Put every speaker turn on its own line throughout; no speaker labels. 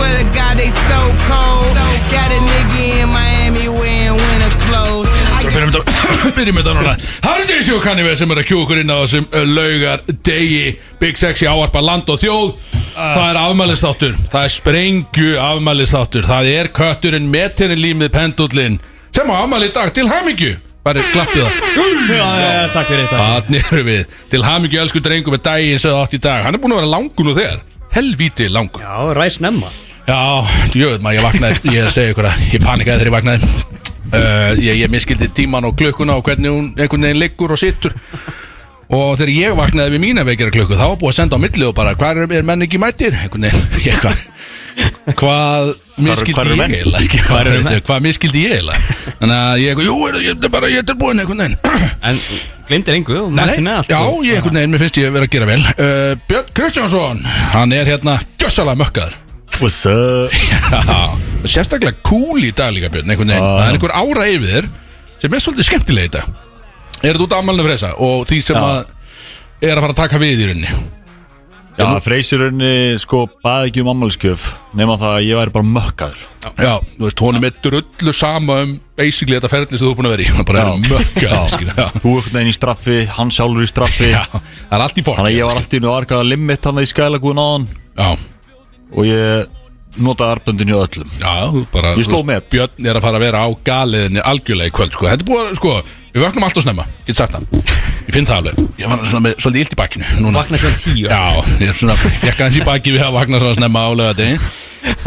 they so cold. Got a nigga in Miami wearing winter clothes. I
Við byrjum þetta byrjum þetta núna Hardy Sjókanniveð sem er að kjúkur inn á þessum laugar degi Big Sexy ávarpa land og þjóð
Ah.
Það er afmælistáttur Það er sprengju afmælistáttur Það er kötturinn, metirinn, límið, pendullinn sem á afmæli í dag til hamingju Bara klappið það
Já, já, já, takk fyrir þetta
Þannig erum við Til hamingju elsku drengum með daginn sem það átt í dag Hann er búin að vera langur nú þegar Helvíti langur
Já, ræs nemma
Já, ég veit maður, ég vaknaði, ég er að segja ykkur að ég panikaði þegar ég vaknaði uh, ég, ég miskildi tíman og klukkuna og hvernig hún einhvern veginn liggur og sittur og þegar ég vaknaði við mína veikjara klukku þá var búið að senda á milli og bara hvað er, er menn ekki mættir, einhvern veginn ég, hvað, hvað
hvar
miskildi
eru
ég
menn?
eiginlega skilur,
Hvar eru menn?
hvað miskildi ég eiginlega þannig að ég, jú, er, ég, er bara, ég er búin einhvern veginn
En glindir engu og
Nei,
mætti með allt sko.
já,
og-
ég einhvern veginn, mér finnst ég vera að gera vel uh, Björn Kristjánsson, hann er hérna gjössalega mökkaður
What's up?
Já, sérstaklega cool í dag líka Björn einhvern veginn,
Já.
það er einhver ára yfir þér sem er svolítið skemmtilega í dag er þetta út af afmælinu freysa og því sem
Já.
að er að fara að taka við í rauninni
Já, freysurunni sko baði ekki um ammálskjöf nema það að ég væri bara mökkaður
Já, þú veist, honum er drullu sama um basically þetta ferli sem þú er búin að vera í hann bara
Já.
er mökka skilur, já.
Þú einhvern veginn í straffi, hann sjálfur í straffi
já,
Þannig
það er allt í fólk
að ég var alltaf inn og arkaða limit hann í skælagúin áðan
Já,
og ég notaði arböndin hjá öllum
já, þú bara
Ég sló
þú veist,
met.
Björn er að fara að vera á galiðinni algjörlega í kvöld, sko Þetta er búið að, sko, við vöknum allt og snemma Get sagt það, ég finn það alveg Ég var svona með svolítið illt í bakkinu núna.
Vakna klukkan 10.
Já, ég er svona fekk hans í baki við að vakna svona snemma álega þetta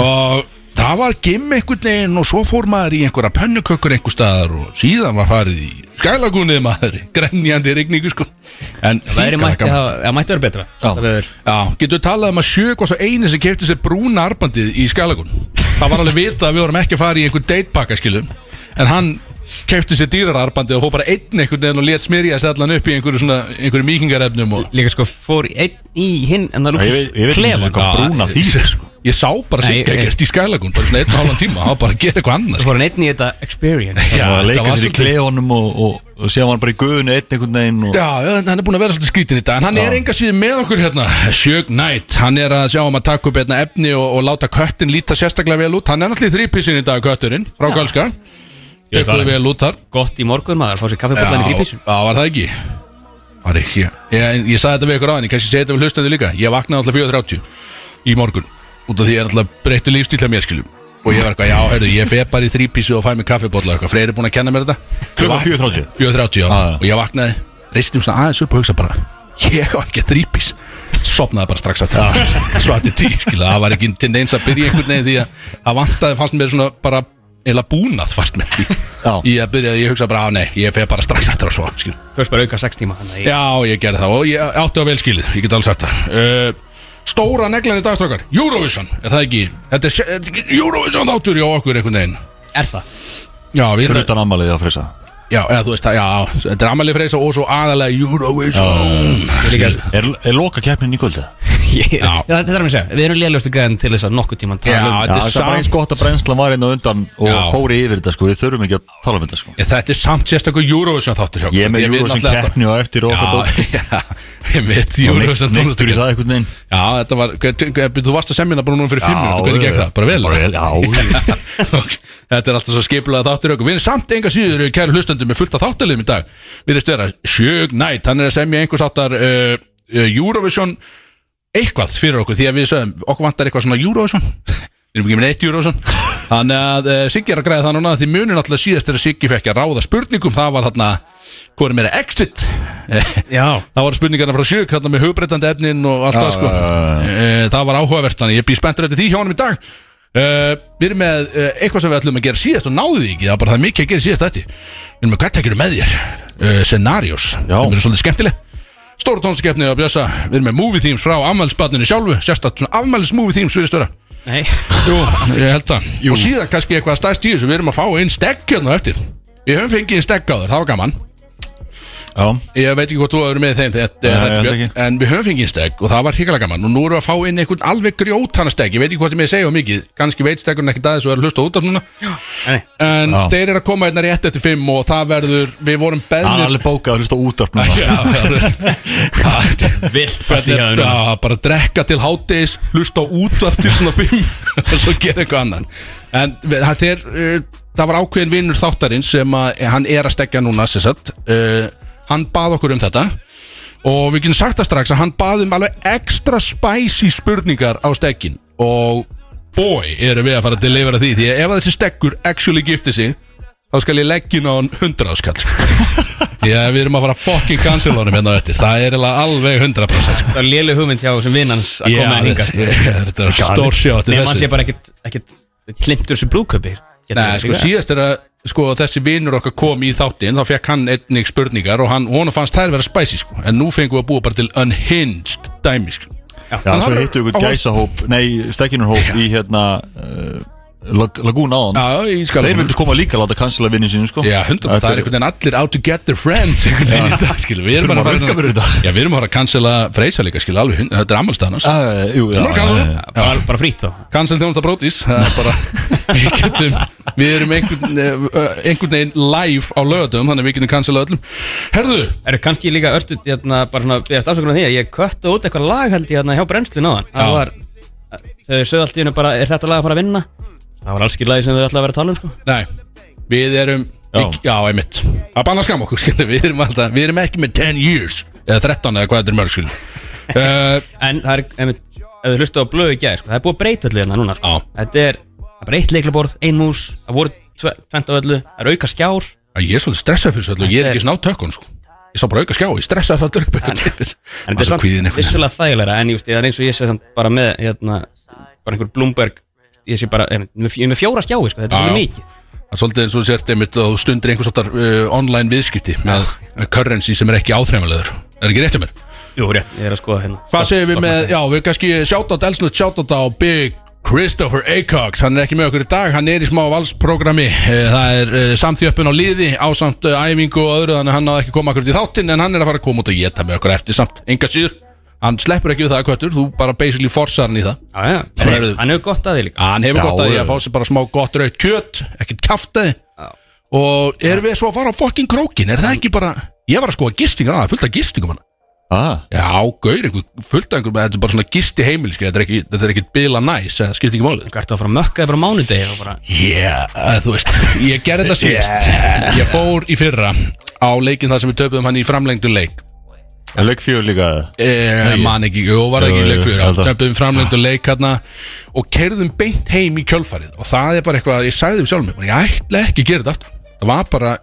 og það var gimm einhvern veginn og svo fór maður í einhverja pönnukökkur einhver staðar og síðan var farið í skælagunnið maður, grenjandi rigningu sko en hrikalega
Væri mætti
gaman.
hafa, já, mætti vera betra Það
Já,
verður-
já getur við talað um að sjög og svo eini sem kefti sér brúna arbandið í skælagun Það var alveg vita að við vorum ekki að fara í einhver datepakka skilum En hann kefti sér dýrar arbandið og fór bara einn einhvern veginn og let smirja sér allan upp í einhverju, svona, einhverju míkingarefnum og
Líka sko fór í einn í hinn en það
Ég veit, ég
lúkst
veit ekki sem
klefan
hvað brúna þýr sko.
Ég sá bara
Nei,
sigga
ég-
ekkert í skælagun Bara svona einn og hálfan tíma, það var bara að gera eitthvað annað
Það
sko.
fór hann einn í þetta experience
Já,
Það var
þetta
að leika
var
sér í
svolítið-
klefanum og, og, og séðan var hann bara í guðinu einn einhvern veginn
sko.
og
Já, já, hann er búin að vera svolítið skrítin í dag En hann er enga síðan með okkur hérna Sjög nætt, hann er að sjá um að taka upp einna efni og, og láta köttin líta sérstaklega vel út Hann er náttúrulega þrýpissin í dag, kötturinn Frá Kölska
Ég veit það
Tekkuðu
alveg.
vel út þar
Gott í morgun maður, fá sér kaffibotlan í
Já,
grípisum
já, var það ekki Var ekki, já. ég, en ég sagði þetta við ykkur á hann Ég kannski segi þetta við hlustandi líka Ég vaknaði alltaf 4.30 í morgun Út af því ég er alltaf breyttu lífstíl að mér skiljum Og ég var eitthvað, já, heyrðu, ég fer bara í þrýpísu og fæ mig kaffibólla eitthvað Freyr er búin að kenna mér þetta
Klukkan 4.30
4.30 já.
já.
og ég vaknaði reistum svona aðeins upp og hugsa bara ég á ekki að þrýpis sopnaði bara strax að svarti tí skilja, það var ekki tendens að byrja einhvern veginn því að það vantaði fannst mér svona bara eða búnað fannst mér
Já.
ég að byrja, ég hugsa bara að nei, ég fer bara strax aftur að svo skilja.
Þú veist bara auka 6 tíma þannig að ég-
já, ég gerði það og ég átti á velskilið ég get alveg sagt það uh, stóra neglan í dagstrakar, Eurovision er það ekki, þetta er, er ekki Eurovision þáttur hjá okkur einhvern veginn
Er það?
já, við
Fyrir utan ammálið að freysa
Já, eða þú veist það, já, þetta er Amalí Freysa og svo aðalega Eurovision
Líka,
Er, er loka keppnin í kvöldið?
ég, já. Þetta er að mér segja, við erum lélustu gæðan til þess að nokkuð tíman
Já,
tala um
þetta er
það er bara eins
samt
gott að brennslan var inn og undan og
Já.
fóri yfir þetta sko, við þurfum ekki að tala um þetta sko
Ég, Þetta er samt sérstakur Eurovision þáttur hjá okkur,
Ég er með
því að við
Eurovision
náttúrulega-
keppni og eftir og okkar dót.
Já, já, ég mitt
Og
Eurovision
neitt- neittur í
tónlistakjöld
það einhvern veginn
Já, þetta var, hver- hver- þú varst að semjana bara núna fyrir fimm minútur, hvernig gekk það? Bara vel?
Bara vel, já
Ok, Þetta er alltaf svo skipulega þáttur okkur Við erum samt enga síður, eh, kæru hlustandi, með fullt af þáttalið í dag Við erum stöðra Sjög nætt, hann er að semja einhvers áttar uh, uh, Eurovision eitthvað fyrir okkur Því að við sögum, okkur vantar eitthvað svona Eurovision Við erum ekki með neitt Eurovision Þannig að uh, Siggi er að græða það núna Því munur alltaf síðast er að Siggi fekk að ráða spurningum Það var þarna, hvað er meira exit Eh,
Já,
Það var spurningarna frá sjög, hérna með hugbreytandi efnin og allt það sko
já,
Eh, Það var áhugavert, þannig ég býð spenntur eftir því hjá honum í dag Uh, við erum með uh, eitthvað sem við ætlum að gera síðast og náðu því ekki, það er bara það er mikið að gera síðast þetta Við erum með hvað tekjur með þér uh, Scenarios,
Já.
sem eru svolítið skemmtileg Stóra tónskeppni að bjösa Við erum með movie themes frá afmælisbarninu sjálfu Sérstætt svona afmælis movie themes fyrir störa
nei
Jú, ég held það Og síðan kannski eitthvað stæst í þessu Við erum að fá einn stegg hérna á eftir Við höfum fengið einn stegg á þér, það var gaman
Já,
Ég veit ekki hvort þú hefur með þeim þetta,
Nei,
þetta
ég held
Björn,
ekki.
En við höfum fengið steg og það var hikalega gaman Og nú erum við að fá inn einhvern alveg grjótana steg Ég veit ekki hvort ég með segja of mikið Kanski veit stegurinn ekkert aðeins og er að hlusta út af núna
Nei.
En
Já.
þeir eru að koma einna rétt eftir fimm Og það verður, við vorum
hann er
beðnir
alveg bókað að hlusta á útarp núna
Já, það er-
Vilt
Þetta
partí hjá
er
þeim núna.
bara, bara að drekka til hátis Hlusta á útvarp til svona fimm Og svo gera eitthvað annan En við- það, þeir, uh, það var ákveðin vinnur þáttarins Sem að hann er að stekja núna sem sagt. uh, Hann bað okkur um þetta Og við getum sagt það strax að hann bað um alveg extra spicy spurningar á stekkin Og boy, erum við að fara að delivera því Því að ef að þessi stekkur actually gifti sig Þá skal ég leggja inn á hann 100 áskall Því að við erum að fara að fucking cancel honum hérna á eftir Það er eiginlega alveg 100% sko.
Það er léleg hugmynd hjá þessum vinnans að
Já,
koma henni hingað
þetta- Þetta er stór sjátt
Nefnum hann sé bara ekkit, ekkit hlindur þessu brúköpi
Nei, sko síðast er að sko, þessi vinnur okkar kom í þáttinn þá fekk hann einnig spurningar og hann, honum fannst þær vera spæsi sko. en nú fengum við að búa bara til unhinged dæmi sko.
Já,
En
svo
hann er
hittu ykkur
á-
gæsahóp, nei, stekkinurhóp í hérna uh, lag, Lagún áðan
Já, ég skal
Þeir vildu koma líka að láta kansla vinnin sínum sko
Já, hundum, það er einhvern veginn allir out to get their friends einhvern veginn í dag, skilur Við erum
Þurfum
bara
að rukka fyrir þetta.
Já, við erum bara að cancela Freysa líka, skilur, alveg hund- Þetta er ammálstað hans
Uh, jú, já,
Nú er cancel.
já, já.
Bara, bara frýtt þá
Cancel þjónust að brótis Það er bara Við getum Við erum einhvern, eh, einhvern veginn live á lögatum Þannig að við getum cancela öllum Herðu,
Eru kannski líka örstuð hérna, bara svona byrjast afsökunar því að ég kötta út eitthvað lag held ég hérna hjá brennslun á hann
Já.
Það var, þau sögðu allt í hennu bara, er þetta lag að fara að vinna? Það var alls ekki lagi sem þau ætlaði að vera að tala um sko
Nei, við erum Já,
Já.
já einmitt Að banna skam okkur, skilur Við erum alltaf Við erum ekki með 10 years Eða 13 eða hvað þetta er mörg, skilur uh,
En það er, einmitt, ef þau hlustu á blöðu í gæði sko, það er búið að breyta öllu hérna núna sko
Já.
Þetta er, það er bara eitt leiklaborð, ein mús, það voru tve- tvennt af öllu, það er auka skjár
Ég er svolítið stressað fyrir þessu öllu og Ég er
Þetta er-
ekki svona á tökun, sko Ég sá bara auka skjá, ég stressaði það upp En
En þetta er samt vissulega þægilega En ég veist, það er eins og ég sé samt bara með hérna, bara einhver Bloomberg ég sé bara, ég er með fjó- ég er með fjóra skjái sko, þetta
Já,
er
já.
mjög mikið
Það er svolítið eins og þú sért einmitt og stundir einhvers áttar uh, online viðskipti með, með currency sem er ekki áþreifalegur Er ekki rétt hjá mér?
Jú, rétt, ég er að skoða hérna
Hvað
Stopp-
segir við
stopp-
með, já við kannski shoutout elsnut, shoutout á Big Christopher Acox, hann er ekki með okkur í dag hann er í smá valsprogrammi Eh, það er uh, samþjöppun á liði á samt uh, æfingu og öðru þannig að hann hafði ekki koma okkur í þáttinn en hann er að fara að koma út og geta með okkur eftir samt enga síður, hann sleppur ekki við það kvötur, þú bara basically forsar hann í það
Já, já,
Bara
Nei,
eru-
hann hefur gott að því líka
hann hefur
Já,
gott að því að
já.
fá sér bara smá gott raukt kjöt ekkert kaftaði
Já.
og erum við svo að fara á fokkin krókin er það ekki bara, ég var að skoða gistingar að fullt af gistingum hann
Ah,
já, gaur, einhver, fullt af einhver þetta er bara svona gisti heimil, skil, þetta er ekki þetta er ekki bila næs, það skiptir ekki málið
Þú ert að fara að mökka þig bara á mánudegi og bara
yeah, þú veist, ég gerði þetta síðast ég fór í fyrra á leikin þar sem við töpuðum hann í framlengdu leik
en leik fjör líka
Eh, man ekki, jú, var það
Jú,
ekki í
jú,
leik fyrir
held að.
Töpuðum framlendu leik hérna Og kerðum beint heim í kjölfarið Og það er bara eitthvað að ég sagði við sjálfum mig bara, Ég ætla ekki að gera þetta aftur Það var bara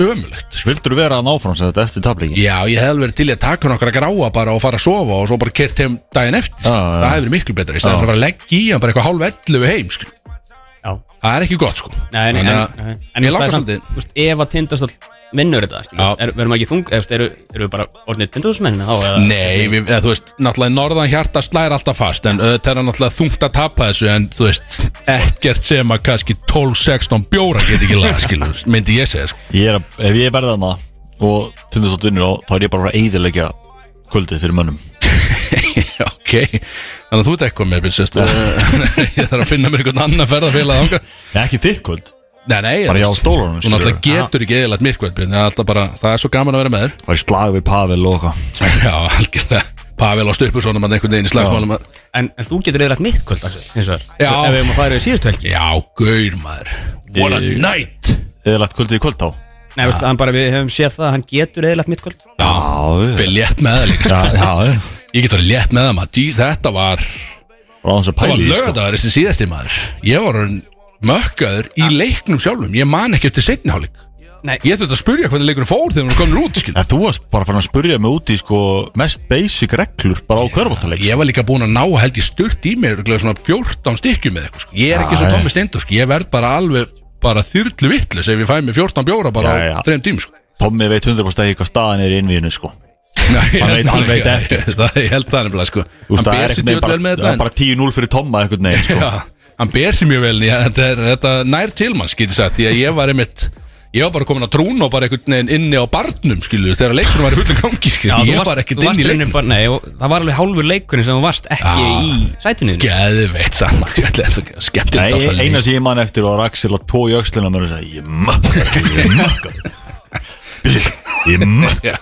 ömulegt
Vildur þú vera að náfram sem þetta eftir tablíki?
Já, ég hefði verið til í að taka nokkra gráa bara og fara að sofa og svo bara kert heim daginn eftir sko.
Já, já.
Það hefði verið miklu betra Í stæðan
Já.
fyrir að fara að leggja í hann bara eitthvað hálf ellu heim sko.
Já,
Það er ekki gott sko
nei, nei, en,
Þannig
en,
að-
en,
Ég
það er
lakar
samt,
svolítið
þú veist, Ef að tindastóll vinnur þetta skilur,
Já.
er, Verðum ekki þung, eða, þú veist, eru, eru við bara orðnið tindastóllsmenn þá eða-
Nei, við, eða, þú veist, náttúrulega norðan hjarta slæðir alltaf fast en auðvitað er hann náttúrulega þungt að tapa þessu en þú veist, ekkert sem að kannski 12-16 bjóra get ekki laga skilur, myndi ég segja sko.
Ég er að, ef ég verða hana og tundast á vinnur á, þá er ég bara að fara að eyðilegja kvöldið fyrir mönnum
ok, þannig að þú ert eitthvað með byrjast, ég þarf að finna mér einhvern annan ferðarfélag þanga
Nei, ekki þitt kvöld,
Nei, nei,
bara
þú
ég á
veist,
stólunum
þú náttúrulega getur ekki eðilegt myrkvæð en alltaf bara, það er svo gaman að vera með
Var í slag við Pavel og eitthvað
þér Já, algjörlega, Pavel og Stupusonum hann einhvern veginn í slagsmálum að
en, en þú getur eðrætt mitt kvöld Axel, eins og
Já.
er Ef við erum að fara í síðustu helgi
Já, gaur maður, what a
Ég-
night
Eðilegt kvöldið í kvöld þá
Nei, veist, hann bara, við höfum séð það, hann getur eðrætt mitt kvöld
Já, við-
Fyrir létt með það líka sko.
já, já
Ég get verið létt með það maður Dí, Þetta var,
Ráðans að
það var
pæli í því, sko
lögadagur þessi síðasti maður Ég var orðinn mökkaður í leiknum sjálfum Ég man ekki eftir seinniháleik
Nei,
Ég þurfti að spurja hvernig leikunum fór þegar hún komin út skil.
En þú varst bara farin að spurja mig út í sko mest basic reglur bara á körfóttaleik
Ég var líka búinn að ná að held ég sturt í mig örugglega svona 14 stykkjum með eitthvað sko. Ég er ekki svo
Já,
Tommi Steindur sko. Ég verð bara alveg bara þyrlu vittlu ef ég fæ mig 14 bjóra bara
Já, já.
á 3 tím sko.
Tommi veit 100% ekki hvað staðan er í innvíðinu sko
Nei,
Hann veit- hann veit
ég-
ekkert, sko.
Það- Ég held það nefnilega sko.
Þú veist,
Hann
það er
ber sér
ekkert neginn
djöfull
bara,
vel með
það
þetta
er
en-
bara 10-0 fyrir Tomma ekkert neginn sko
Já, hann ber sér mjög vel já, þetta, er, þetta nær til manns, getur sagt því að ég var einmitt Ég var bara komin að trúna og bara einhvern veginn inni á barnum skilju Þegar leikurinn var í fullum gangi skilju
þú
Ég
varst-
var ekkert
þú
inn
varst
í leikurinn
bara- Nei, og það var alveg hálfur leikurinn sem þú varst ekki
Já.
í sætinu þínu.
Geðveitt saman Þetta er svo skemmtilegt
Nei,
áfram í
eina
lífinu.
sem ég man eftir var Axel að tói öxlina mér og sagði Ég mökkar ekki, ég mökkar ekki." Bíddu, Ég mökkar
Já,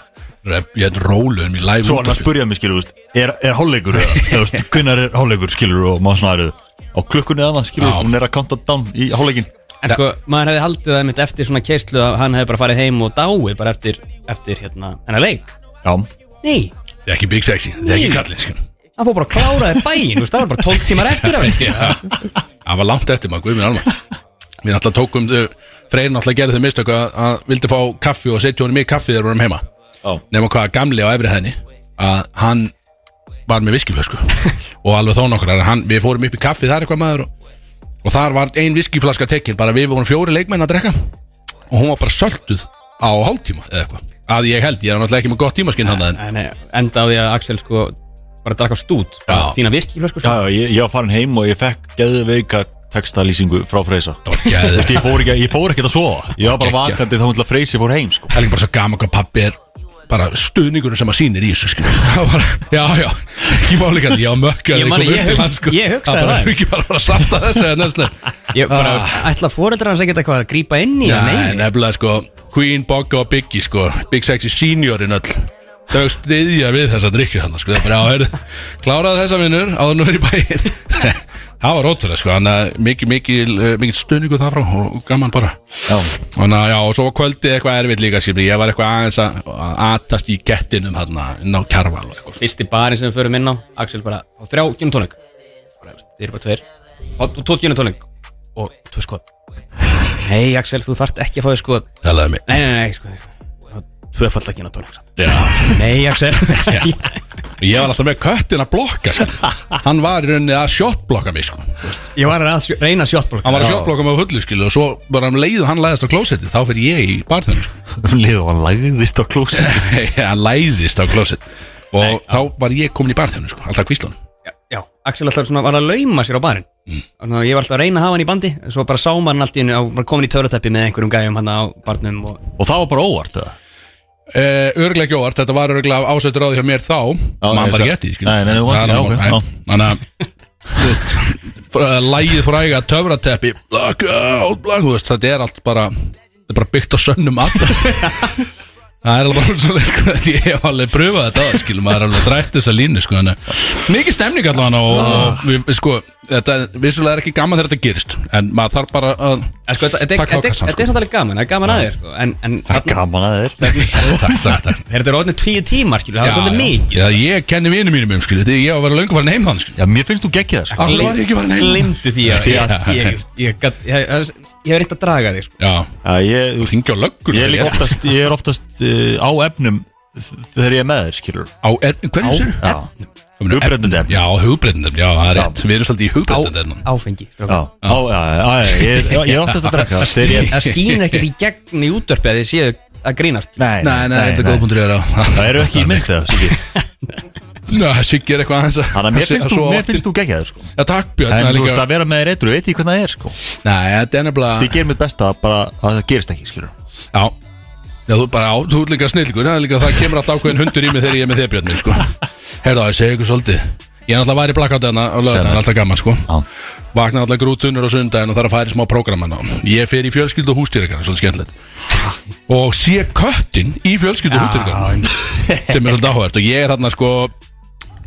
rep, ég er róluðum í live
Svo hann að
útvarpi.
spurja mig, skilur, þú veist, er, er hálfleikur Hvernig er hálfleikur, skilur, og maður svona er Á klukkunni þannig, skilur,
Já.
hún er að counta down í hálfleikin
En sko, maður hefði haldið það mitt eftir svona keislu að hann hefði bara farið heim og dáið bara eftir, eftir hérna, hennar leik
Já,
Nei,
Þetta er ekki Big Sexy, þetta er ekki sko. kallið skilju
hann fór bara að klára þér daginn, þú veist, það var bara 12 tímar eftir af þessu
Já, það var langt eftir maður, guðminn alveg Við náttúrulega tókum þau Freyr náttúrulega gerði þau mistök að, að vildi fá kaffi og setja honum í kaffi þegar við vorum heima
já,
Nefnum hvað gamli á efri henni að hann var með viskiflösku og alveg þó nokkrar hann, við fórum upp í kaffi þar eitthvað maður og, og þar var ein viskiflaska tekin bara við vorum fjóri leikmenn að drekka og hún var bara sölduð á hálftíma eða eitthvað að ég held, ég er náttúrulega ekki með gott tímaskinn hann en,
En eh, enda á því að Axel sko bara drakk á stút,
Já.
þína viskiflösku
já,
sko.
já, ég, ég var farin heim og ég fekk geðveika textalýsingu frá Freysa Þú
það var geðið
veist, ég fór ekki, ég fór ekki að sofa Ég var bara
Geggjað.
vakandi þá hundla Freysi fór heim, sko
Það er líka bara svo gaman hvað pappi er bara stuðningurinn sem að sýnir í þessu skilur. Það var, já, já, ekki máli kalli, já, mökka
Ég man að ég hug- ég hugsaði
sko. það
það.
bara, Ekki bara bara að safta þessu eða næslega
Ég bara, ah. ætla foreldrar hans ekkert eitthvað að grípa inn í hann
Nei,
einu
nefnilega sko, Queen, Bogga og Biggie sko, Big Sexy Seniorin öll Þau stiðja við þessa drikju þannig sko, það er bara, já, heyrðu, kláraði þessa vinnur áður nú verið í bæinn Það var ótrúlega sko, þannig að mikið, mikið, eh, mikið stuðningu það frá og gaman bara
Já,
Þannig að já, og svo var kvöldið eitthvað erfitt líka skilur. Ég var eitthvað aðeins að að atast í gettinum hann inn á kjarval og eitthvað.
Sko, Fyrsti barinn sem við förum inn á, Axel bara á þrjá ginotónik Þeir eru bara tveir Og tótt ginotónik og tvö skoð Nei Axel, þú þarft ekki að fá þér skoð
Talaði mig
Nei, nei, nei, sko Tvöfald ekki ginotónik samt
já.
Nei, Axel
Ég var alltaf með köttin að blokka sko. Hann var í rauninni að shotblokka mig sko. Hann
Ég var að sjó- reyna shotblock
var að shotblokka mig á hullu skilu, og svo bara um leiðu hann læðist á klósetti þá fyrir ég í barðinu sko.
liðu hann lagðist á klósi
Hann læðist á klósetti og þá var ég komin í barðinu sko, alltaf kvíslunum
já, já, Axel alltaf svona var að lauma sér á barinn
Mm.
Þannig að ég var alltaf að reyna að hafa hann í bandi en Svo bara sá maður hann allt í hennu Var komin í törutæppi með einhverjum gæjum hann á barnum og...
Og það var bara óvart, eða?
Uh, örglega ekki óvart, þetta var örglega ásettur á því hjá mér þá
Já,
maður
ég
bara
sé.
getið skilur.
Nei, nei, þú varst
Það
ekki,
er
já, ok,
alveg- nei. þannig að uh, lægið fræga töfrateppi black out, black, þú veist, þetta er allt bara þetta er bara byggt á sönnum að það er alveg bara svo leið sko, að ég hef alveg pröfað þetta á það skilur, maður er alveg drætt þessa línu sko, þannig að- mikið stemning allan og,
Ah.
og við, sko, þetta vissulega er ekki gaman þegar þetta gerist en maður þarf bara að
En sko, Þetta þetta-
Takk,
þetta-
Ákasan, sko.
þetta er samt alveg gaman, það er gaman aðeir sko. En, en þarna-
Gaman að þér
takk, takk, takk
þegar þetta er orðinu tíu tímar skilur, Það er alveg mikið
já, ég kenni vinum mínum um skilur, því ég á að vera löngu farin heim þann skilur
Já, mér finnst þú geggja það, sko
Af hverju var ég ekki farin heim?
Glimtu því að ég, ég, ég, ég, gat- ég, ég, ég hef reynt að draga þig sko.
Já,
Já, ég, þú veist,
hringja á löggun
Ég er líka oftast, ég er oftast uh, á efnum þ- þegar ég er með þér, skilur
Á, er, hvernig sér?
Já, hugbrennandi efnum.
Já, hugbreytendum, já, það er rétt Við erum svolítið í
Á,
hugbreytendum
Áfengi strákar.
já, á, já, já, já, ég, ég er oftast að drekka það þegar ég
Það skýnir ekkert í gegn í útdörpi að þið séu að grínast
Nei,
Nei, nei, þetta er góðbundur er á
Það eru ekki í mynd það, Siggi
Ná, Siggi er eitthvað aðeins að
Þannig að mér
að- að
finnst þú,
svo
mér
oft-
finnst þú geggja það, sko
Já, takk Björn það
En
er
þú veist
líka-
að vera með þér eitru, veit ég hvernig það er, sko
Nei, þetta er nefnilega
Ég ger mitt besta að bara, að það gerist ekki, skilur
Já Já, þú bara á, þú ert líka snillgur Það er líka, það kemur alltaf ákveðin hundur í mig þegar ég er með þeir Björn sko. Herðu, ég segi ykkur svolítið Ég er alltaf var í blakkátana og lögðan, alltaf gaman sko
Já.
Vaknaði alltaf grútunur á sundaginn og þarf að færi smá prógraman á Ég fer í fjölskyldu og hústýrikana, svolítið skemmtilegt Og sé köttin í fjölskyldu og hústýrikana Sem er svolítið áhverft og ég er hérna sko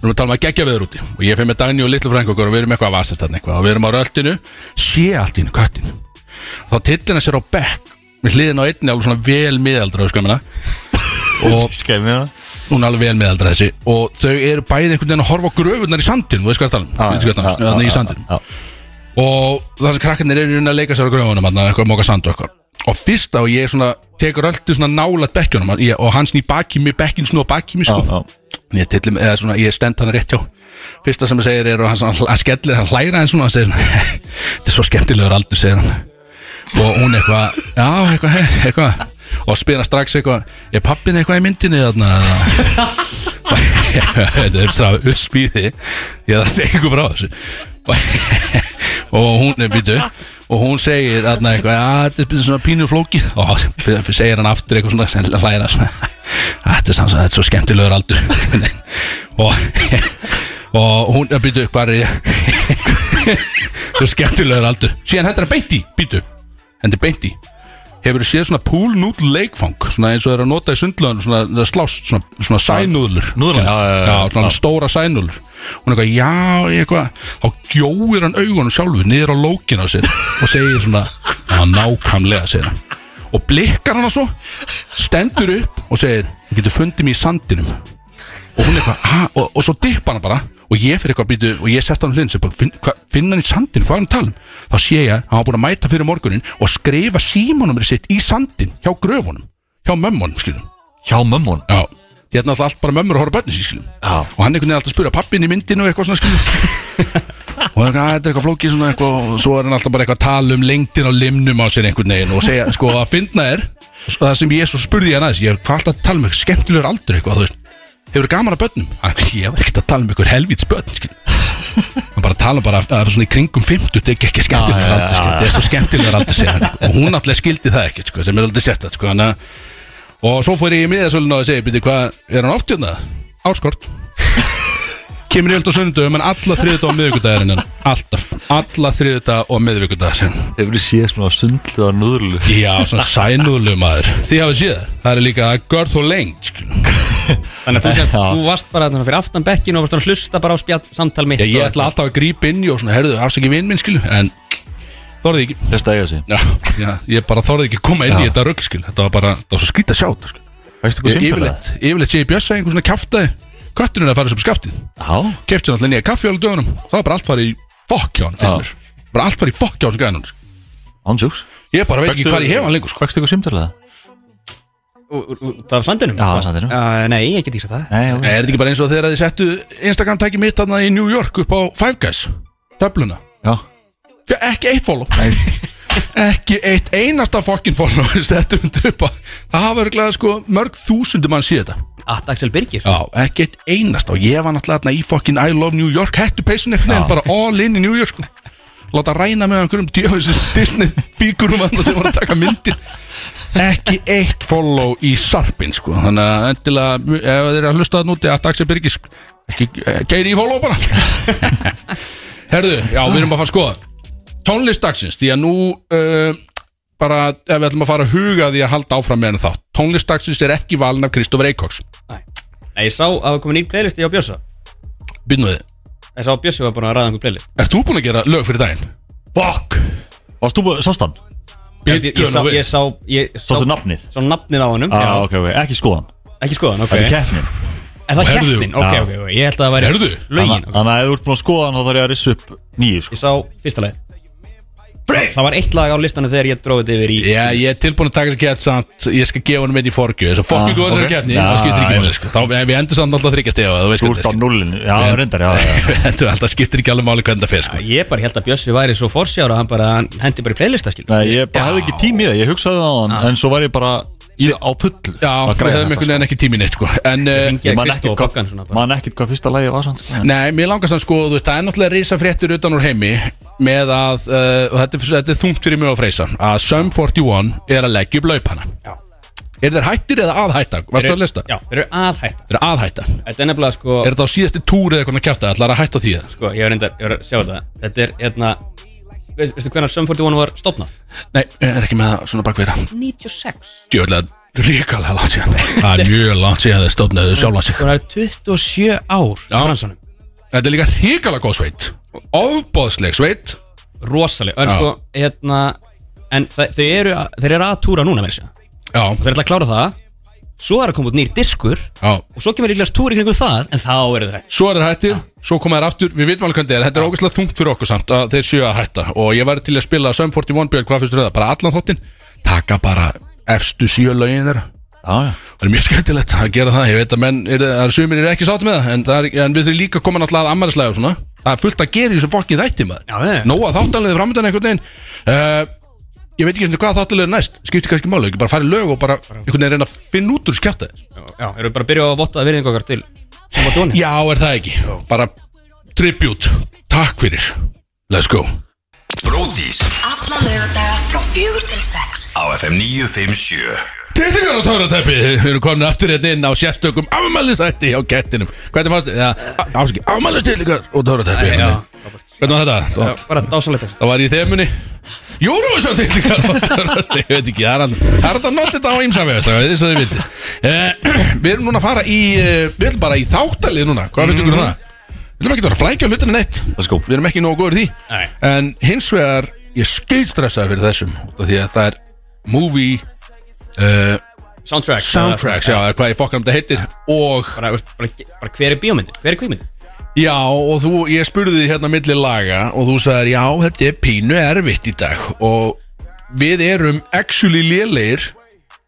Við erum að tala um að gegja veður úti Og ég fer með Dagný og litlu frængu okkur og við erum eitthvað að vasast þarna eitthvað Og við erum á röltinu, sé allt í hennu köttin Þá tillina sér á bekk Við hliðin á einni alveg svona vel miðaldra við skömmina Og
Skæmi það
hún er alveg vel meðaldra þessi og þau eru bæði einhvern veginn að horfa á gröfunar í sandin þú veist hvað ég er að tala um, þannig í sandin og það sem krakkarnir eru í rauninni að leika sér á gröfunum þarna, eitthvað að móka sand og eitthvað og fyrst á ég svona, tekur öllu svona nálat bekkjunum ég, og hann sný baki mig, bekkin snú baki mig sko. ég, tillim, eða svona, ég stend hann rétt hjá fyrsta sem ég segir er og hann, svona- hann skellir, hann hlæra eins og hann segir svona, þetta er svo skemmtilegur aldur segir hann og hún eitthvað, já, eitthvað, he- eitthvað og spyr hann strax eitthvað er pappin eitthvað í myndinni þarna eða?" þetta er það uppspýði ég þarf að segja ykkur frá þessu og hún er býtu og hún segir þarna eitthvað að þetta er svona pínu flókið og segir hann aftur eitthvað svona sem hlæra svona þetta er sanns að þetta er svo skemmtilegur aldur og og hún að býtu hvað er ég svo skemmtilegur aldur síðan hendur hann beint í býtu hendur beint í hefur séð svona púlnúdl leikfang svona eins og þeir eru að nota í sundlöðun svona það slást svona, svona sænúðlur
Núðlur, já, já, já,
já, svona stóra sænúðlur hún er eitthvað, já, ég eitthvað þá gjóir hann augunum sjálfur niður á lókin á sér og segir svona já, nákvæmlega, segir hann og blikkar hann svo, stendur upp og segir, hún getur fundið mér í sandinum og hún er eitthvað, ha, og, og svo dippa hana bara og ég fyrir eitthvað býtu og ég sett hann hlinn sem bara, finn, hva, finna hann í sandin, hvað er hann að tala um þá sé ég að hann var búin að mæta fyrir morgunin og skrifa símanumri sitt í sandin hjá gröfunum, hjá mömmunum skilum,
Hjá mömmun
já því þetta er náttúrulega allt bara mömmur að horfa bönni sín skilum
Já.
og hann einhvern veginn er alltaf að spura pappin í myndinu og eitthvað svona skilum og hann er eitthvað, "Æ, þetta er eitthvað flókið svona eitthvað og svo er hann alltaf bara eitthvað að tala um lengdin á limnum á sér einhvern veginn og segja, sko, að finna er og það sem ég svo spurði hann aðeins ég er hvað alltaf að tala um eitthvað skemmtilegur aldur eitthvað, þú veist hefur gaman að börnum hann, er eitthvað, ég var ekkert að tala um eitthvað helvíts börn skilur. hann bara tala bara að, að svona í kringum 50 þetta er ekki skemmtilegur aldur skilur. þetta er svo skemmtilegur aldur segir hann, og hún alltaf skildi það ekki sko, sem er aldrei sérstætt sko, þannig að- og svo fór ég í miðasölun og segi býti hvað er hann oft hérna áskort kemur í öll á söndum en alla þriðuta og miðvíkudagarinn alltaf, alla þriðuta og miðvíkudagarinn
Hefur þið séð svona sundlega núðlu
já, svona sænúðlu maður því hafið séð, það er líka görð og lengt skilur.
Þannig að þú sést,
Já.
þú varst bara þarna fyrir aftan bekkin og varst að hlusta bara á spjall, samtal mitt
Já, ég
og-
ætla alltaf að grípa inn í og svona, herðu, afsaki vinn minn, skilu, en þorði ekki.
Þess að eiga sig
Já, já, ég bara þorði ekki að koma inn í
Já.
þetta rugg, skilu, þetta var bara, það var svo skrýta sjátt, skilu.
Veistu
Ég,
hvað simfélag?
yfirleitt, yfirleitt sé ég bjössa einhvern svona kjaftaði, köttinu er að fara sem skaftið,
Já
kefti hann alltaf nýja kaffi á alveg dögunum, það var bara allt farið í fokk hjá hann,
Já.
finnst mér. Bara allt farið í fokk hjá hann, gæðan hann, skilu.
Ánsjóks
Ég bara veit ekki hvað ég hef hann lengur, sko.
Vekstu eitthvað simfélag?
Ú- ú- Út af sandinum?
Já, af sandinum.
Já, eh, Nei, ég get ekki sagt það
Nei, ok
Er þetta ekki bara eins og þegar þið settu Instagram-tæki mitt þarna í New York upp á Five Guys, töfluna?
Já
Fjö- Ekki eitt follow.
Nei
ekki eitt einasta fokkin fólk þetta undir upp að það hafa örglega sko mörg þúsundum mann síða þetta
At Axel Birgir
já, ekki eitt einasta og ég var náttúrulega þarna í fokkin I love New York hættu peysun eitthvað en bara all in í New York sko. láta ræna með einhverjum djöfisins Disney fígurum þarna sem var að taka myndir ekki eitt follow í sarpin sko þannig að endilega ef þeir eru að hlusta það núti að Daxi Birgis keiri í follow bara herðu, já við erum að fara að skoða tónlist dagsins því að nú uh, bara ef við ætlum að fara að huga því að halda áfram með henni þá tónlist dagsins er ekki valin af Kristofur Eikóks
Nei, ég sá að það komið nýr playlisti á Bjössa
byrnuði,
Ég sá að Bjössi var búin að ræða einhver playlist
ert þú búin að gera lög fyrir daginn?
Bokk Varst þú búið, sást hann?
Ég, ég, sá, ég sá, ég sá,
Sástu nafnið?
sá nafnið á honum
Já,
já.
ok, ok, ekki skoðan
Ekki skoðan, ok
Þetta er keppnin
En það
Herðu,
kettin, ok,
já.
ok, ok Ég held að það væri
Herðu.
lögin
Þannig
ok.
þannig að ef þú ert búin að skoða hann þá þarf ég að rissa upp nýju sko.
Ég sá fyrsta lagi Það var eitt lag á listanum þegar ég dróði þetta yfir í
Já, ég er tilbúin að taka þessi kett samt Ég skal gefa hann með í forgju Þess að
Ah,
fokki góður
ok.
þessari keppni
Já,
Það skiptir ekki máli
einmitt.
sko. Þá við endur samt alltaf þryggja stefa Þú veist
Þú
hvað
ert á
þetta er,
nullinu Já, reyndar, já, já, já.
sko. Þetta er alltaf skiptir ekki alveg máli hvernig það fer sko.
Ég bara held að Bjössi væri svo forsjára Hann bara, hann hendi bara í playlista, skil
Nei, ég bara hefði ekki tími í það, ég hugsaði það á hann En svo var ég bara í, á pullu
Já,
að
við
græja
höfum
þetta,
einhvern veginn ekki tíminn eitt sko. En uh,
Ég man
Kristó
ekkert
og Boggan svona
hvað,
bara
man ekkert hvað fyrsta lagi var sann sko.
Nei, mér langast hann sko, þú veist, það er náttúrulega reysa fréttir utan úr heimi með að, uh, og þetta, er- þetta er þungt fyrir mjög að freysa að Sum 41 er að leggja upp laupana
Já.
Er þeir hættir eða aðhætta? Varstu að lista?
Já, þeir eru aðhætta
Þeir eru aðhætta
Þetta er nefnilega sko,
Er þetta á síðasti túr eða eitthvað kjáta? Ætlar að hætta því það?
sko Ég er reyndar, ég er að sjá þetta Þetta er hérna veist- Veistu hvernig Sum 41 var stopnað?
Nei, ég er ekki með það svona bakvið það
96
Djöðlega ríkalega langt síðan Það er mjög langt síðan þeir stofnaðu sjálfan sig
Það er 27 ár
Já.
Bransanum
Þetta er líka ríkalega góð sveit Ofbóðsleg sveit
rosaleg en
Já.
sko, hérna en þe- þau eru, að- þeir eru að túra núna með þessu og
Já,
þeir ætla að klára það svo er að koma út nýr diskur og
já
svo kemur líklegast túr í kringum það en þá eru þeir ekki
Svo er það hættir, svo koma þær aftur Við vitum alveg hvernig þetta er, þetta er ógæslega þungt fyrir okkur samt að þeir séu að hætta og ég væri til að spila Sum 41 Björn, hvað fyrstur það? Bara allan þóttin Taka bara efstu sjö lögin þeirra
Já, já
Það er mjög skemmtilegt að gera það Ég veit að menn, er, er, sumir eru ekki sátt með það en, það er, en við þurfum líka að koma náttúrulega að ammælislega og svona Það er fullt að gera í þessu fokkin þætti maður
Já, já.
Nóa þáttanlega framöndan einhvern veginn uh, Ég veit ekki einu sinni hvað þáttanlega er næst Skiptir kannski máli, ekki bara fara í lög og bara einhvern veginn reyna að finna út úr skjáta
já, eru bara að byrja að votta virðingu okkar til sem var dóni
Já, er það ekki Bara tribute, takk fyrir Let's go
Bróðir Blódís
Alla lögadaga frá fjögur til sex
á FM 957
Tittingar og tóratæpi, við erum komin aftur hérna inn á sérstökum afmælisætti hjá kettinum Hvernig fannst, ja, ásaki, afmælistittingar og tóratæpi
já.
Hvernig var þetta? Það-
Bara dásalegt
Það var í þemunni Eurovision titlingar Ég veit ekki, það er hann- það er þetta nátt þetta á ímsami Þess að þið viti uh, Við erum núna að fara í uh, Við erum bara í þáttalið núna, hvað finnst ykkur um það? Við erum ekki að vera að flækja hlutinu neitt
Let's go.
Við erum ekki nógu góður í því
Nei.
En hins vegar, ég skauðstressaði fyrir þessum út af Því að það er movie uh,
Soundtrack
soundtracks Já, eða hvað ég fokkanum þetta heitir Og
bara, veist, bara, bara hver er bíómyndin, hver er kvímyndin
Já, og þú, ég spurði því hérna milli laga og þú sagðir, já, þetta er pínu erfitt í dag og við erum actually lélegir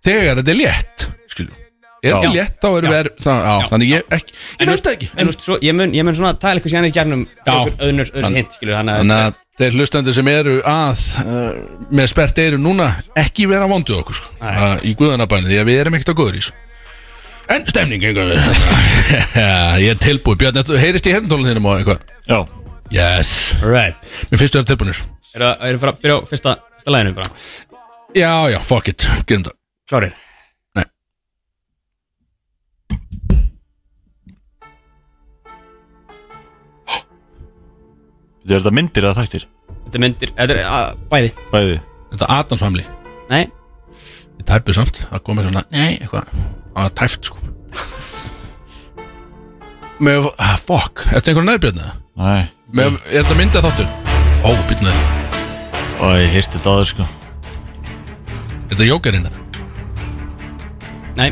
þegar þetta er létt, skiljum. Er þetta
Já.
létt, þá erum
Já.
við erfitt, það, já,
Já.
þannig ég ekki, ég veit það ekki.
en, veist, svo, ég, mun, ég mun svona tala eitthvað sérna í gernum
Já.
öðnur, öðnur hint skilur hann að
Þannig að þeir hlustendur sem eru að uh, með spert eiru núna ekki vera vonduð okkur, sko,
Nei.
uh, í guðanabæni, því að við erum ekkert á góður í þessu. En stemning, einhvern veginn. ég er tilbúið, Björn, þetta- heyrist í herntólun þínum og eitthvað.
Já,
Yes,
right.
mér finnst þú að tilbúinir.
er það er bara að byrja á fyrsta, fyrsta læginu bara
Já, já, fuck it, gerum það
klárir
Nei.
þetta er þetta myndir eða þættir
þetta er myndir þetta er að, bæði
Bæði
Þetta er Adams Family
nei
Ég tæpið samt, það kom eitthvað svona Nei, eitthvað Það var tæft sko Með, ah, fuck, eftir einhverju nærbjörna
Nei,
Með, er þetta myndið þáttur? Ó, býtnaði,
og ég heyrst þetta aður sko
er þetta jókerinn?
nei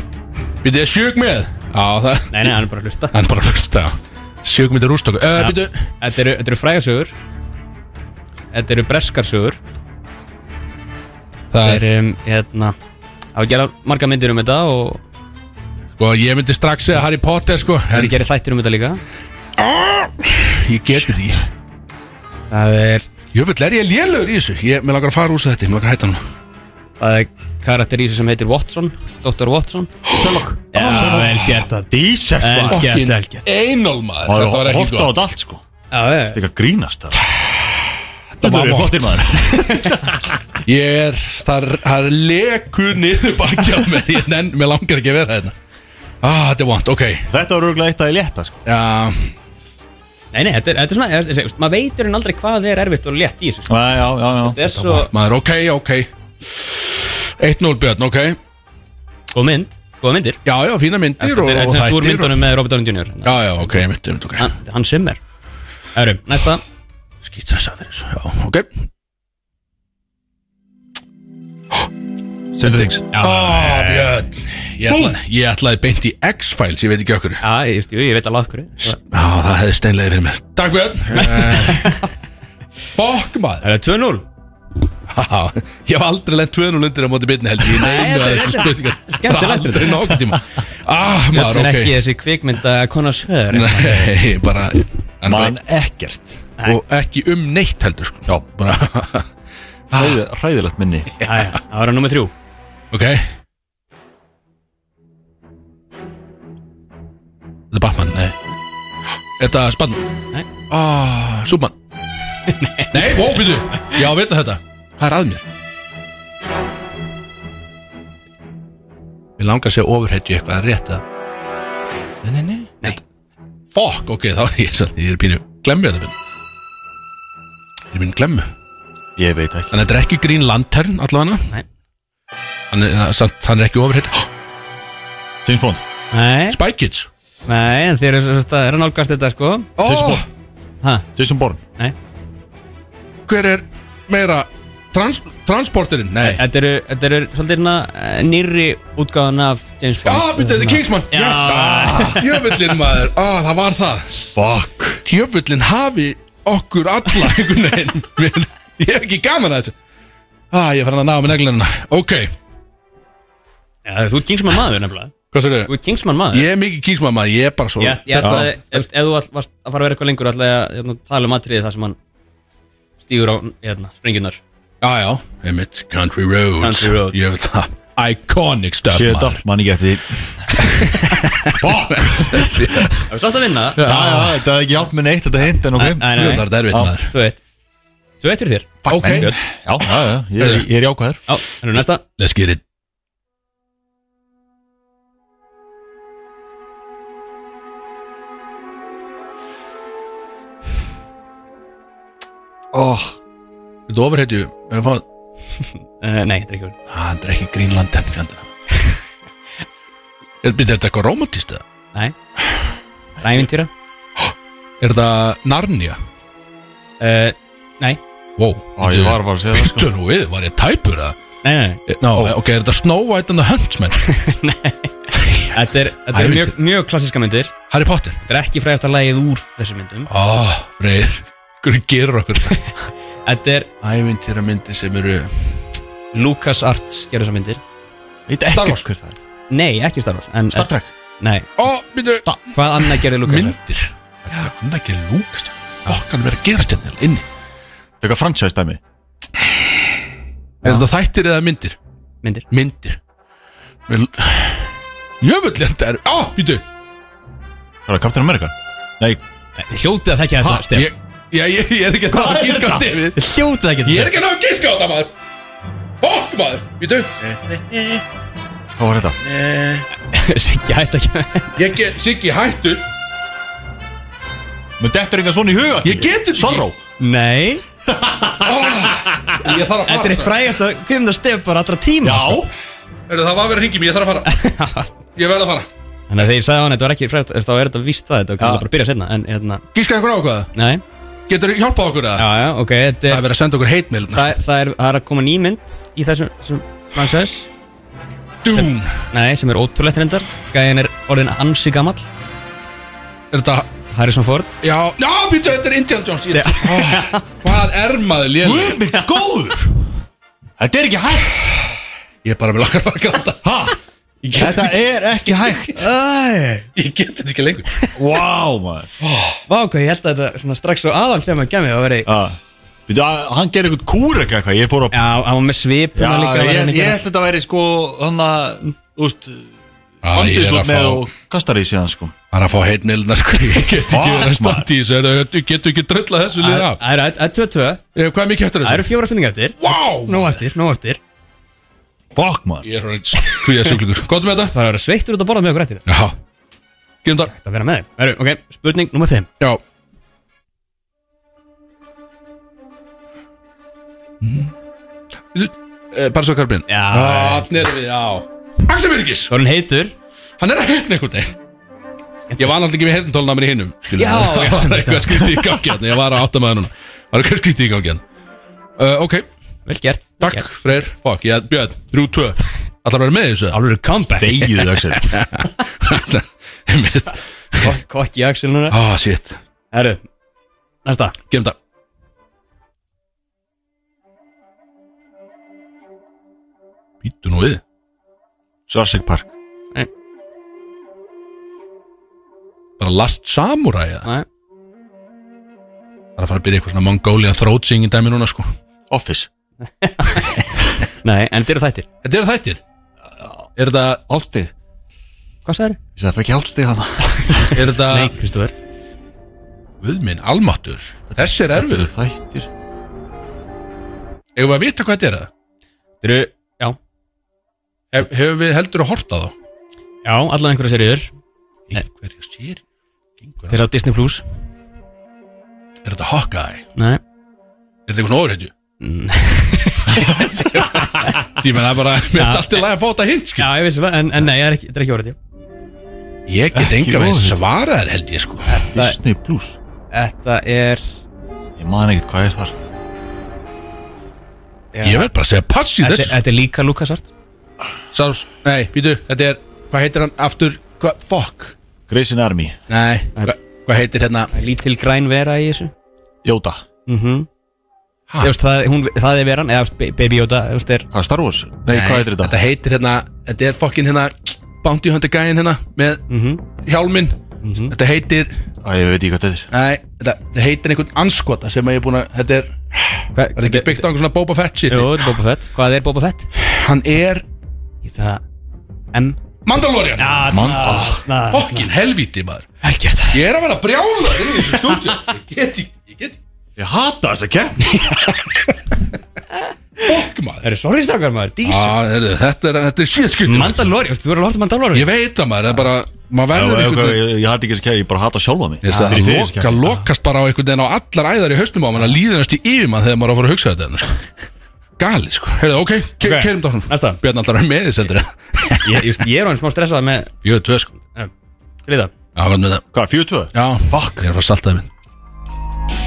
Býtið, er sjög með? Já, það
nei nei hann er bara að hlusta
Hann bara hlust, já Sjög myndið rúst okkur uh,
Já.
Býtið,
þetta eru, þetta eru frægasögur þetta eru breskarsögur
það
það
er
eru um, hérna á að gera marga myndir um þetta og
sko, Ég myndi strax segja Harry Potter sko
það
En
eru gerði þættir um þetta líka
ég geti því
það er
Jöfull, er ég lélögur í þessu? Ég, mér langar að fara úr þessu þetta, mér langar að hætta hann
það er karakter í þessu sem heitir Watson Dr. Watson
Sherlock
Já, vel gert það
Jesus
Vel
maður
gert.
Fokkin
Helgi.
Einól maður,
Maður
þetta var
er
ekki
hort á
gott
þetta allt sko
Já, já,
Þetta er eitthvað grínast það
var
Þetta er
vont.
flottir maður
Ég er, það er- það er leku niður baki á mér Ég nenn, mér langar ekki að vera hérna Ah, þetta er vant, ok
Þetta var örgulega eitt að ég létta sko
Já,
Nei, nei, þetta er, þetta er svona, ég- ég- ég- maður veitur en aldrei hvað er erfitt og létt í þessu sko.
Já, já, já, já
Þetta er svo
maður, ok, ok 1-0 Björn, ok
góð mynd, góða myndir
Já, já, fína myndir og,
Þetta er
og
semst úr
og-
myndunum Ah. með Robert Downey Jr.
Já, já, ok, mynd, mynd, ok
Hann, hann simmer Öru, næsta
Skýt þess að fyrir þessu, já, ok
Senda þings
Ó, Ah, Björn Ég ætlaði, ég ætlaði beint í X-Files, ég veit ekki okkur
Já, ég, jú, ég veit alveg af hverju
Já, það hefði steinlega fyrir mér Takk Björn Eh, Fokk maður
Það er 2-0
Já, ég hef aldrei lent 2-0 undir á móti bitni held ég í
Nei,
neinu
þetta
af
er-
þessum
þetta er-
spurningum.
skemmtilegt.
Aldrei nokkuð tíma Ah,
Það
maður,
er
ok
ekki þessi kvikmynda konasör
Nei, bara en
Man
bara-
ekkert
Og ekki um neitt heldur sko Já bara,
Hræði- Hræðilegt minni
Það var að nummer þrjú
Ok Þetta er Batman, nei Er þetta Spann?
Nei.
Ah, Súbmann Nei, ó, býtu Já, veitu þetta Það er að mér Við langar að segja ofurhetju eitthvað er rétt að Nei, nei, nei
Nei.
Fuck, ok, þá er ég sann Ég er pínu Glemmu þetta minn Ég er minn glemmu
Ég veit ekki
Þannig að þetta er ekki Green Lantern allavega
Nei.
Hann er, samt, hann er ekki ofurhetju oh,
James Bond
Nei,
Spy Kids
nei, en þeir eru svo- svo- eru að nálgast þetta sko
Jason
oh,
Bourne
Ha,
Jason Bourne
nei
Hver er meira trans, Transporterinn? Nei
Þetta eru, þetta eru svolítið hérna eh, nýrri útgáðan af James
Já,
Bond
byrja, þetta er Kingsman
Já.
Jöfullin maður, ah, það var það
Fuck
Jöfullin hafi okkur alla einhvern veginn Við- Ég hef ekki gaman að þessu Ah, ég fann að ná með neglunina Ok,
Já, þú ert Kingsman maður nefnilega
hvað sér
Þú ert Kingsman maður
Ég er mikið Kingsman maður, ég er bara svo
Ég, ég ætlaði, ef, ef þú all- varst að fara að vera eitthvað lengur ætlaði að hérna, tala um atriði þar sem hann stígur á hérna, springjurnar
Já, já, einmitt, Country Roads
Country Roads.
Ég veit það, iconic stuff
Sér þetta allt mann ekki eftir því.
Fuck
Það er svolítið að vinna
Já, já, þetta er ekki hjálp með neitt Þetta hint en ok
Nei, nei,
Það er
nei,
þetta erfitt
Já.
maður
þú veit Tvö eitt fyrir þér
Ok,
Menn, Björn. Já, já, já, ég er, ég er jákvæður
Já, þannig næsta
let's get it
oh.
Þetta ofurhetju ef að-
uh, Nei, þetta er ekki verið
Ah, Þetta er ekki Greenland tenni fjandina Er byrja, er þetta eitthvað romantist eða?
Nei Rævintýra
Er þetta Narnia?
uh, Nei,
Wow
Ég var bara að segja það sko
Bittu nú við, var ég tæpur að
nei, nei, nei.
Ná, ok, er þetta Snow White and the Huntsman?
Þetta er, þetta er mjög,
Ævintýra.
mjög klassíska myndir
Harry Potter?
Þetta er ekki fræðasta lagið úr þessum myndum
Á, oh, freyr Hvernig gerur okkur
Þetta er
Ævintýra myndir sem eru
Lucas Arts gerðu þessar myndir
Veit
Star
ekki
Wars.
hver það er
Nei, ekki Star Wars en,
Star Trek
Nei,
Ó, myndu
hvað annað gerði Lucas Arts?
Myndir Hann ekki lúkast Fokkan verið að gerast hérna inni
Þetta er eitthvað franchise dæmi
Er þetta þættir eða myndir?
Myndir
Myndir Mér- Jöfull er þetta er Á, býtu
Það er Captain America Nei,
Nei, Hljótið að þekki þetta, Stef
Ég, ég, ég, ég er ekki að ná að gíska á David
Hljótið að þekki
Ég
þetta
er ekki að ná að gíska á þetta maður Fokk maður, býtu
hvað var þetta?
Ég Siggi hætti ekki
Ég get, Siggi hættur
Mér dettur eitthvað svona í huga
Ég get þetta ekki.
Sorrow
Nei
Ég þarf að
Þetta er
fara
eitt frægasta kvimda Stef bara allra tíma
Já
sko.
Heyrðu, Það var verið að ringi mér, ég þarf að fara Ég verð að fara
Þannig að þegar ég sagði á hann Þetta var ekki frægast Þá er þetta víst það Þetta
Já.
var bara að byrja setna En hérna
Gíska einhver á hvað?
Nei
Getur hjálpað okkur
Já,
það?
já, ok Þetta
Það
er
er verið að senda okkur heitmil
Það er, það er, það er að koma ný mynd Í þessum sem, Frances
Dún
Nei, sem er ótrúlegt reyndar Gæðin er orðin ansi gamall
Er þetta
Harrison Ford
Já, já, býtu, þetta er Indiana Jones
Já.
ég, oh, Hvað er maður léleg?
Guð minn góður Þetta er ekki hægt
Ég er bara með lakkar fara að gráta
ha?
Ég get,
Þetta er ekki hægt
ég get þetta ekki lengur
Vá maður
Vá, hvað ég held að þetta svona, strax svo aðal þegar maður gemmi að vera í
Já. Býtu, að- Hann gerir eitthvað kúr eitthvað Ég fór að
Já, hann var með
Já,
svipuna líka
ég, ég
ég,
ætla þetta að væri sko hann að, þú veist
Já,
bandið
ég er
svo
að
með
fá-
og kastar í síðan sko
bara að fá heitmilna sko Ég get ekki
Fuck,
verið að
maður.
standa í þessu er- Ég get ekki drullað þessu
Það
liða
er-
af
það eru- það eru 22
Eh, Hvað er mikið eftir
Það eru
þessu?
fjóra spurningar eftir
Vá
Nó eftir, nó eftir
Fuck man
Ég er hann kvíða sjúklingur Góðum við þetta?
Það var að vera sveittur út að borða með okkur eftir
Já Gerum það
Þetta að vera með þeim Veru, ok, spurning nummer 5
Já Mhm. Eh, Bara svo Karbrin
Já.
Þannig erum við, já Axel Birgis,
Hvað er hann heitur?
hann er að hérna einhvern veginn Ég var alltaf ekki með heyrnutólna mér í hinnum
Já, já.
Það var eitthvað skrítið í gangi hérna Ég var að átta maður núna Það var eitthvað skrítið í gangi hérna uh, Ok,
Vel gert vel
takk
gert.
Freyr Fokk, ég bjöð, þrjú, tvö Allar að vera með í þessu
Alveg eru comeback
Þegið Axel
Einmitt.
Kok- Kokki Axel núna
Ah, shit
Herru, næsta
Gerum það Býttu nú við
Svarsik Park
bara Last Samurai eða?
Nei.
það er að fara að byrja eitthvað svona Mongolian throat singing dæmi núna sko
Office
Nei, en þetta eru þættir
Þetta eru þættir Er þetta,
Hálfstig Ég
Hvað sagður?
sagði það ekki hálfstig hann
er þetta
Nei, Kristofur
Guð minn, almattur Þessi er
Þetta
erfið
eru þættir
Hefur við að vita hvað þetta er það?
Þetta eru, já
Hef, hefur við heldur að horta þá?
Já, allan einhverja seriður
Einhverja sér Gengur.
Þeir eru á Disney Plus
Er þetta Hawkeye?
Nei
Er þetta eitthvað svona ofurhetju?
Mm.
Ég menna bara Mér er allt í lagi að fá þetta hint sko. skil
Já, ég vissi það, en, en nei, það er ekki- þetta er ekki orðið
Ég get
Ekki
enga veginn
ofurhetju.
svara þær held ég sko
Disney Plus
Þetta er
Ég man ekkert hvað er þar
Ég verð bara að segja pass í
Þetta,
þessu
þetta er líka Lucasart
Sáls, nei, býtu, þetta er Hvað heitir hann aftur? Hvað, fuck
Greysin Army
Nei, hva, hvað heitir hérna
Lítil græn vera í þessu
Yoda
mm
Ha?
ég veist, það, hún, það er veran Eða þú veist, Ba- Baby Yoda ég veist, er,
Hvað er Star Wars? Nei, hvað heitir þetta?
heitir hérna, þetta er fokkin hérna Bounty Hunter gæin hérna með
Mhm.
hjálminn Þetta heitir,
Æ, ég veit ekki hvað þetta er
nei, þetta, þetta heitir einhvern anskota sem að ég er búin að, þetta er
hva,
Var þetta ekki byggt á einhvern svona Boba Fett shit
Jú, þetta er Boba Fett Hvað er Boba Fett?
Hann er
Ég veist það M
Mandalorian ja,
Man, ah,
Fokkin helvíti maður
Helgjert
Ég er að vera brjála í þessu stúdíu Ég get, ekki- ég get,
Ég hata þessa keppni
Fokk maður
Það eru sorry strákar maður, dísu
ah, heyrðu, Þetta er, þetta er síðskipti
Mandalori, þú verður að horta Mandalori
Ég veit það maður, það er bara Maður
Já,
verður
já,
einhvern
ok,
veginn
Ég ég hata ekki þessa keppni, ég bara hata sjálfa mig
Ég veist að
Fyrir
það
þessa
loka,
keppni.
lokast bara á einhvern veginn á allar æðar í haustum á mann að líðanast í yfir mann þegar maður á að fara að hugsa þetta hérna, sko. Galið sko, heyrðu, ok, ke
Ok,
keirum þetta
næsta.
áfram Björn alltaf er með því sendur
Ég just- ég er hann smá stressað með
Jöðu tvö sko,
eh, Til í það
já, hvað með það
Hvað, 42?
Já, fuck, ég er að fara að salta það minn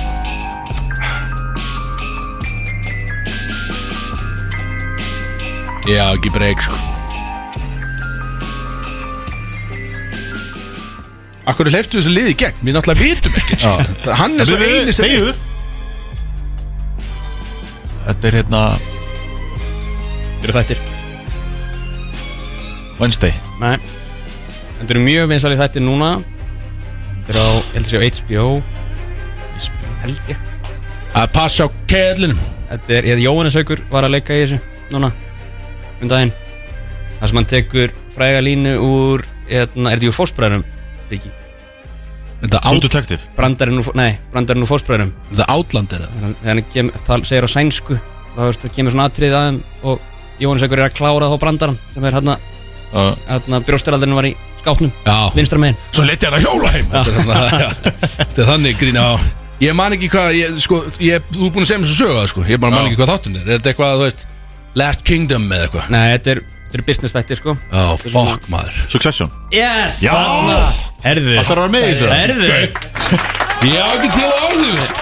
Já, ekki breyk sko Akkur leiftu þessu liði í gegn, við náttúrulega vitum ekkert sko. Hann er svo
Bíddu,
eini sem
þegiðu. Þetta er hérna
Þetta eru þættir
Wednesday
Nei Þetta eru mjög vinsalið þættir núna Þetta eru á, ég held að séu HBO Held ég
að passa á kellinum
Þetta er, ég held Jóhannes Haugur var að leika í þessu Núna, um daginn Það sem hann tekur fræga línu úr hérna, Er þetta úr fósbræðunum? Riki
Þetta
True
át,
Detective
Brandarinn úr, fó- nei, brandarinn úr fósbræðunum
þetta átland er það
Þegar hann kem, tal, segir á sænsku Þá veist, það kemur svona atrið aðeim Og Jóhannes Haugur er að klára þá brandarann Sem er hérna,
uh,
hérna brjóstaraldurinn var í skápnum
Já,
Vinstra megin
svo leti hann að hjóla heim Þetta er svona- já, þetta er þannig grín á Ég man ekki hvað, ég, sko, ég, þú er búin að segja mér svo sögu það, sko Ég bara man
Já.
ekki hvað þáttun er Er þetta eitthvað, þú veist, Last Kingdom eða eitthvað
Nei, þetta er, þetta er business þættir sko
Já, fuck maður
Succession
Yes!
Já.
Sanna. Herðu
Alltaf var með í þessu
Herðu
Ég á ekki til orðið sko.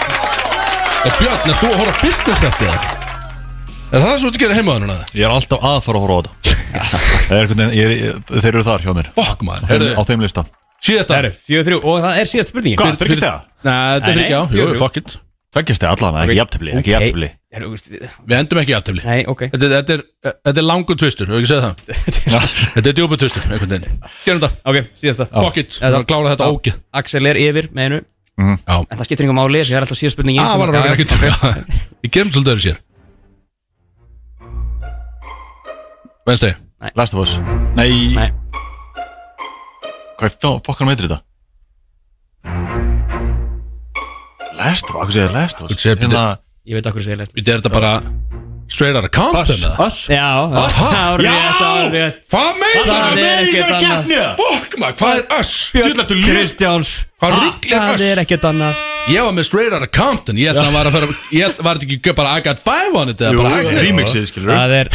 Er Björn, er þú að horfa á business eftir það? Er það svo að gera heima núna?
Ég er alltaf að fara að horfa á þetta Það er einhvern veginn, ég er- þeir eru þar hjá mér
Fuck maður,
Þeim- Á
heyrðu,
þeim lista
síðasta
Herðu, fjögur þrjú Og það er síðast spurningin
Hvað, þryggjast eða?
Nei, þetta er
Nei,
fyrir, já,
nei,
jú,
jú, jú.
fuck it
Tveggjast eða allavega, ekki jafntefli, ekki jafntefli
Herðu, veist við
Við endum ekki í aftefli
Nei, ok
Þetta, er- þetta, er, þetta er langur tvistur, hefur ekki segið það? þetta er djúpa tvistur, einhvern veginn Gerum þetta,
Ok, síðasta
fuck it, við erum að klára þetta ógið
Axel er yfir með einu
Já,
En það skiptir ykkur máli Það er alltaf síðast spurningin
það
sem-
Ah, var að vera
Já,
ekki
ok.
Við gerum svolítið öðru sér Venstegi,
Last of Us Nei
Nei.
Hvað er fokkar meitir þetta? Last of Us, hvað segir Last of
Þú
Us? Hérna,
segir,
Ég veit okkur segir lest
við erum þetta bara straight out of content eða?
Us
Já Það var rétt Það var rétt
Hvað meina
Það er
það?
með ekkert
Meira
annað.
keppni eða?
Fokk maður, hvað er öss?
Djöfull ertu lélegur.
Kristjáns
Hvað rugl er
Ah,
Það
öss?
er ekkert annað
Ég var með straight out of Compton Ég held að hann var að fara Ég held, var þetta ekki bara I got five on it eða
Jú,
bara Agnes?
remixið, skilur
Það er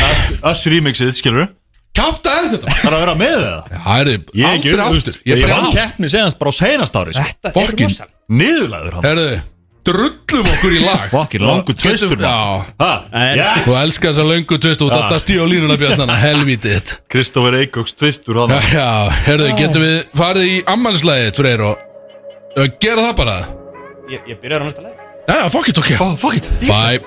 Us remixið, skilur
Kjafta er þetta
Það er að vera með það
Það er
Ég er ekki
aldrei
auðvist
aftur
Ég vann
bara
keppni senast bara á seinast ári sko.
Fokkin
Niðurlæður hann
Herðu Drullum okkur í lag
Fokkin langur tvistur
Getum- Já
maður.
er-
Ha? Yes
Þú elskar þess að löngu tvist
Ah.
Þú ert alltaf að stíða á línuna Bjarnana Helvítið þitt.
Kristófer Eikóks tvistur hann
Já, já Herðu, getum við farið í ammanslæðið Freyr og Ö, Gera það bara
Ég, ég byrjar á næsta leið
Já, já, fuck it, ok
Oh, fuck it
Bye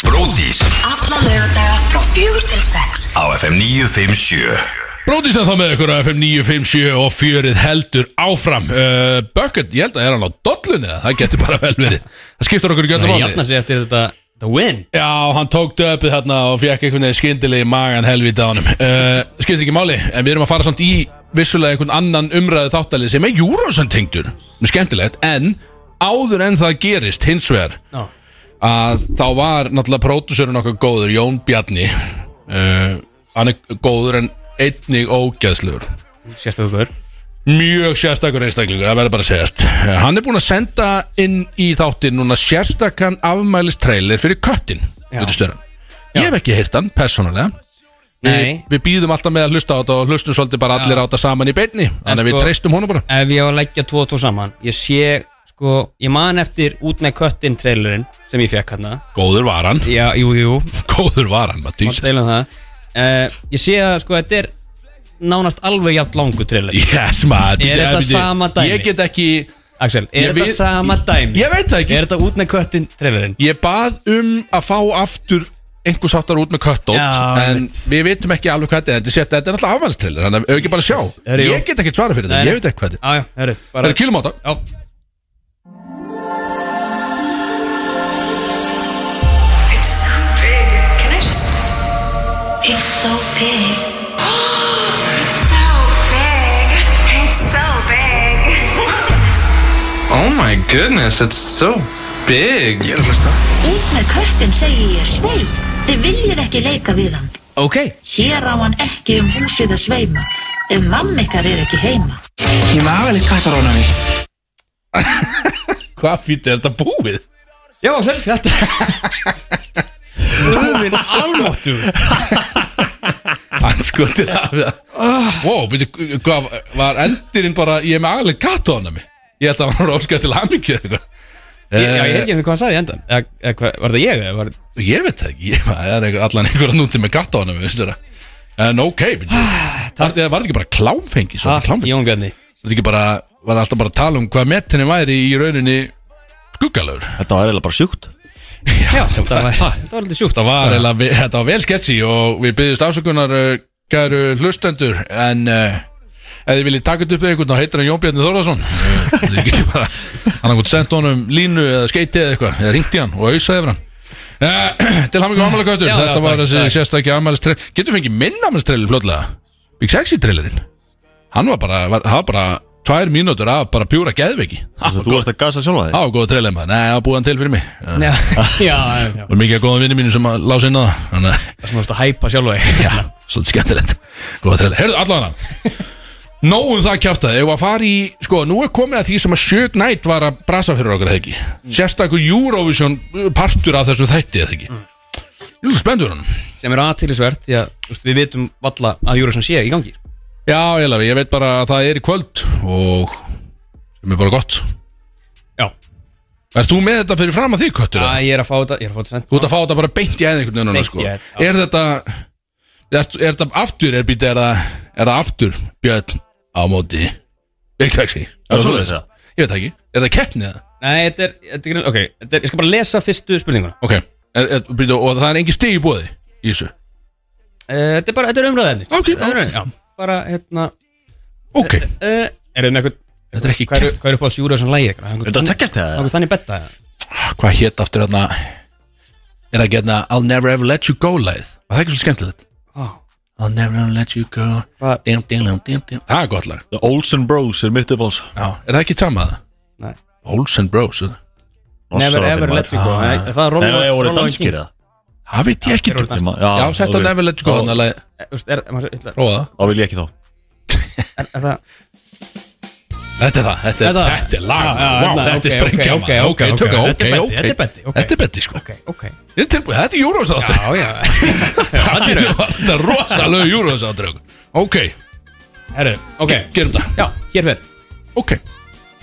Bróðís
Alla laugardaga frá fjögur til sex
á FM 957
Bróðísan þá með ykkur á FM 957 og fjörið heldur áfram uh, Bucket, ég held að er hann á dollunni eða? það getur bara vel verið Það skiptur okkur ekki öllu
Það
máli
jafnar sig eftir þetta The win
Já, hann tók döpið þarna og fekk einhvern veginn skyndilegi magan helvítið á honum uh, Skiptir ekki máli, en við erum að fara samt í vissulega einhvern annan umræðu þáttalið sem er Júrósan tengdur Mjög Skemmtilegt, en áður en það gerist hins vegar
Já.
að þá var náttúrulega pródúsurinn okkar góður, Jón Bjarni uh, Hann er góður en einnig ógæðslegur
Sérstökur
mjög sérstakur einstaklingur, það verður bara að segjast Eh, hann er búinn að senda inn í þáttinn núna sérstakan afmælist trailer fyrir köttin
Já.
ég hef ekki heyrt hann, persónulega
Nei
við býðum alltaf með að hlusta á þetta og hlustum svolítið bara allir á þetta saman í beinni þannig að
sko-
við treystum honum bara
ef ég á að leggja tvo og tvo saman ég sé, sko, ég man eftir út með köttin trailerinn sem ég fekk hérna
góður var hann,
já, jú, jú,
góður var hann
má
Matthías.
deila um það uh, ég sé að, sko, þetta er nánast alveg jafn langu trailer
yes man
Er þetta sama dæmi?
ég get ekki,
Axel,
Ég
er
við-
þetta sama dæmi?
ég veit það ekki
er þetta út með köttin trailerinn?
Ég bað um að fá aftur einhvers áttar út með köttótt
Já,
en
einmitt.
við vitum ekki alveg hvað þetta er þetta er sett- þetta er alltaf afmælstriller þannig að við ekki bara sjá
Er jú.
ég get ekki svara fyrir þetta,
Nei.
ég veit ekki hvað þetta er
já, já, herru,
Það
bara
er kýlum á þetta
Já.
It's so big. Can I just?
It's so big
It's so big. It's so big.
Oh my goodness, it's so
big
Ég er að hlusta
Út með köttin segi ég svei Þið viljið ekki leika við hann
Ok
Hér á hann ekki um húsið að sveima Ef mamma ykkar er ekki heima
Ég var alveg kattarónari
Hvað fýtt er þetta búið?
Já, Axel, þetta Guðminn almáttu
Hann sko til að Wow, byrju, hvað var endirinn bara Ég er með aðlega katt á hana mig Ég held að hann var óskæð til hamingju eða eitthvað.
Ég- Já, ég hef ekki hvað hann sagði í endan Eða, eða Eh. hvað- Var það ég? eða Var...
Ég veit það ekki, ég það er einhver, allan einhver núti með gatt á hana við, En ok, byrju. var var þetta ekki bara klámfengi,
Ah,
svona klámfengi?
Jón Bjarni
Var þetta ekki bara, var alltaf bara að tala um hvað metinni væri í rauninni skuggalögur?
Þetta var eiginlega bara sjúkt
Já, það var, það var litið sjúkt
Þetta var, eiginlega ve- þetta var vel sketsi og við byggjumst afsökunar uh, gæru hlustendur, en uh, ef þið viljið taka þetta upp við einhvern, þá heitir hann Jón Bjarni Þórðarsson. Eh, Þið getur bara, hann hafði sendt honum línu eða skeiti eða eitthvað, eða ringt í hann og ausaði yfir hann. Uh, til hamingu ámælagötur,
Já, já,
þetta var
takk,
þessi
takk.
sérstakki ámælistrell. Getur fengið minn ámælistrell fljóðlega? Big Sexy trailerinn. Hann var bara, var, það var bara tvær mínútur af bara pjúra geðveiki.
Þess að þú varst að gasa sjálfa þig
Það var góða trailer maður, nei, það var búið hann til fyrir mig. Eh,
Já, já, já
Það var mikið að góða vinni mínu sem að lása inn á það Þannig að,
Það sem varst að hæpa sjálf og
já, svolítið skemmtilegt Góða treyla, heyrðu allan að Nóum það kjáftað, ef að fara í Sko, nú er komið að því sem að Sjög Nætt var að brasa fyrir okkar, eða ekki Sérstakur Eurovision uh, partur af þessum þætti, eða ekki Jú, spenndur um hann
Sem er aðtilisvert Því að þú veist, við vitum valla að Júrasson sé í gangi
Já, ég lefi, ég veit bara að það er í kvöld Og sem er bara gott
Já
Ert þú með þetta fyrir fram að því, Köttur?
Æ, ég er að fá þetta Ég er að fá þetta sent
Þú ert að fá þetta bara beint í eða einhvern veginn núna,
Beint í
sko.
æð, já.
Er þetta Er, er þetta aftur er, býta, er, það, er það aftur Björn á móti Big Taxi Er
það svoleiðis, eða?
Ég veit það ekki Er það keppni eða?
Nei, þetta er, þetta er Ok, þetta er, ég skal bara lesa fyrstu spurninguna
Ok er, er, býta, Og það er engin stig í bóði Í þessu
Eh, Þetta er bara, þetta er umræðið
Ok,
Þetta er umræðið, já Bara, hérna
Ok
uh, Er þetta með eitthvað
Þetta er ekki
Hvað
kepp-
eru- hvað eru upp á Júrasson lægi ykkur?
Er þetta að tekjast
Það
það?
er þannig betta
Hvað hétt aftur þarna Er það ekki hérna I'll never ever let you go leið Var það ekki svolítið skemmtilegt?
Já.
I'll never ever let you go
Hvað?
dim, dim, dim, dim, dim. Það er gott lag
The Olsen Bros er mitt upp alls
Já Er það ekki tjámað?
Nei.
Olsen Bros er það?
Never ever let me go
Ah.
Nei, Það er
Nei,
Rolling
það voru
Rolling
danskir
King.
eða
Það veit ég ekki
þeir eru
Dúddi.
Ég ma-
Já, sett
ok.
að never let you go
Þá-
Þannig að lagið-
Eh, þú veist, Er maður- ætla-
prófa það
Þá vil ég ekki þá
er það
Þetta er það, þetta er,
Þetta-
þetta er lag
Já, já,
wow,
þetta-
Þetta er
ok,
sprengja
ok, ok, ok,
tökum,
ok,
ok,
þetta er
ok,
betti, þetta er betti, ok.
Þetta er betti, sko
Ok, ok
Ég er tilbúið, þetta er júrósáttur
Já, já Allir eru
Þetta er rosalega júrósáttur Ok,
Herru, ok
gerum það
Já, hér fyrir
Ok,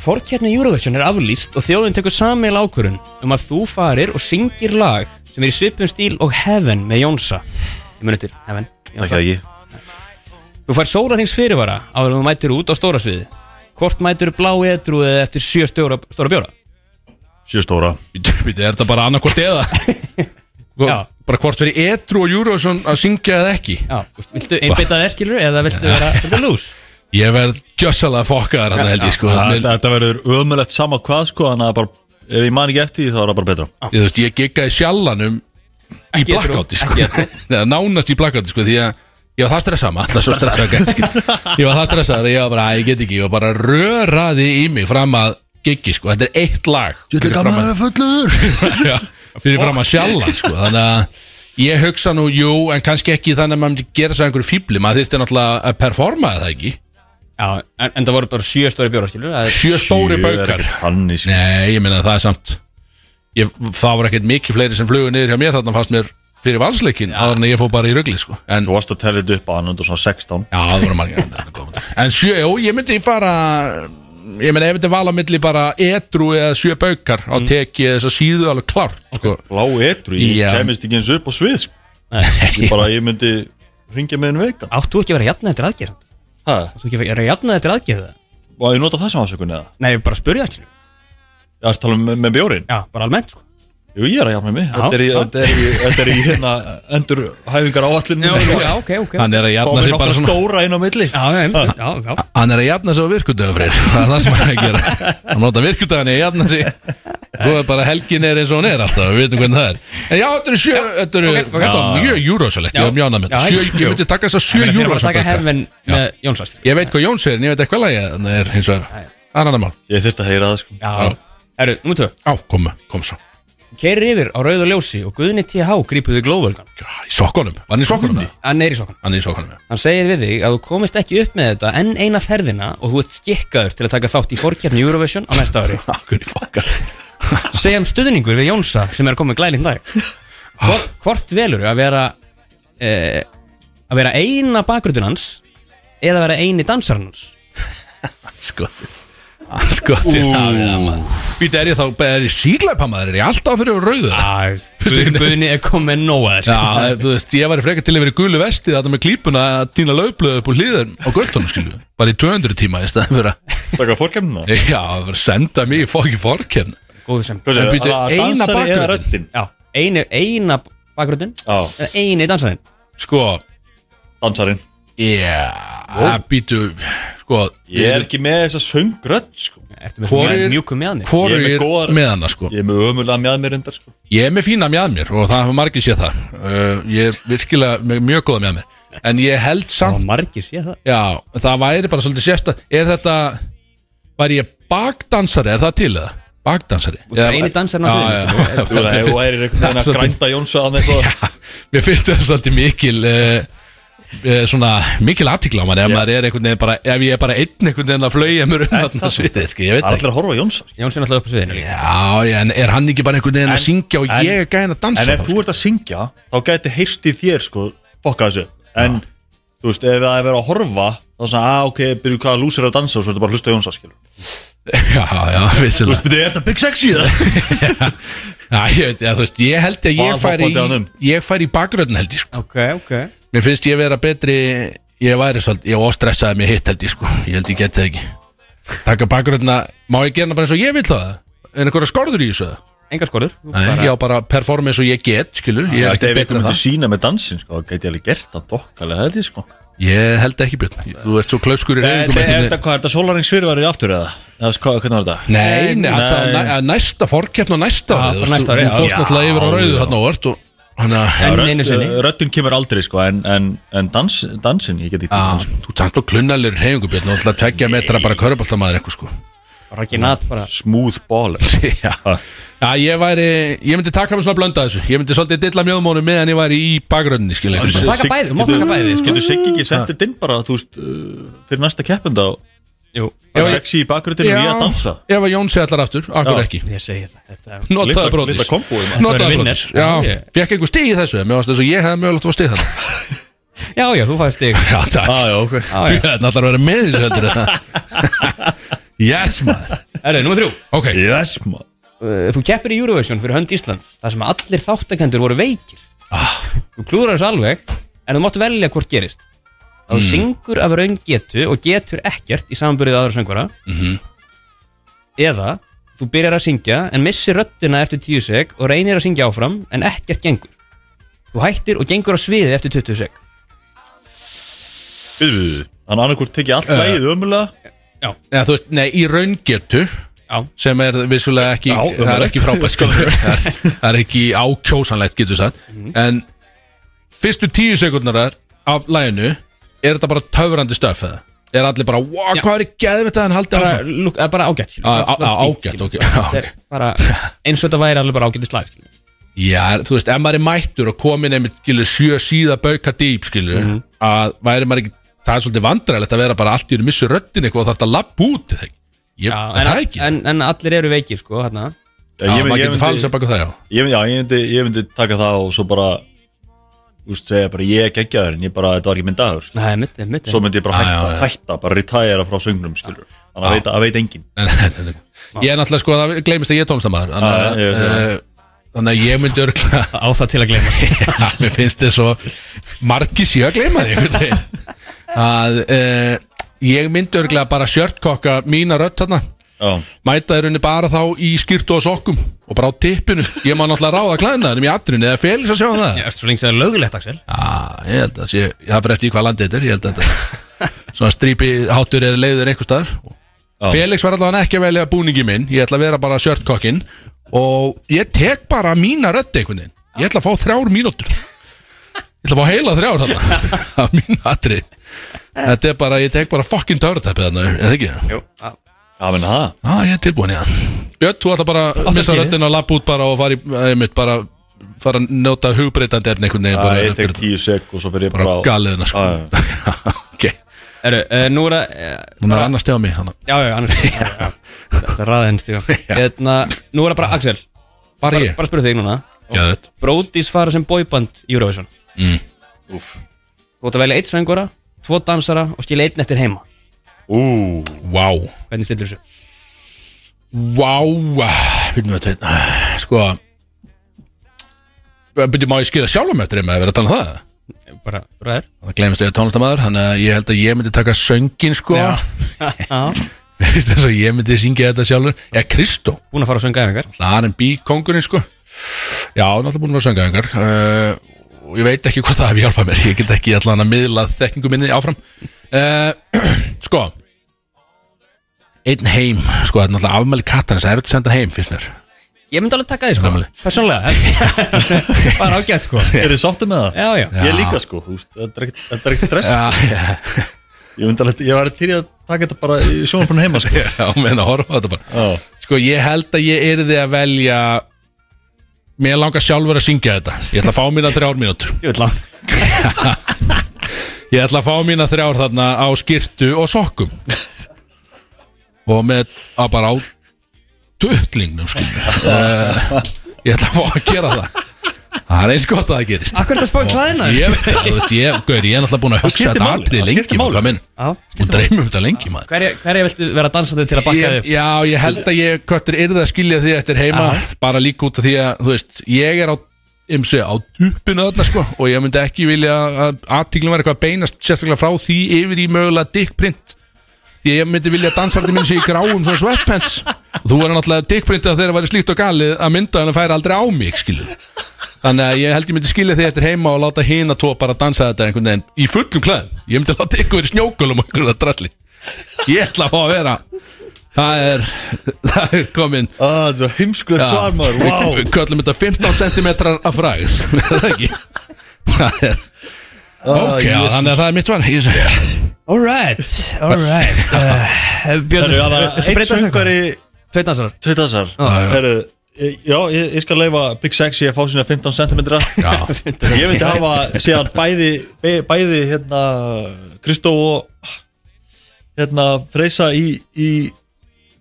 Forkjarni Eurovision er aflýst og þjóðin tekur samil ákvörun um að þú farir og syngir lag sem er í svipum stíl og Heaven með Jónsa Ég muni til Heaven
Ekki
Jónsa.
það ekki
Þú fær sólarhings fyrirvara áður en þú mætir út á stóra sviði Hvort mætir blá edru eða eftir sjö stóra, stóra bjóra
Sjö stóra
býtu, býtu, er þetta bara annarkvort eða Sko,
Já.
Bara hvort fyrir Edru og Júrósson að syngja eða ekki
Já, þú veist, viltu einbyttað erkilur eða viltu vera vera lús?
Ég verð gjössalega fokkaðar þetta held ég sko
Það-
Mér-
Þetta þetta verður ömulegt sama hvað sko Þannig að bara Ef ég man ekki eftir því þá er það bara betra
Ég, þú veist, ég giggaði sjallanum í
Ekki edrú,
blackouti sko.
ekki edrú.
Nei, nánast í blackouti sko, því að ég var það stressað maður alltaf svo stressað gæti, sko. ég var það stressað ég var bara, "Æ, ég get ekki, ég var bara röraði í mig fram að giggi, sko, þetta er eitt lag fyrir fram að,
fullur
já, fyrir fram að sjallan sko, þannig að ég hugsa nú, jú, en kannski ekki þannig að maður myndi gera sig að einhverju fíbli, maður þyrfti náttúrulega að performa það ekki,
Já, en, en það voru bara sjö stóra bjóra, skilur það er-
sjö stóri baukar
Þannig sko
Nei, ég minna að það er samt ég, Það var ekkert mikið fleiri sem flugu niður hjá mér Þarna fannst mér fyrir valsleikin Aðan að ég fór bara í rugli sko. En
Þú varst að tella þetta upp á hann undir svona 16
já, það voru margir en það er góð punktur. En sjö, jú, ég myndi fara Ég meina, ef þetta vala milli bara Edru eða sjö baukar Á
Mm.
teki þess að síðu alveg klart sko.
Lá etru, ég
Já.
kemist ekki eins upp á svið sko.
Nei.
Ég bara, ég myndi ringja með um einu veika
Áttu ekki að vera jafnað eftir aðgerð?
Hæ?
Áttu ekki að vera jafnað eftir aðgerð það?
Var ég nota það sem afsökun eða?
Nei, ég bara spurði það, skilur
Ég er að tala um með, með bjórin
Já, bara almennt, sko
Jú, ég er að jafna mig Þetta er í,
já.
þetta er í, þetta er í hérna endur hæfingar áallinu
já, ok, ok
Hann er að jafna
Fáum við
sig bara
nokkra
svona
stóra inn á milli
Já, já, einmitt, já, já
Hann er að jafna sig á virkudöfum freyr Það er það sem hann er að gera Hann nota virkudöfni að jafna sig Svo er bara helgin er eins og hún er alltaf Við veitum hvernig það er En já, þetta eru sjö Þetta eru
ok, ok.
þetta var mjög júrósalegt Ég var mjánað með
Já,
þetta Sjö-
já.
Ég myndi taka þess að
Ég
sjö
meina, þeir voru að
júrósalbökka
taka Heaven með Jónsa, skilur
Ég veit hvað Jón segir En ég veit ekki hvað lagi Það er hins vegar Það er annar mál
Ég þyrst að heyra það sko
Já, Erðu, nummer 2
Á, kom, kom svo
Keirir yfir á rauðu ljósi og Guðni TH grípuði glóðvölgan
Já, Í sokkunum, var hann í sokkunum það?
Hann er í sokkan
Hann er í sokkunum, já
Hann segir við þig að þú komist ekki upp með þetta enn eina ferðina og þú ert skikkaður til að taka þátt í fórkjarni Eurovision á næsta ári
Akkur í fokkar
Segjum stuðningur við Jónsa sem er að koma með glælinn dag hvort, hvort velur að vera eh, að vera eina bakgröðun hans eða vera eini dansarinn hans
Sko,
Skotir Skotir Býta er ég þá, er ég síklæpa maður, er ég alltaf fyrir rauðu
Æ, Guðni er komið með nóa
Já, eh, þú veist, ég var frekar til að vera í gulu vesti þetta með klípuna að týna löfblöðu upp úr hlýðar á göttunum, skilju, bara í 200 tíma í staðin fyrir að,
Takka fórkemna
já, það var að senda mig í fokki forkefn
Góðu sem
En
Hvað segir,
býtu,
að
eina
dansari Ah, eða
bakgröndin?
röddin?
Já, eini, eina bakgröðun
Já.
eða eini dansarinn
Sko,
Dansarinn
já, býtu sko,
Ég er ekki með þessa söngrödd sko.
Ertu með
Hvor
svona
er-
mjúkum með hann
hvoru
Ég er með
er
góðar-
með hana, sko
Ég er með ömulega mjað mér reyndar sko.
Ég er með fína mjað mér og það hafa margir séð það uh, Ég er virkilega með mjög góða mjað mér En ég held
Og
samt
margir sé það
Já, það væri bara svolítið sérsta Er þetta Var ég bakdansari, er það til eða? Bakdansari Eða-
eini dansarinn á
Já,
sviðinu,
já.
sko.
Já,
Þú veist,
mér
ef þú
finnst-
værir einhvern veginn
það er
að
svolítið-
grænda Jónsa að eitthvað
Mér finnst þetta svolítið mikil uh, uh, Svona mikil aðtíkla á mann Ef maður er einhvern veginn bara Ef ég er bara einn einhvern veginn að flauja mér um þarna sviðið sko, Ég veit
Það
ekki
er allir að horfa á Jónsa sko.
Jónsson alltaf upp á sviðinu líka
Já, já, en er hann ekki bara einhvern veginn að
En-
syngja og
en-
ég er gæðin að dansa sko?
En ef
þá,
þú ert að syngja Þá gæti heyrst í þér sko Fokka þessu En þú veist, ef það er verið að horfa Þá er svona, að ok, byrju hvað lúsir að dansa Og svo ertu bara að hlusta á Jónsa skilur
sko? Já, já,
Þú
vissilega
veist, byrju, er þetta Big Sexy það?
Já, ég veit, já, þú veist, ég held að ég
Hvað
færi
hoppaði hann
í,
um?
ég færi í bakgröðin held ég sko
Ok, ok
Mér finnst ég vera betri, ég væri svolítið, ég óstressaði mig hitt held ég sko Ég held ég geti það ekki Taka bakgröðina, má ég gera hana bara eins og ég vil það? En einhverja skorður í þessu það?
Engar skorður Þú
Nei, já, bara performa eins og ég get, skilu Ég
Ég um
er
veist,
ekki
ef
betur en
eitthvað myndi
það
sína með dansin sko, þá gæti ég alveg gert það dokkalega held ég sko
Ég held ekki björn, þú ert svo klauskur í
En
reyfingum
er
eftir
þetta, hvað er þetta sólaringssvirvar í aftur eða? Eða sko, hvernig var þetta?
Nei, nei, hann sagði
Nei.
næ, að næsta fórkeppn og næsta
Já,
árið,
bara
þú veist,
næsta árið,
Hún
já.
fórst náttúrulega yfir á
Já,
rauðu
já.
þarna og vart og hann að
Enn
Rödd-
einu sinni
eh, Röddin kemur aldrei sko En, en, en dans, dansin, ég get ekki
Já,
dansin
Þú ert samt og klunnalur reyfingubjörn og alltaf tekja metra bara körubaltamaður eitthvað sko
Raggi Nat bara
smooth baller
Já. Já, ég væri, ég myndi taka mig svona blönda þessu Ég myndi svolítið dilla mjöðmónu meðan ég væri í bakgröndinni skilja
Taka bæði, þú mátt taka bæði, sko.
Getur Siggi ekki sett þetta inn bara þú veist, uh, fyrir næsta keppenda og
Jú
bara
Já,
sexy í bakgröndinu og ég að dansa
ef að Jónsi allar aftur, akkur
Já.
ekki
Ég segi það Þetta
Notaðu
Litla-
brotis
litla kombo, maður.
Þetta
Notaðu
verður
brotis
vinner.
Já,
Ég-
fekk einhver stig í þessu en Mér varst þess að ég hefði mögulegt að fá stig þarna
Já, já, þú fæðist þig
Já, takk
ah, já, okay.
Þú hefði allar að vera með þessu heldur en það. Yes, maður
Erðu, nummer þrjú
Ok,
Yes, man
Uh, Þú keppir í Eurovision fyrir hönd Íslands þar sem allir þáttakendur voru veikir
Ah.
Þú klúrar þessu alveg En þú mátt velja hvort gerist
Hmm.
Að þú syngur af raun getu og getur ekkert Í samanbyrðið aðra söngvara
Mhm.
Eða Þú byrjar að syngja en missir röddina eftir 10 sek Og reynir að syngja áfram en ekkert gengur Þú hættir og gengur á sviðið eftir 20 sek
Þannig annarkvort tekið allt lægið ömulega
eða þú veist, nei, í raungetu
Já.
sem er vissulega ekki
Já,
það er
ömurlegt.
ekki frábært sko. það, er- það er ekki ákjósanlegt getur við sagt en fyrstu tíu sekundarar af læginu er þetta bara töfrandi stöf eða? er allir bara, wow, hvað er í geðum þetta en haldi
Bara,
áfram
lúk, eh, bara ágætt skilur.
Ah, Á- á- á-
Bara fínt,
ágætt,
skilur.
ok, já,
Þetta er bara Eins og þetta væri alveg bara ágætt í slag skilur.
já, þú veist, ef maður er mættur og komin einmitt skilu, sjö síða bauka dýp skilu, að væri maður ekki það er svolítið vandræðilegt að vera bara allt í unni missu röddin eitthvað og þarf að labba út eða ekki. ég,
Já,
er
en,
það ekki,
en, en allir eru veikir sko hérna
já,
Eh, Ég
maður
myndi- ég
getur falið sér
myndi-
baka það já
ég myndi- já, ég myndi- ég myndi taka það og svo bara Þú veist, segja bara ég er geggjaður en ég bara, þetta var ekki minn dagur
Nei, mitt, mitt
Svo myndi ég bara
Já,
hætta,
já, já.
hætta bara retæra frá söngnum, skilur Þannig að veit, að veit enginn
Nei, nei, nei, nei. Ég er náttúrulega sko að það gleymist að ég er tónlistamæður Þannig
Já,
að,
ég veit það.
eh, þannig að ég myndi örgla
á það til að glemast
Mér finnst þið svo margi sé að gleyma því einhvern veginn. að uh, ég myndi örgla bara sjörtkokka mína rödd þarna
Já,
mæta þér unni bara þá í skýrtu og sokkum og bara á tippinu ég má náttúrulega ráða klæðnaðurum í atrinu eða félis að sjá um það
Já, svo lengi sem það er lögulegt, Axel
Já, Ah, ég held að sé, það fyrir eftir í hvað landið þetta er, ég held að þetta svona strípi hátur eða leiður einhver staðar Felix var allavega ekki að velja búningi minn ég ætla að vera bara sjörtkokkin og ég tek bara mína rödd einhvern veginn, ég ætla að fá þrjár mínútur ég ætla að fá heila þrjár þarna af mín atri þetta er bara, ég tek bara fucking törutæpi þarna, eða ekki?
Jú, á-
Já, menn það
ah, ég er tilbúin í það Björn, þú ætla bara að missa
skýrið.
röndin að lappa út bara og fara, í, eh, einmitt, bara, fara að njóta hugbreytandi efni einhvern veginn
Já,
bara
ég tek
eftir-
tíu sek og svo byrja ég
bara
bara á-
galiðina sko.
Já,
ok,
Eru, uh, nú er það uh,
hún er annars stjáð mig hana.
Já, já, annars Þetta er ræða henni stíðan Hérna, nú er það bara Axel
bara
Bara,
ég,
bara spyrðu þig núna
Geðveikt.
Brótis fara sem boyband í Eurovision
Úf
Þú átt að velja eitt söngvara, tvo dansara og skilja einn eftir heima
Ú
vá
Hvernig stillur þessu?
vá, ah, fyrir mig að tveita sko byrju má ég skýra sjálfum eftir þeim að vera að tala um það
Eh, Bara ræður
það glemist ég að tónlistamæður þannig að ég held að ég myndi taka söngin sko
Já. Já,
Mér finnst þess að ég myndi syngja þetta sjálfur eða Kristó,
búin að fara á söngaðingar
R&B kongurinn sko já, náttúrulega búin að vera söngaðingar uh, og ég veit ekki hvað það hefur hjálpað mér ég get ekki allan að miðla þekkingu minni áfram uh, sko einn heim sko, þetta er náttúrulega afmæli kattan það er þetta að senda hann heim, finnst mér
Ég myndi alveg taka því sko
Gamli.
Persónlega held ég. Bara ágætt sko
Er þið sáttu með það?
Já, já
Já.
Ég líka sko, þú veist, þetta er ekkert- þetta er ekkert stress
já, já,
Ég, myndi alveg, ég var til í að taka þetta bara í sjónarbrunni heima sko.
já, menn að horfa á þetta bara
Já.
sko, ég held að ég yrði að velja mér langar sjálfur að syngja þetta ég ætla að fá mína þrjár mínútur
Ég vil lang
Ég ætla að fá mína þrjár þarna á skirtu og sokkum Og með að bara á Tuttlingnum sko Eh, Ég ætla að fá að gera það Það er eins gott að það gerist
Akkur er þetta spáin klæðina
Ég veit það, þú veist, ég, gaur, ég er náttúrulega búin að hugsa
skiptir
þetta
máli,
atrið
það
lengi
skiptir máli.
maður, hvað minn
Já
Og dreymum um þetta lengi maður
Hverja, hverja viltu vera dansandi til að bakka
ég,
þig?
Já, ég held að ég köttur yrði að skilja því eftir heima Bara líka út af því að, þú veist, ég er á ymsi á dupinu þarna sko og ég myndi ekki vilja að aðtíklum vera eitthvað að beinast sérstaklega frá því yfir í mögulega dickprint því að ég myndi vilja að dansarði minn sé í gráum svona sweatpants og þú verður náttúrulega dickprint að þeirra væri slíkt og galið að mynda hann að færa aldrei á mig skilur þannig að ég held ég myndi skilja því eftir heima og láta hina tvo bara dansa þetta einhvern veginn í fullum klæðum ég myndi láta ykkur verið snjókulum og einhverja drasli ég ætla að fá að vera það er, það er komin
Á, Þetta er svo heimskulegt svar maður, wow
við köllum þetta 15 cm af fræð það ekki það er
Ah,
ok, já, þannig að það er mitt svar Ég-
Alright, alright uh, Björn,
Herru, það er
viltu
eitt
breyta þessu eitthvað?
söngari
Tveit dansarar
Tveitasar
já.
Herru, ég- já, ég, ég skal leifa Big Sexy að fá sína 15 cm
já,
Ég myndi hafa síðan bæði bæ- Bæði, hérna Kristó og Hérna, Freysa í, í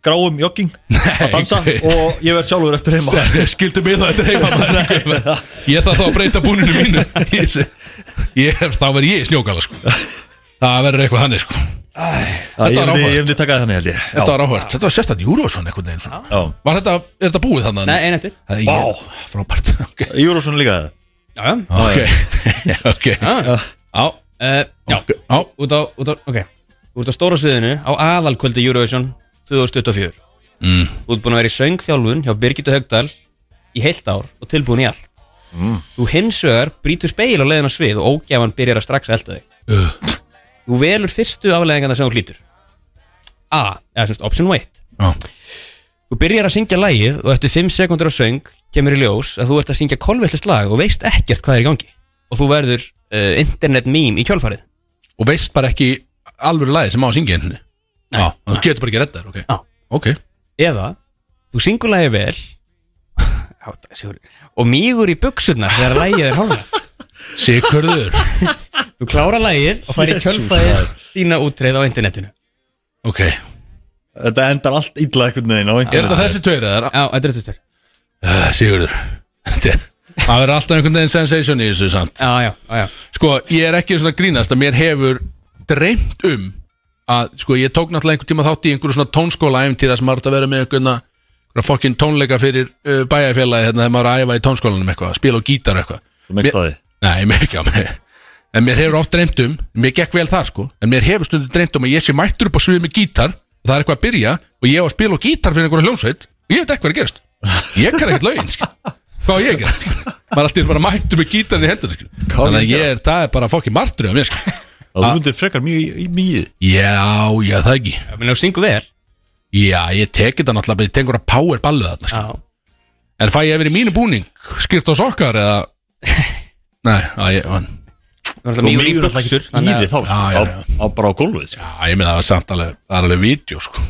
Gráum jogging Að dansa
Nei.
og ég verð sjálfur eftir heima
skildu mig það eftir heima maður. ég þarf þá að breyta búninu mínu Í þessu. ég, þá verð ég í snjókala sko. það verður eitthvað þannig sko.
Já, Ég
var
myndi,
áhugavert.
ég myndi taka það þannig held ég
þetta var áhört, þetta var sérstætt Júrósson einhvern veginn svona.
Já.
var þetta, er þetta búið þannig?
Nei, ein eftir
það er
Vá.
ég, frábært ok,
Júrósson líka það
Já, já
ok, ok
Ah.
já,
Uh, já,
ok, já
út á, út á, ok Út á stóra sviðinu á aðalkvöldi Eurovision 2024 mm. Þú ert búin að vera í söngþjálfun hjá Birgitta Högdal í heilt ár og tilbúin í allt mm. Þú hins vegar brýtur speil á leiðin á svið og ógjafan byrjar að strax elda þig Þú velur fyrstu afleðingarna sem þú hlýtur A, eða semst option wait
Já.
Þú byrjar að syngja lagið og eftir 5 sekundur á söng kemur í ljós að þú ert að syngja kolvillist lag og veist ekkert hvað er í gangi og þú verður uh, internet meme í kjálfarið
og veist bara ekki alvöru lagi sem á að syngja einhvernig Já, og þú getur bara ekki að redda þér, ok
Já.
Ok,
eða þú syngur lagið vel Já, það er sigur. og mýgur í buksurnar þegar lagið er hálfa
sikurður
þú klára lagið og færi
Jesús,
kjölfæði þína útreið á internetinu
Ok, er
Þetta endar allt illa einhvern veginn á einhvern
þetta þessi tveir eða?
Já, þetta er þetta þér
Uh, Sigurður Þetta er- Það verður alltaf einhvern veginn sensation í þessu samt
Já, já, já, já
Sko, ég er ekki svona að grínast að mér hefur dreymt um að, sko, ég tók náttúrulega einhvern tíma þátt í einhverju svona tónskóla æfntýra sem maður átt að vera með einhverjum einhverja fokkin tónleika fyrir uh, bæjarfélagi hérna þegar maður er að æfa í tónskólanum eitthvað að spila á gítar og eitthvað
Þú mikst á því
Nei, mér ekki á mig En mér hefur oft dreymt um, mér gekk vel þar sko En mér hefur stundum dreymt um að ég sé mættur upp á svið með gítar Og það er eitthvað að byrja Og ég á að spila á gítar fyrir einhverja hljómsveit Og ég veit ekki hvað er að gerast Ég kann ekkert lögin, sko Hvað á ég að gera? Maður er alltaf bara mættur með gítarinn í hendur sko. Þannig að ég er, það er bara fokkin martrið af mér sko
Já, Þú myndir frekar mjög í mjög
Já, já, það ekki
Ég meina, þú syngur vel
Já, ég teki þetta náttúrulega bara Ég tengur að power ballu þarna sko.
Já
En fæ ég yfir í mínu búning, skýrt á sokkar eða Nei, að ég,
náttúrulega
og
mýgur í
mýgur alltaf
buxur,
ekki
þannig að-
hýði þá sko,
Já, já, já.
á- á bara á gólfið sko.
Já, ég meina það var samt alveg, það var alveg vídeo sko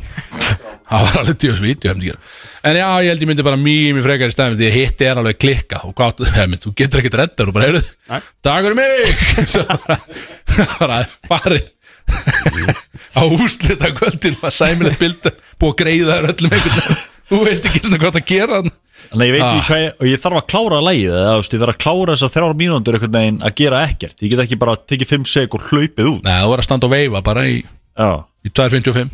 Það var alveg djóðs vídeo hefndi ekki. En já, ég held ég myndi bara mjög mjög frekar í stæðum Því að hitti er alveg klikkað og hvað, hef, mynd, þú getur ekkert reddar og bara heyrðu Takk fyrir mig Svo bara, bara fari Á úslita kvöldin var sæmilegt bild Búið að greiða þér öllum einhvern veginn. Þú veist ekki svona hvað það gera þarna.
Þannig að ég veit
Ah.
ekki hvað ég, og ég þarf að klára lægið eða, þú veist, ég þarf að klára þessar þrjár mínúndur einhvern veginn að gera ekkert, ég get ekki bara tekið fimm seg og hlaupið út
Nei, það var að standa og veifa bara í,
Já.
í 2.55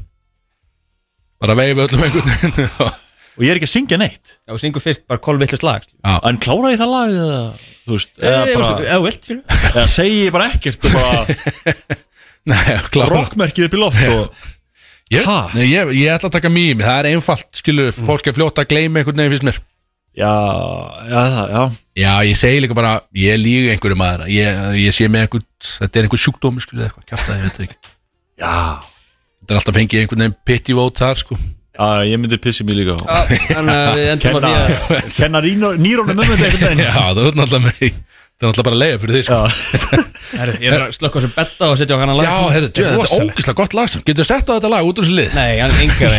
Bara veifa öllum einhvern veginn
og ég er ekki að syngja neitt
Já, og syngur fyrst bara kolvillu slag
en klára ég það lag eða, þú veist, eða,
Eða
bara,
bara- eða vilt fyrir
eða segi ég bara ekkert og bara
Nei, klára
rockmerkið upp í loft og
Ég,
Ha?
nei, ég, ég ætla að taka mými, það er einfalt skilur, fólk er fljótt að gleyma einhvern veginn fyrst mér
já, já, það, já
Já, ég segi líka bara, ég líka einhverju maður ég, ég sé með einhvern, þetta er einhver sjúkdómi skilur, eða eitthvað, kjátt ég veit það ekki
já,
Þetta er alltaf fengið einhvern veginn pitti vót þar sko
já, ég myndi pissi mér líka á.
Þannig að við endum að
kenna,
því að
kenna rínó- nýrónum um þetta einhvern
Já, það er
veginn
náttúrulega með, það er náttúrulega bara að leiða fyrir því sko Já,
já,
Herri, Ég þarf að slökka þessu betta og setja á hana lag
herru, djú, þetta er ógislega gott lag sem Getur sett á þetta lag út úr þessu lið
Nei, hann er enga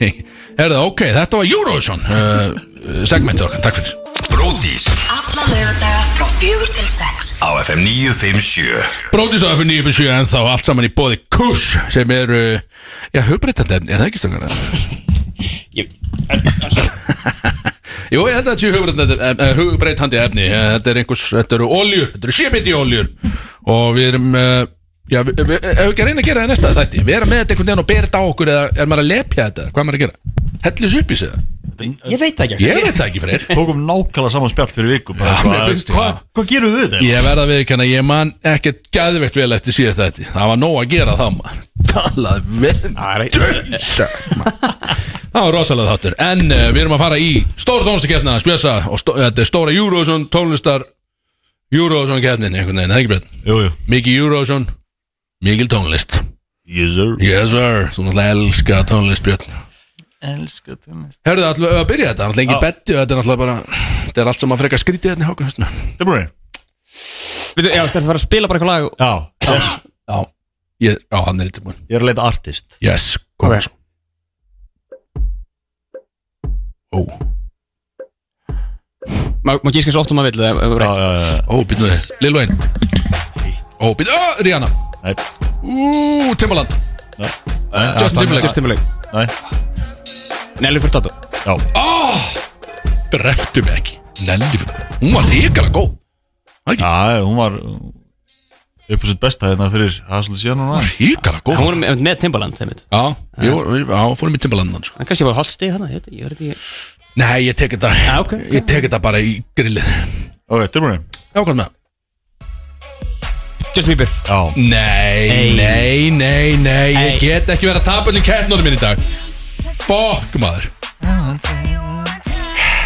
veginn
Herðu, ok, þetta var Eurovision uh, segmentið okkar, takk fyrir
Bródís
Alla laugardaga frá fjögur til sex
á FM 957
Brótisaða fyrir 9 fyrir 7 en þá allt saman í bóði Kush sem er, uh, já, hugbreytandi efni, er það ekki stöngana? Jú, ég held að þetta séu hugbreytandi- eh, eh, hugbreytandi efni Eh, þetta er einhvers, þetta eru oljur, þetta eru sébiti oljur og við erum uh, já, við, við, ef við ekki að reyna að gera það í næsta þætti við erum með þetta einhvern veginn og berið á okkur eða er maður að lepja þetta, hvað er maður að gera? Hellis upp í sig það?
Ég veit það ekki
Ég veit það ekki fyrir
tókum um nákvæmlega saman spjall fyrir vikum
Já, mér
hvað
finnst ég.
hva, hva gerum við þetta?
Ég verða að viðkjanna, ég man ekkert gæðvegt vel eftir síðast þetta Það var nóg að gera það maður Talaði við Það var rosalega þáttur En uh, við erum að fara í stóra tónlistakefnina Spjösa og stó þetta er stóra Eurovision tónlistar Eurovision kefnin einhvern veginn, það er ekki breytt
jú, jú,
Mikið Eurovision, mikil tónlist
yes sir
Yes sir, þú náttúrulega elska tónlist Björn Elska tónlist Herðu það alltaf að byrja þetta, alltaf engin betti og þetta er alltaf bara, þetta er allt sem að freka skrítið hérna í hákunum haustinu
þetta er bara
Bíddu, Já, þetta er að fara að spila bara eitthvað lag
já, yes.
Já, ég, já hann er í tilbúin
ég er að leita artist
Yes, kom okay. Ó,
Má má gíska svo oft um að vilja það
já, já, já, já.
ó, býtum við Lil Wayne Ó, býtum, ó, Rihanna
Nei.
Ú, Timbaland Justin Timberlake
Timberlake
Nei.
Nelly Furtado
já,
Dreftu mig Ah, ekki Nelly fyrir Hún var ríkala góð
já, hún var upp á sitt besta hérna fyrir Haslu síðan núna
Ríkala góð
Hún var með Timbaland, þeim veit
Já, ég var, ég, já, fórum í Timbaland hann, sko.
Hann kannski var holstið hana, ég veit ekki, ég veit ekki
Nei, ég tek þetta
Já, Ah, ok, ok.
Ég tek þetta bara í grillið Já,
ok, þetta er bara
hvað með það?
Justin Bieber
já,
Nei,
Ei.
nei, nei, nei Ég
Ei.
get ekki verið að tapa öllum keppnunum minn í dag Fokk maður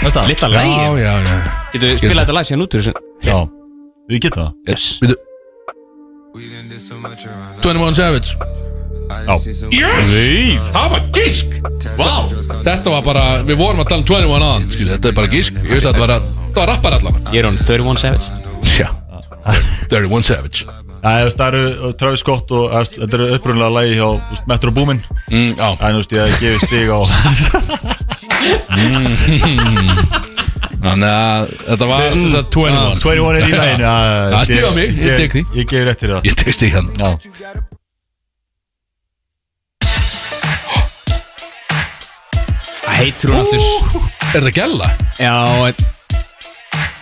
veist það?
Litta
Já,
lagi
já, já
Getur við spilað þetta lag síðan út úr þessu
já, við getum það
Yes Býtu 21 Savage
já,
Yes Nei Það var gísk Vá Þetta var bara Við vorum að tala um 21 aðan Skil, þetta er bara gísk Ég vissi að þetta var að Það var rappar allan
Ég er hún 31 Savage
Já 31 Savage
Já, þú veist, það eru uh, Travis Scott og þú veist, þetta eru upprunlega lægi hjá þú veist, Metro Boomin en
mm, Já
þú veist, ég hef gefið stig á
Þannig að Þetta var sem sagt 21
21 Ah, er í læginu já, já,
Það
ég-
stig á mig, ég tek því.
Ég gefið rétt fyrir það
Ég hérna. tekst ekki hann
Já,
Það heitir hún aftur
Er það gælla?
Já, þetta-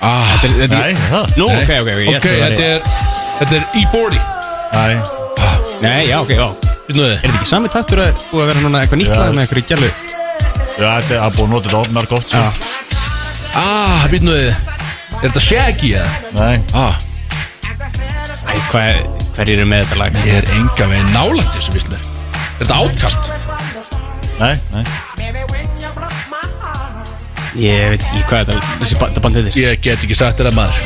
Ah
þetta er- þetta
nei,
er
það
Nú, ok, ok, ég
Ok,
ætla að
þetta
vera-
er Þetta er E E40
Nei,
Nei, já, ok, já
Býtum við
Er þetta ekki sami taktur að búið að vera núna eitthvað nýtt
Já.
lag með eitthvað gælu?
já, þetta er að búið að nota þetta ofnar gott sko.
Já.
Ah, býtum við Er þetta Shaggy eða?
Nei,
Ah,
Æ, hvað, hver eru með þetta lag?
ég er enga veginn nálægt þessu vist mér Er þetta átkast?
nei, nei
Ég veit ekki hvað þetta, þessi ba- þetta bandið er
Ég get ekki sagt þér að maður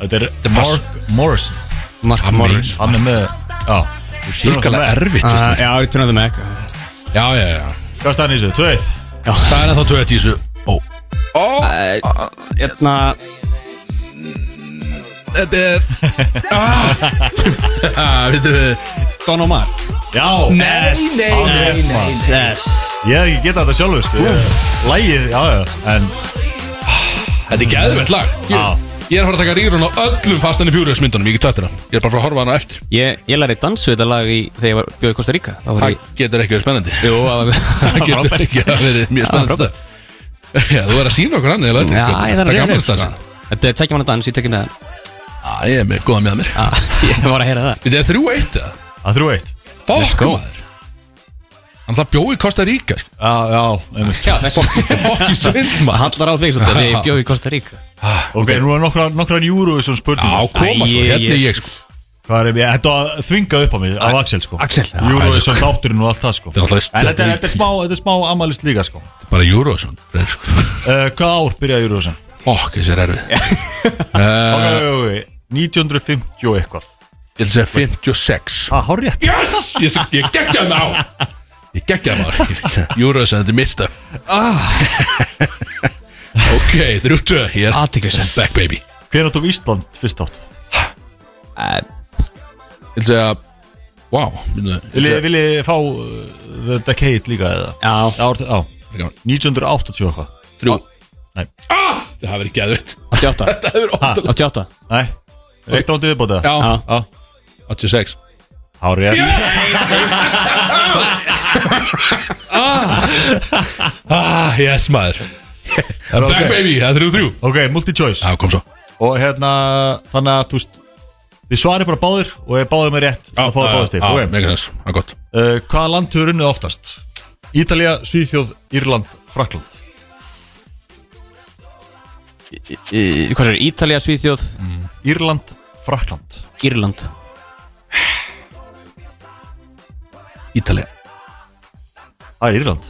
Þetta er
er pass.
Mark Morrison
Mark Morris
Hann er með, já
Ríkala erfitt vist
Ah,
mér
Já, ég tunnaði með eitthvað
Já, já, já
Hvað er staðan í þessu? 2-1
Það er ennþá 20 í þessu Ó, ó
Hérna
þetta er ah, Vittu við
Don Omar
Já
Nei, nei, nei,
Yes,
nei.
maður. Ég hef ekki getað þetta sjálfur sko. Lægið, já, já En
Þetta er gæðvett lag
Já.
ég, ég er að fara að taka rýrun á öllum fastanir fjúriðsmyndunum Ég get sagt þér það Ég er bara að fara að horfa á hana á eftir
Ég, ég lærði dansu þetta lag í, þegar ég var bjóði Kosta Ríka Þá var
Það
ég
getur ekki verið spennandi
Jú, það var
Það getur
Robert.
ekki verið mjög
Það var
spennandi
Robert.
stað. Já, þú er að sína okkur annað
Já, ég þarf að reyna
gamla
þetta
stansin
sko. Þetta er tekja manna dans, ég tekja með
Já, ég er með góða með mér
það Ég var að heyra það
Þetta er þrjú eitt eða?
að þrjú eitt
Fokk
go.
maður Þannig það bjóði Kosta Ríka sko.
Já, já einmitt.
Já, þessi
Fokk í svindl
Það
maður Ah,
hallar á þig svolítið Þegar ég bjóði Kosta Ríka
Ok, nú er nokkra, nokkra Eurovision
Já,
spurningar
koma svo,
Æ,
hérna er
ég-
ég sko
Hvað er ég, þetta var að þvinga upp á mig af Axel sko
Axel, já.
Eurovision þátturinn og allt það sko
Þetta er náttúrulega-
En þetta er, þetta er smá, þetta er smá amalist líka sko uh,
Bara Eurovision freyr, sko.
Hvað ár byrjaði Eurovision?
Fokk, þessi er erfið
Ok,
uh,
ok, ok, 1950 og eitthvað
Ég ætla að segja 56
Það hár rétt
Yes! Ég, ég geggjaði mig á Ég geggjaði mig á Eurovision, þetta er mitt stöf Ah. Ok, þrjúttu Ég er
Athyglisvert.
back baby
Hvernig tók Ísland fyrst átt?
Eh,
Ég ætla að segja Wow minna, ég ætla
Viljið
að-
vilji fá uh, The Decade líka eða?
Já.
Ár, já 1980 og eitthvað
Þrjú
Nei.
ah, Það hafi verið geðvitt
88
Það hafi verið óttalega
88
Nei, eitt ándi viðbóta
Já,
Já.
Já.
86
Hár rétt
Ah, yes maður
Er það
Back
ok?
baby, það er þrjú þrjú
Ok, multi-choice
Já, kom svo
Og hérna, þannig að þú veist Þið svarið bara báðir og ef báðir með rétt
Já,
að fá það báðir stig
Já,
okay.
mega sens, það er gott
uh, Hvaða land hefur unnið oftast? Ítalía, Svíþjóð, Írland, Frakland
Í- í- Hvað er Ítalía, Svíþjóð,
Mm.
Írland, Frakland
Írland
Ítalið
Það er Írland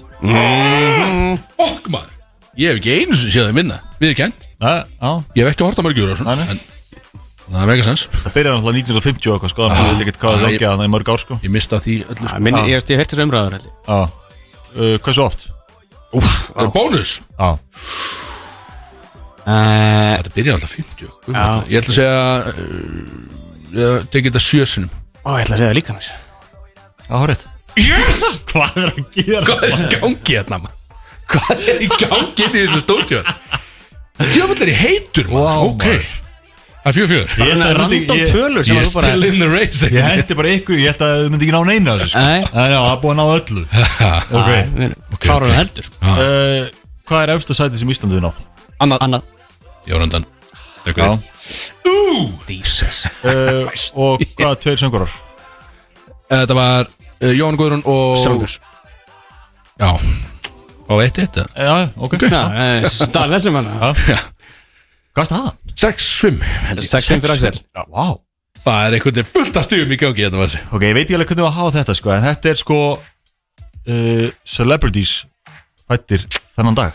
Fokk maður Ég hef ekki einu sem séð þeim vinna Við erum kent
Nei, já,
Ég hef ekki horta mörgjur á
Nei,
svona
nei.
En það er mega sens
það byrjar náttúrulega 1950 og eitthvað sko Þannig að við veit ekkert
Ah,
hvað það
ég-
langið þannig í mörg ár sko
Ég mista því öllu sko
Minn, Ég veist, ég hef heyrt þessu umræður allir
Já uh, Hversu oft?
Það er Ah, bónus
Já
uh,
Þetta byrjar alltaf 50 guð minn þetta. Ég ætla að segja uh, Ég tekið þetta sjösunum
Ó, ég ætla að segja það líka mér
Já, hárið Hvað er að gera?
Hvað er í gangi hérna maður? Hvað er í gangi inn í þessu stóttjóð? Djöfull er í heitur maður
Vá,
Ok Það er fjör fjör
Ég held að það myndi-
Random
ég-
tölur sem
Ég
að
er
þú bara
still in the race
Ég hendi bara ykkur, ég held að þau myndi ekki ná neina þessu sko.
Nei.
En já, það er búið að ná öllu Ok
Hvað er það heldur?
uh, Hvað er efsta sæti sem Íslandi við náð?
Annað
Annað
Ég var undan Takk fyrir Ú
Jesus
uh, Og hvaða tveir söngurar?
Þetta var uh, Jón Guðrún og
Sjálfus
Já Og eitt eitt eða?
Já, ok
eh, Það er þessum hann
Hvað er staðan?
Sex, fimm
Sex fimm fyrir Axel.
Já, vá Það er einhvern veginn fullt af stífum í gangi hérna var þessi
Ok, ég veit ekki alveg hvernig við að hafa þetta sko En þetta er sko uh, Celebrities fættir þennan dag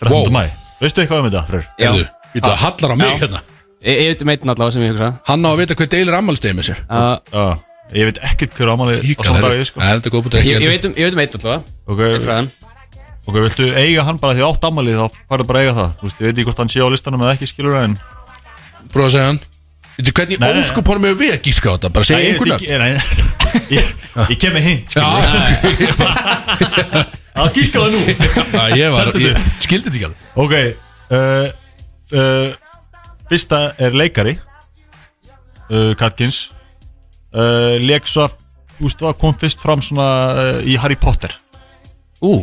13.
Wow.
Wow. mæ Veistu eitthvað um þetta, Freyr?
Já
Heyrðu, Við það hallar á mig hérna
Ég ég veit um einn allavega sem ég hugsa
Hann á að vita hver deilir ammálstegið með sér
uh,
Já, ég veit ekkert hver ámáli á
Híkað
saman
er
dagið
Það
sko
er þetta góð búin
ég, ég, veit um, ég veit um einn allavega
Ok,
Eitt frá hann
ok, viltu eiga hann bara því átt ámáli þá færðu bara að eiga það Þú veist, ég veit ekki hvort hann sé á listanum eða ekki skilur en
Bróða að segja hann Veitu hvernig
Nei, nei, nei.
óskup honum hefur við að gíska á þetta Bara segja
ég,
einhvern
veit ekki- nei, ég, ég kem með hint skilur við.
Já,
Það gíska það nú
já, ég var
Felldu
Ég
þig.
skildi þetta ekki alveg
Ok uh, uh, Fyrsta er leikari uh, Katkins uh, Leik svo að þú veist, var- kom fyrst fram svona uh, í Harry Potter
Ú,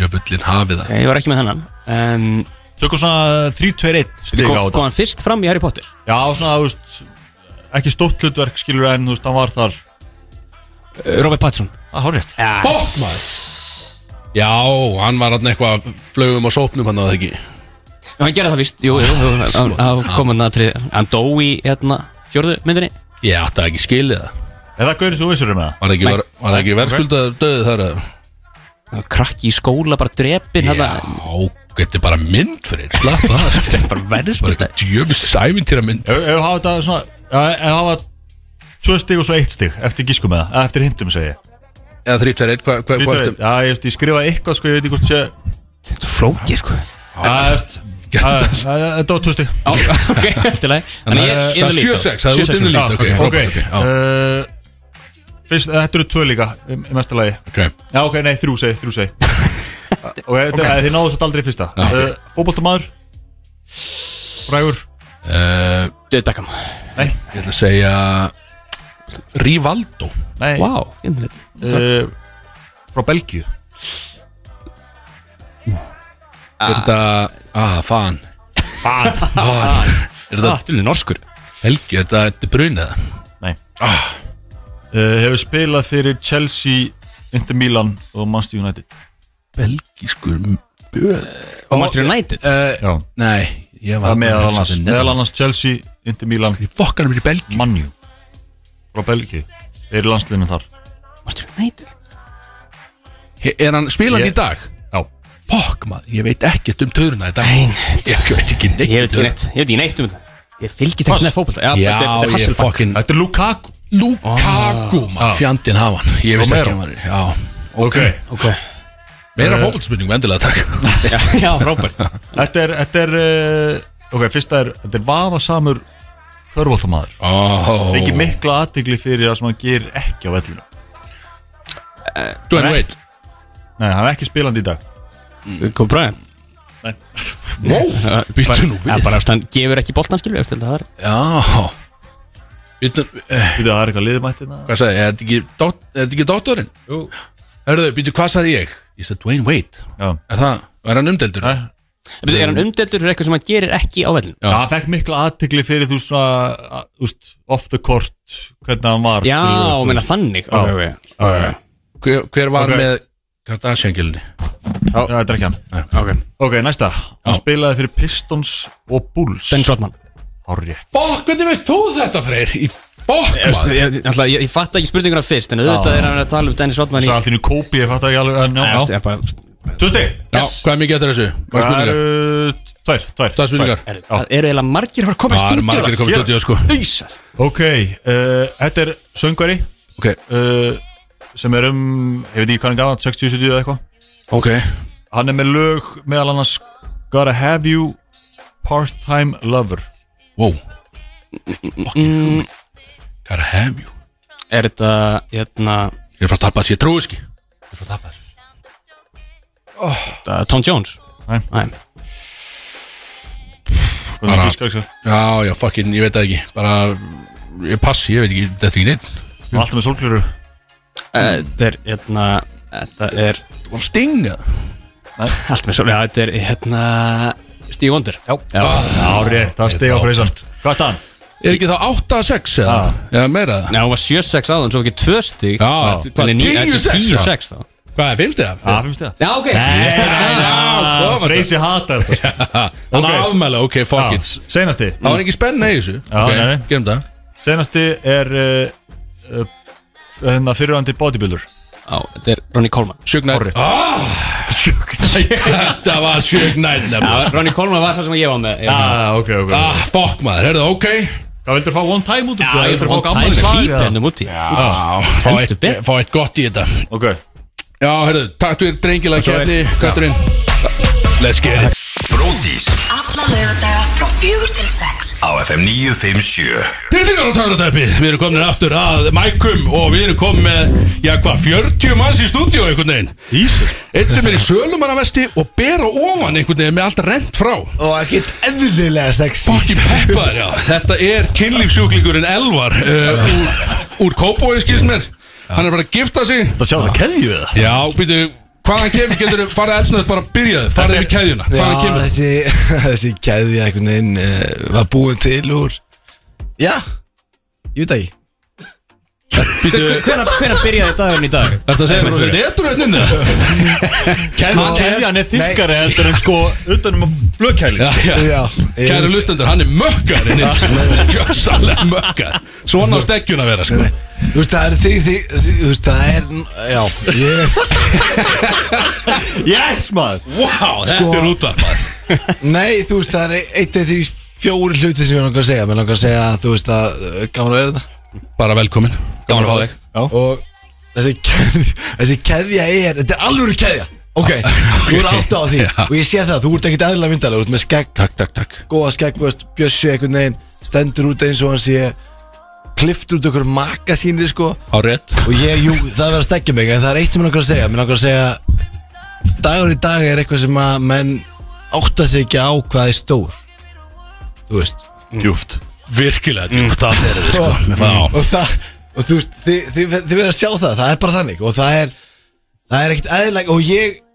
Jöfullin hafið það
Eh, ég var ekki með hennan um,
Tökum svona uh, 3-2-1
Kom,
stiga á þetta
kom hann fyrst fram í Harry Potter
Já, svona, þú veist ekki stórt hlutverk skilur en þú veist, hann var þar
Eh, Robert Pattinson
Það er rétt
Fokk maður Já, hann var hann eitthvað Flögum og sópnum hann á það ekki
Já, hann gerði það vist Jú, jú, jú hann- hann kom hann að trið Sko. Hann dó í, hérna, fjórðu myndinni
Ég átti að ekki skilið það
Er það gaurið sem þú vissur um það?
Var það ekki,
Nei.
var, var það ekki verðskuldaður döðið þar að
Hann var Krakki í skóla, bara drepin
Já,
hérna.
þetta er bara mynd fyrir Slappa það Þetta er bara verðskuldaður Bara djöfis sæmintýra mynd
Ef ef við hafa þetta svona já, Ef við hafa Tvö stig og svo eitt stig Eftir gískum eða eða Eftir hintum segi ég
Eða þrýttar eitt, hvað hva, hva,
Þrír, tveir, einn. Já, ég, veist, ég skrifa eitthvað sko Ég veit ekki hvort sé
Þetta er flókið, sko
Já, þú veist
Gert
Það-
þetta
það- Þetta var 2 stík
Á, ok, þetta er leið
Þannig að það er 7-6, það er út inn í lít Ok,
Ok
frábært, ok,
Eh, Fyrst, eh, þetta eru 2 líka í í mesta lagi
já, ok
Já, ok, nei, þrjú segi, þrjú segi Ok, þetta- þið náðu svo aldrei í fyrsta Eh,
Já, ok.
okay. Fóboltamaður Frægur
Eh,
Döð Beckham
Ég ætla að segja Rivaldo
Nei,
Vá, innleitt
eh, frá Belgíu
Er þetta, ah, fan Fan Ah, Er þetta
Þetta er norskur
Helgi, er þetta De Bruyne eða?
uh, Hefur spilað fyrir Chelsea, Inter Milan og Manchester United
Belgískur
Og eh, Manchester United
uh,
Já
Nei, ég var
Það meðal annars, meðal annars Chelsea, Inter Milan,
Fokkanum er í Belgíu
Manju Frá Belgíu, þeir eru landsliðinu þar
Manchester United
He- Er hann spilandi
Ég-
í dag?
Já
Fokk maður, ég veit ekkert um töruna í dag Nein Ég veit ekki neitt
Ég veit
um
ekki neitt Ég veit ekki neitt um þetta Ég fylgist ekki með fókbalt Já,
Já,
þetta er
ég
Hasselbank Ah.
fokkin
Þetta er Lukaku
Lukaku, maður, fjandinn hafa hann Ég veist ekki hann
Romero.
var Já, ok
Ok
Meira fókvöldspurning, vendilega takk
Já, já, frábært
Þetta er, þetta er uh, Ok, fyrsta er, þetta er vafasamur Körvóttamaður
Ó,
fengið mikla aðtigli fyrir það sem hann gerir ekki á vellinu
Dwayne Wade
Nei, hann er ekki spilandi í dag
Kom Brian
Wow, býttu nú
Já,
við
bara ást hann gefur ekki boltan skilur Ég held að það er
Já Býttu, eh,
Þú veit að það er eitthvað liðmættina
hvað sagði, ég? er þetta ekki dót- er þetta ekki dóttorinn?
Jú
Hörðu, býttu, hvað sagði ég? Ég sagði Dwayne Wade
Já,
Er það, er hann umdeldur?
Nei.
Bíddu, Er hann umdeldur fyrir eitthvað sem hann gerir ekki á vellin?
Já.
Já, hann fekk mikla aðtigli fyrir þú svona að- Þú veist, off the court Hvernig hann var
Já,
skilur við, þú
meina
veist.
þannig
Já.
Ok, ok, ok.
Hver, hver var
Ok.
með Kardashian-gilni?
Já, Þetta er ekki hann
Ok.
Ok, næsta Hann spilaði fyrir Pistons og Bulls
Ben Trotman
Hárrétt
Fokk, hvernig veist þú þetta, Freyr? Í fokk, maður
Ég, ég, ég, ég fatt ekki spurninguna fyrst En auðvitað er hann að tala um Dennis Rodman í
Það er allir nú kópi, ég fatt ekki alveg en
Já,
já,
ég bara
já. Tvö stig
Já, hvað er mikið eftir þessu? Hvað er
Það
spurningar?
eru Tvær, tvær
Það er spurningar
tvær. Já.
Það eru eiginlega margir að fara að koma í
Það er
stúdíu
margir komið
Ég-
stúdíu, sko
Dísar
Ok, uh, þetta er söngveri
Ok,
uh, Sem er um, ég veit ekki hvað hann gaf 60-70 eða eitthvað
ok
Hann er með lög meðal annars Gotta have you part-time lover
Wow Fokkin Hvað er að hef jú?
Er þetta, hérna,
Ég er frá að tapa þessu, ég trúi ekki Ég er frá að tapa þessu
uh, Tom Jones?
Nei.
Nei
Hvernig
Bara-
gíska, gíska.
Já, já, fokkin, ég veit það ekki Bara, ég pass, ég veit ekki, þetta er ekki neitt
Hann er alltaf með sólklöru
Eh, Þetta er, hérna, þetta er
Þú var stinga
Allt með svolítið, þetta er, hérna, Steve Wonder Já, já.
Já, rétt, það steg á
þá-
freysan Hvað er staðan?
Ah. Er ekki þá 8-6 eða? Já, meira það
Nei, hún var 7-6 áðan, svo ekki 2 stík
Já, hvað, 10-6 eða?
10-6 þá
Hvað er 5 eða?
Já, finnst þið það?
Já, ok Já,
koma,
Freysi hatar þetta
Hann okay.
Ok.
afmæla, ok, fuck it
Já, Seinasti
Það var ekki spenna í þessu
Já,
Ok,
nei, nei.
gerum það
Seinasti er uh, uh, Hérna fyrirhandi bodybuilder
Já, þetta er Ronnie Coleman
Sjögg nætt
Horrið.
Ah, Þetta var sjögg nætt nefnilega
Ronnie Coleman var það sem ég var með Já,
Ah, ok, ok
Ah, fuck maður, heyrðu, ok
Hvað vildur fá one time út úr
ég fyrir að fá
gaman
gammal
slag,
Lítið
eða?
hennum úti
ah, fá, eitt,
betur.
fá eitt gott í þetta
Ok,
Já, heyrðu, takk fyrir drengilega
svo er-
kefni Katturinn Let's get it
Bródís
Alla laugardaga frá fjögur til sex
á FM 957
Tiltingar og töfratæpi, við erum komin aftur að mækum og við erum komin með, já hvað, 40 manns í stúdíu einhvern veginn
Ísir
Eitt sem er í sölumannavesti og bera ofan einhvern veginn með allt rent frá
Og ekkert eðlilega sexy
Fokkin peppaður, já Þetta er kynlífsjúklingurinn Elvar uh, Úr, úr Kópói, skýrst mér Hann er farið að gifta sig
Það sjá það keðju við það
Já, býtu, hvaðan kemur, getur þú farið eldsnöð bara að byrja þau, farið við keðjuna
Já,
Hvaðan kemur
þessi, þessi keðja einhvern veginn uh, var búin til úr Já, ég veit það ekki
Hvernig byrjaði dagurinn í dag?
Þetta segir mér, þetta er dröðninni
Keðjan, Sko, keðjan er þykkari heldur en sko utanum að blöðkæli sko.
Já, ég
Kæra
veist-
lustendur, hann er mökkar inn í Gjössalega mökkar Svona á steggjuna vera, sko
Þú veist, það er þrý, þrý, þrý Þú veist, það er, já ég,
Yes maður
Vá,
Sko-
þetta er útvarp
Nei, þú veist, það er eitt, eitt, þrý, fjóri hluti sem ég langar að segja Mér langar að segja, að, þú veist, að eh, gaman að vera þetta
Bara velkomin, gaman að fá þig
og þessi keðja, þessi keðja er, þetta er alvöru keðja Ok, þú eru átt á því
Já.
Og ég sé það, þú ert ekkert eðlilega myndalega Þú ert með skegg,
Takk, takk, takk
góða skegg þú veist, Bjössi einhvern veginn, stendur út eins og hann sé Klift út okkur magasínir sko
Á rétt
Og ég, jú, það verður að stekja mig En það er eitt sem ég langar að segja Mér langar að segja Dagur í dag er eitthvað sem að menn átta sig ekki á hvað er stór Þú veist
Djúft Virkilega djúft Það er við sko Með það á
Og það, og þú veist Þið, þið, þið verður að sjá það, það er bara þannig Og það er, það er ekkert eðlilega Og ég,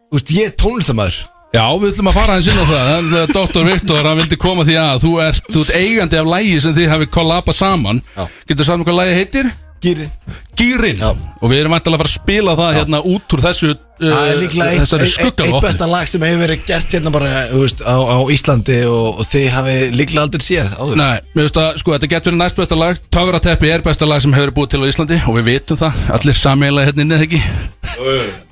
þú veist, ég er tónlistamæður
Já, við ætlum að fara hans inn á það En, eh, Dr. Viktor, hann vildi koma því að Þú ert, þú ert eigandi af lægi sem þið hafi kollabað saman
Já.
Getur saman hvað lægi heitir?
Gýrin
Gýrin
Já.
Og við erum ættilega að fara að spila það hérna út úr þessu uh,
Það er líklega eitt,
Þessari
eitt, eitt
skuggalvopni
besta lag sem hefur verið gert hérna bara þú veist, á, á Íslandi og, og þið hafi líklega aldrei séð áður
Nei, mér veist að, sko, þetta getur verið næst besta lag Töfrateppi er besta lag sem hefur verið búið til á Íslandi Og við vitum það, allir sameiginlega hérna inni, eða ekki?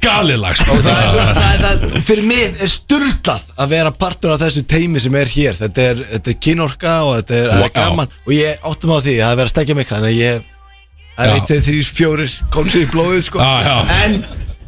Galið lag, sko
það, er- það, það, það, Fyrir mig er sturlað að vera partur af þessu teimi sem er hér Þetta er, þetta er kynorka og þetta er, það er
Wow.
gaman Og ég áttum á því að það er verið að stekja mig Þannig að ég það er
Já.
eitt, tveir, þrjir, fjórir komnir í blóðið sko
Já, já.
En,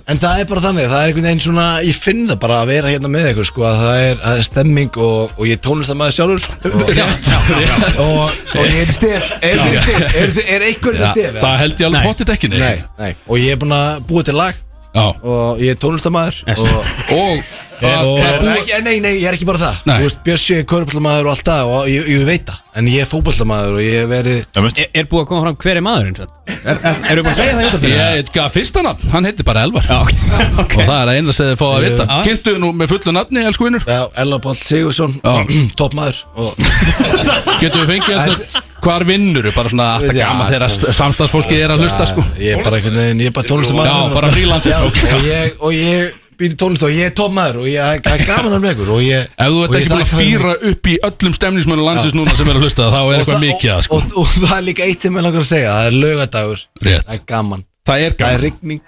en það er bara þannig, það er einhvern veginn svona Ég finn það bara að vera hérna með ykkur sko að Það er, það er stemming og, og ég tónlist það maður sjálfur og,
Rétt, já, já.
og, og ég er í stef er, er, stef, er, er einhver í stef
Það held ég alveg potið ekki, nei
nei, nei. og ég er búin að búa til lag
Já.
og ég er tónlistamæður og,
Og það- það
og
er búið-
ekki, nei, nei, ég er ekki bara það
Nei.
Þú veist, Bjössi er körbullamæður og allt það og ég, ég veit það, en ég er fótbullamæður og ég hef verið
Er, er búið að koma fram hver er maðurinn? Er, er, er, eru búin að segja það í útvarpinu?
Ég gaf fyrsta nafn, hann heitir bara Elvar
Já, ok,
Og
okay.
það er að eina sem þið fá að vita
Já.
Kynntuðu nú með fullu nafni, elsku vinnur
Já, Ella Páll Sigursson,
Já.
toppmaður og
Getum við fengið þetta Hvar vinnur, bara svona alltaf
Já,
gaman Þegar samstagsfólki er að hlusta, sko
ég er bara einhvern veginn, ég er bara tónlistamæður
Já, bara freelancer.
Já, og ég, og ég býr í tónlist og ég er toppmaður og ég það er gaman að með ykkur og ég
Ef þú ert
og ég
ekki búin að
þakka fyrir mig.
fýra upp í öllum stemningsmönnum landsins núna sem er að hlusta þá er
Og
eitthvað
það-
mikið að sko
og, og, og það er líka eitt sem ég langar að segja Það er laugadagur,
Rétt.
það er gaman
Það er
Það er
gaman
rigning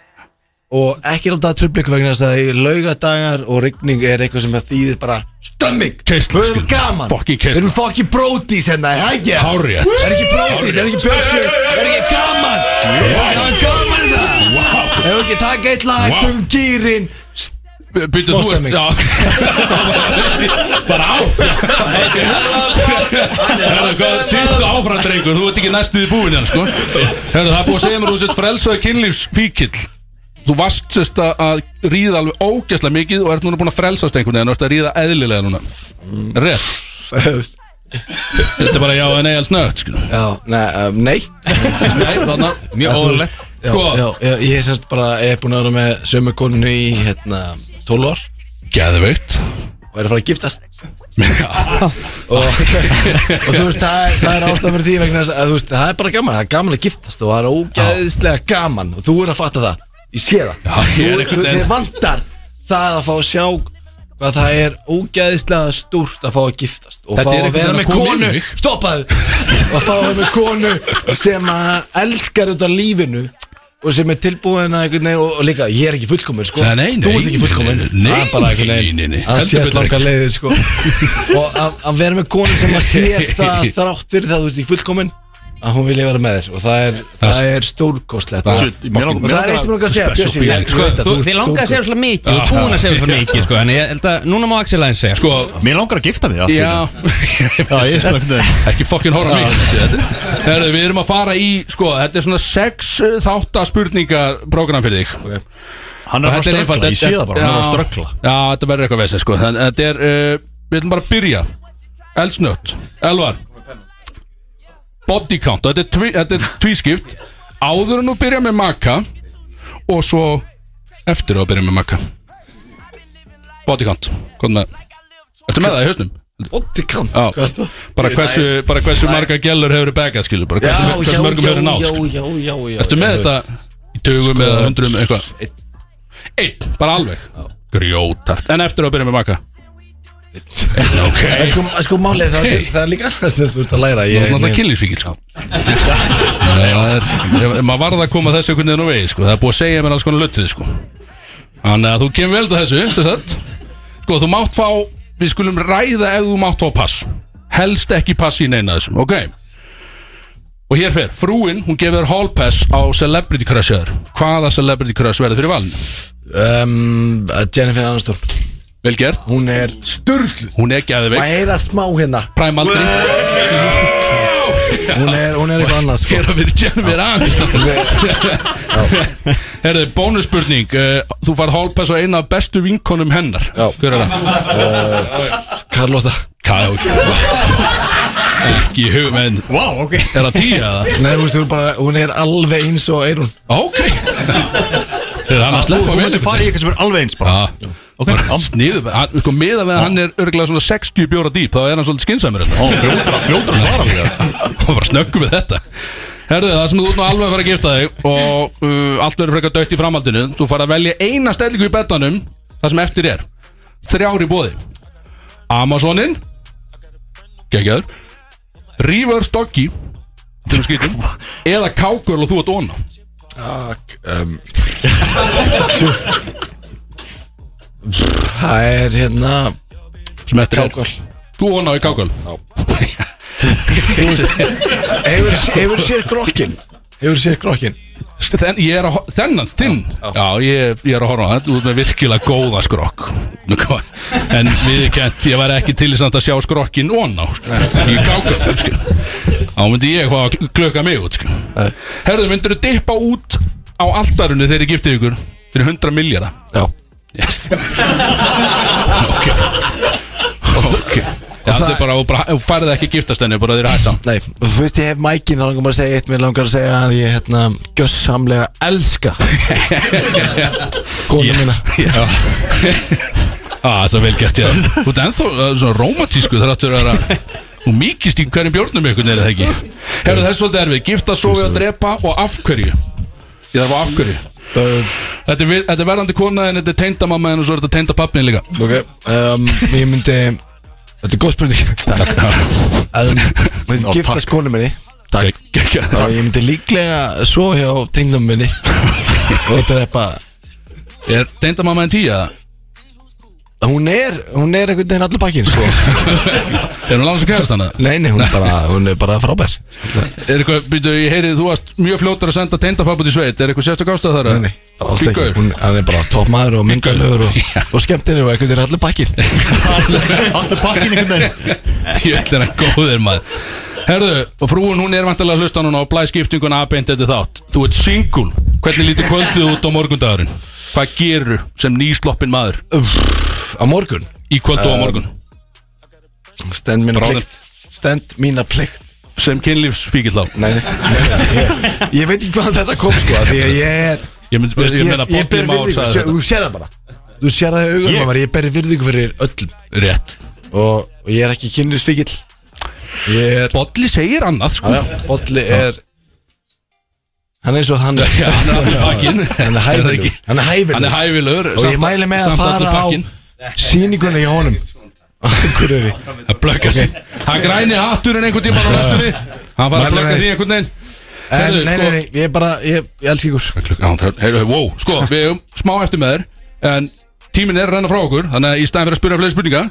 Og ekki láta að tröfla ykkur vegna þess að í laugadagar og rigning er eitthvað sem það þýðir bara Stömming,
Keisla,
við erum
skilur.
gaman
Fucking keisla.
Við erum fucking brótis hérna, er það ekki?
Hárrétt.
Er ekki brótis, er ekki bjössu, er ekki gaman Það er gaman þetta Ef við ekki taka eitt lag,
Wow.
tökum gýrin
Byrju þú ert
um stemming.
já. Bara átt Hörðu hvað Sýttu áfram drengur Þú ert ekki næstu í búin hérna sko Hörðu það er búið að segja mér Þú sett frelsaði kynlífsfíkill Þú varst sérst að- að ríða alveg ógæslega mikið og ert núna búin að frelsast einhvern veginn og ert að ríða eðlilega núna Rétt Þetta er bara já en nei alls nött sko.
Já, nei, um, nei
Nei, þarna
Já, þú
óðurlegt.
veist, já,
Sko.
já, já, Ég er semst bara, ég er búin að vera með sömu koninu í hérna, 12 ár
Geðveikt
og er að fara að giftast
Já,
og, og þú veist, það, er- það er ástæðan fyrir því vegna þess að þú veist, það er bara gaman, það er gaman að giftast og það er ógæðislega gaman og þú er að fatta það, ég sé það
ég er
Þú- þú-
einhvern
þið
veginn
vantar það að fá að sjá hvað það er ógæðislega stúrt að fá að giftast og
Þetta
fá
er
að
einhvern
vera
veginn
með
að koma
konu
inn í mig.
stoppaðu, og fá að vera með konu sem að elskar út af lífinu og sem er tilbúin að einhvern veginn og, og líka, ég er ekki fullkomin sko
Nei, nei, nei,
þú ert ekki fullkomin
nei, nei,
Það er bara
nei,
einhvern
nei, nei,
veginn að
heldur
sést
betur
langar
ekki.
leiðir sko og að, að vera með konu sem að sér það þrátt fyrir það þú ert ekki fullkomin að hún vilja vera með þér og það er, það er stórkostlegt og,
Shit, mér langar-
og það er eitt sem langar að segja Bjössi, ég- ég
Sko,
veit að
þú,
ert
þið langaði að segja
stórkostleg.
svolítið mikið Þú ert búin að segja svolítið mikið sko, En ég held að núna má Axel aðeins segja
Sko,
Mér langar að gifta mig allt í einu.
já
Já, ég er svona einhvern veginn.
Ekki fokkin horra mig Herðu, við erum að fara í, sko, þetta er svona sex þáttaspurningar prógram fyrir þig okay.
Hann er að fara að ströggla, ég sé það bara, hann er að fara
Já.
að ströggla
Já, þetta verður eitthvað vesið, sko Þannig að þetta er, uh, við ætlum bara að byrja Elsnött, Elvar Body count, þetta er, tví, þetta er tvískipt Áður en þú byrja með maka Og svo eftir að byrja með maka Body count, hvað með Ertu með það í hausnum?
Bodycount,
Já.
hvað er það?
Bara hversu, bara hversu marga gellur hefur begað skilur bara, hversu,
Já,
hversu
já,
mörgum
já,
hefur náð
já,
skilur.
já, já, já,
Ertu
já, Sko-
með
já,
þetta í tugum eða hundrum eitthvað Einn, bara alveg Grjótart, en eftir að byrja með maka Einn, ok
En sko, en sko málið það,
Hey.
það er líka annað sem þú ert að læra
Það
ég,
er náttúrulega
ég,
kynlífsvíkil sko Það er, ef- maður varð að koma þessu einhvern veginn á vegi sko Það er búið að segja mér alls konar löttið sko Þannig að þú kemur vel til þessu, sem sagt Sko, þú mátt fá, við skulum ræða ef þú mátt fá pass Helst ekki pass í neina af þessum, ok Og hér fer, frúin, hún gefur þér hall pass á Celebrity Crusher Hvaða Celebrity Crush verður fyrir valinu?
um, Jennifer Aniston
Vel gert,
Hún er sturgluð
hún er
Má
gæðveik,
heyra smá hérna
prime aldri
Hún er, hún er eitthvað annað sko
Hér að við Jennifer Aniston Herðu, bónusspurning eh, Þú fær hall pass á eina af bestu vinkonum hennar
Já. Eh,
Hver er það?
Carlota
Kæðveik Ekki í hugum en
Wow, ok
Er það tíu eða?
Nei, þú veist, hún, er bara, hún er alveg eins og Eirun
Ok Þeir hann að
Þú,
sleppa
þú
vel
myndir fara í eitthvað sem er alveg eins bara
Já Ok, sniðu, hann, sko miða með að hann er örgulega svona 60 bjóra dýp þá er hann svolítið skinsamur Ó, fljótra, fljótra svara mér Og bara snöggum við þetta Herðu, það sem þú út nú alveg að fara að gifta þig og uh, allt verður frekar dögt í framhaldinu þú fara að velja eina stellingu í betanum það sem eftir er þrjári bóði Amazonin Gekjaður Reverse Doggy sem er skrýtum, eða Cowgirl og þú að dóna
um, tjú. Það er hérna
sem eftir er
Cowgirl.
Þú vonaði kákvöld?
Hefur, hefur sér grokkin Hefur sér grokkin
Þen, Sko, ég er að, ho- þennan, þinn Já, ég, ég er að horfa á þetta Þú ert með virkilega góða skrokk Nú, hvað? En við kent, ég væri ekki til þess að sjá skrokkin ón á sko. Í kákvöld sko. Þá myndi ég hvað að klöka mig út sko. Herðu, myndirðu dippa út á altarunni þegar ég giftið ykkur fyrir 100 miljara
Já
yes. Ok Ok Já,
það-
það er bara, og bara, og færið ekki að giftast henni, bara þeir hætt saman
Nei, þú veist ég hef mækin, þá langar maður að segja eitt Mér langar að segja að ég hérna Gjössamlega elska Kona
Yes.
mína
Já ah, Það er vel gert ég Þú ert ennþá uh, svona rómatísku þar áttur að vera Þú mýkist í hverjum bjórnum ykkur neyrið það ekki Herðu þess svolítið erfið Gifta, sofi og drepa og af hverju Ég þarf á af hverju
uh,
Þetta er, við, þetta er verðandi kona en þetta er teindamamma en svo er þetta teindapappin líka
Ok um, Ég myndi Þetta er góð spurning Takk Að Ég myndi giftast konu minni
Takk
Já, ég myndi líklega svo hjá tengdum minni Og drepa
Er teindamamma en tíja?
Hún er, hún er einhvern veginn allir bakkin sko.
Er hún langt sem kæðast hana?
Nei, nei, hún er bara, hún er bara frábær
Er eitthvað, býtu, ég heyri þú varst mjög fljótur að senda teindapappa til sveit Er eitthvað sérstök ástæð þar?
Nei, nei, alls ekki
Fínn gaur.
Hún hann er bara toppmaður og myndalögur og, og skemmtinir og einhvern veginn allir bakkin
Alltaf pakkin einhvern veginn
Jöldin að góðir maður Herðu, og frúin hún er vantilega að hlusta núna á blæskiptinguna að beint eftir þátt Þú ert singul, hvernig lítur kvöldið út á morgundagurinn? Hvað gerur sem nýsloppin maður
Á morgun
í kvöldu á morgun?
Stend mína
Bráðum.
plikt Stend mína plikt
Sem kynlífsfíkill á
Nei, nei, nei, nei ég, ég veit ekki hvað þetta kom sko af Því að ég er
Ég myndi
Þú
best,
veist,
ég meina
ég
Bobby
ber
Már
virðingu
sagði
sé-
þetta
Þú sér það bara Þú sér það í augunum á mér Ég ber virðingu fyrir öllum
Rétt
Og, og ég er ekki kynlisvíkil Ég er
Bolli segir annað, sko
Bolli er Hann er eins og hann er
Já, hann er allir pakkin
Hann er hæfilegur Hann er hæfilegur
Hann er hæfilegur
Og ég
samt-
mæli með að
samt allur
fara á
pakkinn.
sýninguna hjá honum Hver er þið?
Það blökka sig Hann grænir hatturinn einhvern tíma á næstunni Hann fara
Mæli
að blökka
með.
því einhvern veginn
En,
Heyrðu,
nei,
sko-
nei, nei, ég er bara, ég, ég elsk ykkur
Heyrðu, wow, sko, við erum smá eftir með þér En tíminn er að renna frá okkur Þannig að í staðin fyrir að spyrja fleiri spurninga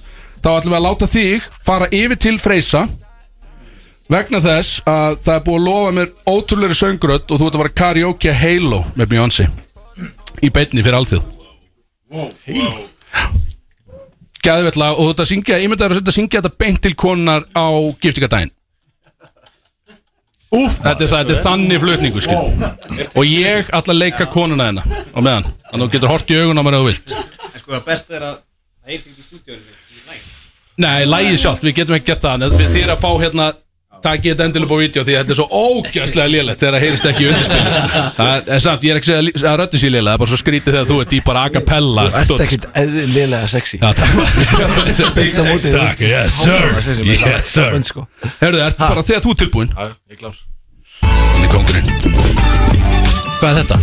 Þá ætlum við að láta þig fara yfir til Freysa Vegna þess að það er búið að lofa mér ótrúleiri söngurödd Og þú ert að fara karaoke að Halo með Beyoncé Í beinni fyrir alþjóð wow. Gæðvetla og þú ert að syngja Ég myndi að þetta syngja þetta beint til konar á giftingadaginn Úf, þetta, er, þetta er þannig flutningu skil Og ég ætla að leika konuna hennar á meðan Þannig að þú getur hort í augun á mér ef þú vilt
Sko, það besta er að það heyrði ekki í stúdíóinu
Nei, lægið sjálft, við getum ekki gert það en Við þýr að fá hérna Takk ég þetta endilega upp á vídeo því að þetta er svo ógæslega lélegt þegar það heyrist ekki í undirspil Það er samt, ég er ekki að segja að röddins í lélega Það er bara svo skrítið þegar þú ert í bara a cappella
Þú ert ekkert eðlilega sexy
Já, takk
Beint á móti.
Takk, yes sir Yes sir
Sambönd, sko.
Herðu, ert bara þegar þú ert tilbúin Já, ég klár Þannig kongurinn Hvað er þetta?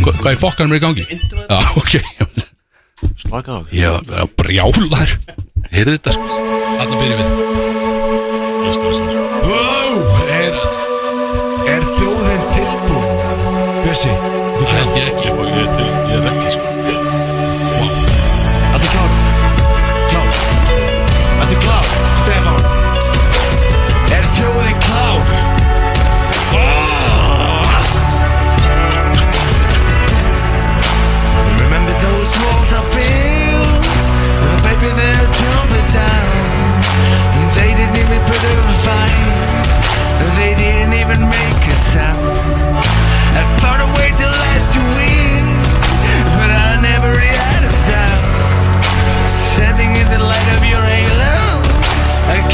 Hva, hvað er fokkanum er í gangi? Já, ok Slaka á Ég var brjálar Heyrðu þetta sko Þarna byrjum við
Er, er þjóðin tilbúin? Bjössi, þú
Það held ég ekki
Ég ég er til, ég er ekki sko
Ertu klár? Klár Ertu klár, Stefán? Er þjóðin klár?
Ah.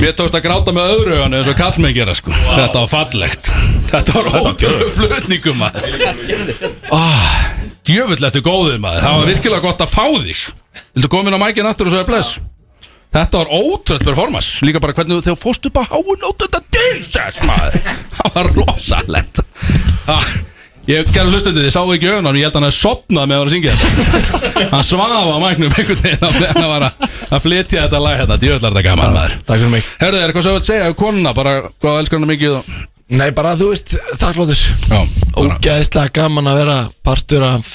Mér tókst að gráta með öðru hann eins og kall mig gera sko Þetta var fallegt Þetta var ótrúðu flutningum maður Ah, Djöfull eftir góðið maður Það var virkilega gott að fá þig Viltu koma inn á mækinn aftur og svo er bless Þetta var ótrúð performance Líka bara hvernig þegar þú fórst upp á háun og þetta dinsess maður Það var rosalegt ah, Ég gerði hlustandi þið, sáu ekki öðunan Ég held að hann að sopnað með að vera að syngja þetta Hann svaf á mæknum einhvern veginn á meðan Hann var að, að flytja þetta lag hérna Djöfull er þetta gaman maður
Takk fyrir mig
Herðu, er eitthvað sem þú vilt segja um konuna, bara hvað elskar hana mikið og...
Nei, bara þú veist, þakklótur
Já, bara,
Ógæðislega gaman að vera partur af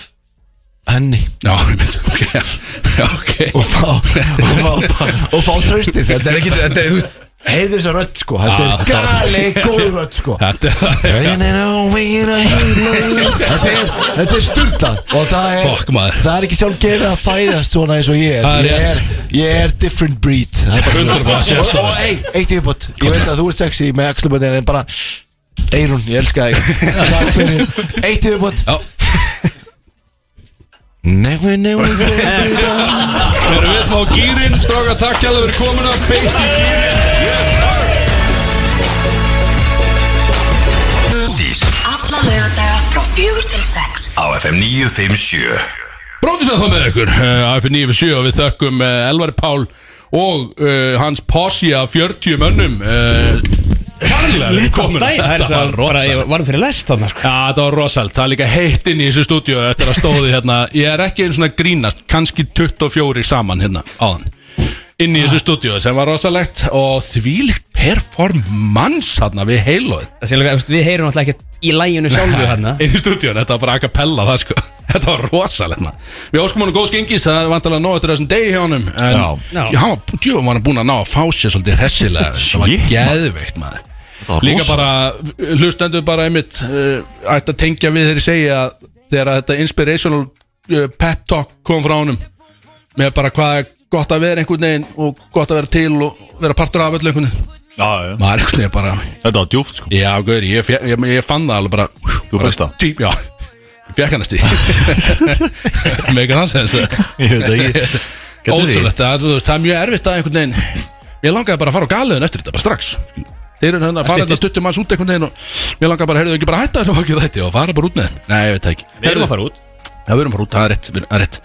henni
já, ég mynd, ok, já, ok
Og fá, og fá, og fá þraustið Þetta er ekki, þetta er, þú veist Heiðu þessa rödd sko, þetta
Ah,
er
þetta var-
gali góð rödd sko
Þetta er það,
And I know when I hate you. Þetta er, þetta er sturglað Og það er,
Fuck, maður.
það er ekki sjálf gefið að fæðast svona eins og ég
Það er
er Ég
rétt.
er, ég er different breed Það er bara svona.
100%
Og- Og ei, eitt yfirbútt Ég veit að þú ert sexy með axluböndin En bara, Eirun, ég elska þig Takk fyrir, eitt yfirbútt
já,
Never, never say
við erum við smá gýrin, stráka takk kjalla fyrir komuna, beint í gýrin
Bródís
Alla laugardaga frá fjögur til sex
á FM 957
Bróðislega þá með ykkur, uh, AFN 97 og við þökkum uh, Elvar Pál og uh, hans posi af 40 mönnum uh, Kjalla fyrir komuna,
Dæ, það er
þetta
svo
var
bara,
rosa
ég var fyrir lest þarna sko.
Já, þetta var rosalt, það er líka heitt inn í þessu stúdíu eftir að stóði hérna, ég er ekki einu svona að grínast, kannski 24 saman hérna áðan, inn í þessu stúdíu sem var rosalegt og þvílíkt performance hérna við heilóð
Það sé alveg, þú veist, Við heyrum alltaf ekkert í læginu sjálfu þarna
inn í stúdíu, þetta var bara a cappella það sko, þetta var rosalegt hérna. Við óskum honum góð skengis, það er vantalega nóg eftir þessum degi hjá honum, en
Já.
já, hann var djöfum var hann búin að ná að fá sér svolítið hressilega, það var geðveikt maður Líka bara, hlustendur bara einmitt uh, ætti að tengja við þegar ég segja að þegar að þetta inspirational uh, pep talk kom frá honum með bara hvað er gott að vera einhvern veginn og gott að vera til og vera partur af öllu einhvern veginn
já, já.
maður er einhvern veginn bara,
Þetta var djúft sko
já gaur, ég, fe- ég, ég fann það alveg bara
Þú
bara
fékkst það?
dýp, Já, ég fekk hann eftir Mega þann sens
Ég veit ekki Getur þið?
Ótrúlegt, það, þú veist, það er mjög erfitt að einhvern veginn Mér langaði bara að fara á galiðun eftir þetta, bara strax Þeir eru hérna að fara þetta
styttist.
20 manns út einhvern veginn og Mér langaði bara, heyrðu ekki bara að hætta þetta og ekki þetta og fara bara út með þeim Nei, ég veit það ekki
Við erum að fara út
Já, við erum að fara út, það er rétt, við- það er rétt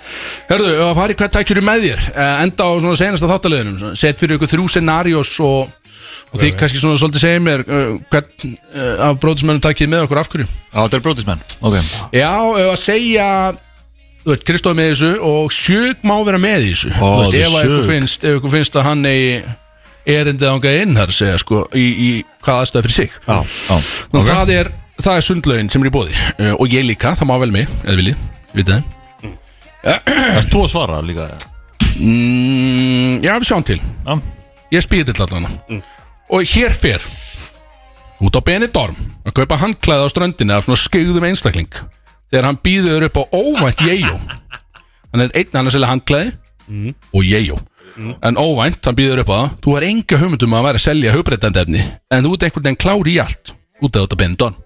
Heyrðu, að fara í hvað tækjur með þér Eh, Enda á svona senasta þáttaleginum svona, Set fyrir ykkur þrjú scenarios og, og þið kannski svona svolítið segja mér uh, Hvern uh, af bróðismennum tækið með okkur af hverju
Já, þetta er brótismenn Ok
Já, ef að segja Þú veit, Kristóð með þessu og Sjög má vera með í þessu Þú
þetta er
veist, ef að ykkur
Sjögg.
finnst, ef ykkur finnst að hann eigi erindið ángað inn þar að segja sko, í, í hvað aðstæða fyrir sig
Já, já
Nú, það, er, það er sundlaugin sem er í bóði uh, og ég líka, það má vel mig, eða vilji ég veit það
Ert þú að svara líka?
mm, Já, við sjáum til
Já.
Ég spýði til allan Og hér fer Út á Benidorm að kaupa handklæði á ströndinni af svona skegðum einstakling þegar hann býður upp á óvænt jejó hann er einn annars eða handklæði og jejó en óvænt, hann býður upp á það þú er enga hugmyndum að vera að selja hugbreytandi efni en þú ert einhvern veginn klári í allt út af þetta Benidorm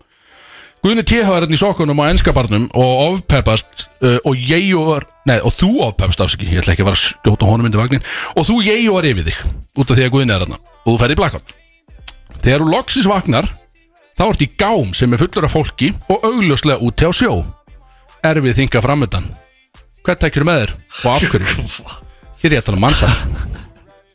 Guðni TH er hérna í sokkunum á enskabarnum og ofpeppast uh, og jeijóar, nei og þú ofpeppast afsaki, ég ætla ekki að vera að skjóta honum undir vagnin og þú jeijóar yfir þig út af því að Guðni er hérna og þú ferð í blackout. Þegar þú loksis vagnar þá ert í gám sem er fullur af fólki og augljóslega úti á sjó. Erfið þinga framöndan. Hvað tekjur með þér og af hverju? Hér er ég að tala um mannsa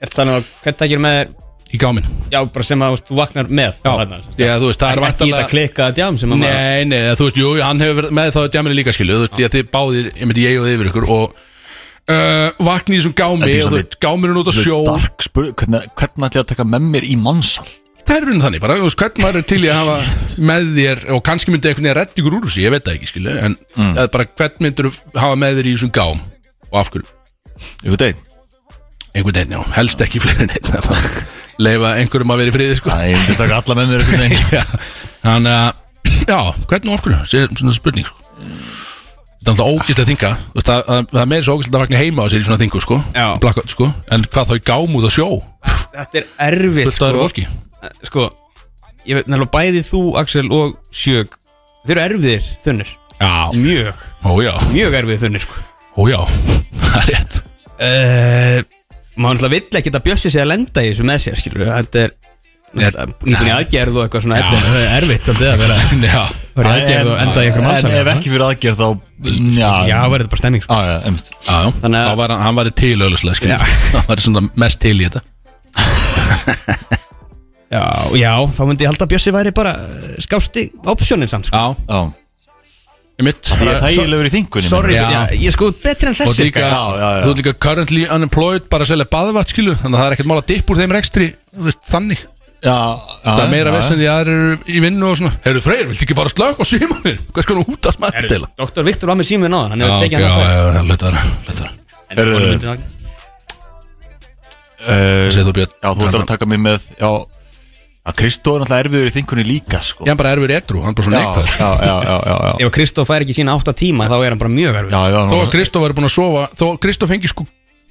Eftir þannig að hvernig tækir með þér
í gáminn.
Já, bara sem að þú veist, þú vaknar með
Já,
þarna, sem sagt.
já, þú veist, það er
Ekki í þetta
vantanlega...
klikkaða djám sem að maður
Nei, nei, eða, þú veist, jú, hann hefur verið með þá djaminni líka skilju, þú veist, ég þið báðir, ég myndi ég og þið yfir ykkur og uh, vakni í þessum gámi
Þetta er
og þú
svona-
veist, gámirinn út á sjó
Dark spurning Hvernig, hvernig ætla ég að taka með mér í mannsal?
Það er verið þannig, bara, þú veist, hvern maður er til í að hafa með þér og kannski myndi einhvern veginn að redda ykkur úr þessu, ég veit það ekki skilju, en mm. bara hvern myndir hafa með þér í þessum gám og af hverju,
Ykkur deg
einhvern veginn, já, helst ekki fleiri neitt, leifa einhverjum að vera í friði, sko.
Æ, ég myndi taka alla með mér ykkur deg
Já, Þannig að, já, hvernig og af hverju? Sér svona spurning, sko Það er alltaf ógæslega þinga þú veist, Það það- það er meira svo ógæslega að vakna heima á sér í svona þingu, sko
Já.
Blackout, sko En hvað þá í gám út á sjó
Þetta er erfitt
Fullt aðra fólki
sko Ég veit nefnilega bæði þú, Axel og Sjög Þeir eru erfiðir þunnir
Já,
Mjög,
ójá,
mjög erfiðir þunnir sko
ójá Það er rétt
uh, maður náttúrulega vill ekki að Bjössi sé að lenda í þessu með sér skilur við. þetta er náttúrulega nýbúin í aðgerð og eitthvað svona þetta er erfitt svolítið að vera
Já,
vera í aðgerð og enda í einhverjum
En
halsar
ef ekki fyrir aðgerð þá
já, verður þetta bara stemning sko.
Já, já, einmitt
já, já.
Þannig að-
þá var hann, hann var til öðlislega skil Hann var svona mest til í þetta
já, já, þá myndi ég halda að Bjössi væri bara eh, skásti optionin samt sko.
Já,
Já
ég mitt
Það er þægilegur í þingunni
sorry,
Já.
já. ég er sko betri en
Og
þessi
líka,
Já, já, já.
þú ert líka currently unemployed bara að selja baðvatt skilu þannig að það er ekkert mál að dipp úr þeim rekstri þú veist, þannig,
Já, já
það er meira
já,
vesen því að það eru í vinnu og svona, heyrðu Freyr, viltu ekki fara að slöka á símanir, hvers konar út að smært deila
Dr. Viktor var með símið náðan, hann
Já,
hefur
ok,
tekið
já,
hann að
já, já, lauta vera, lauta vera
Heyrðu,
segja
eh,
Segðu þú Björn
Já, þú ætlar að taka mig með Já, að Kristó er náttúrulega erfiður í þingunni líka sko
Ég hann bara erfur edru, hann er bara
já,
svona neikvæður
já, já, já, já, já.
ef Kristóf fær ekki sína 8 tíma þá er hann bara mjög verfið
Já, já,
Þó
nú-
að Kristó væri búin að sofa Þó að Kristó fengi sko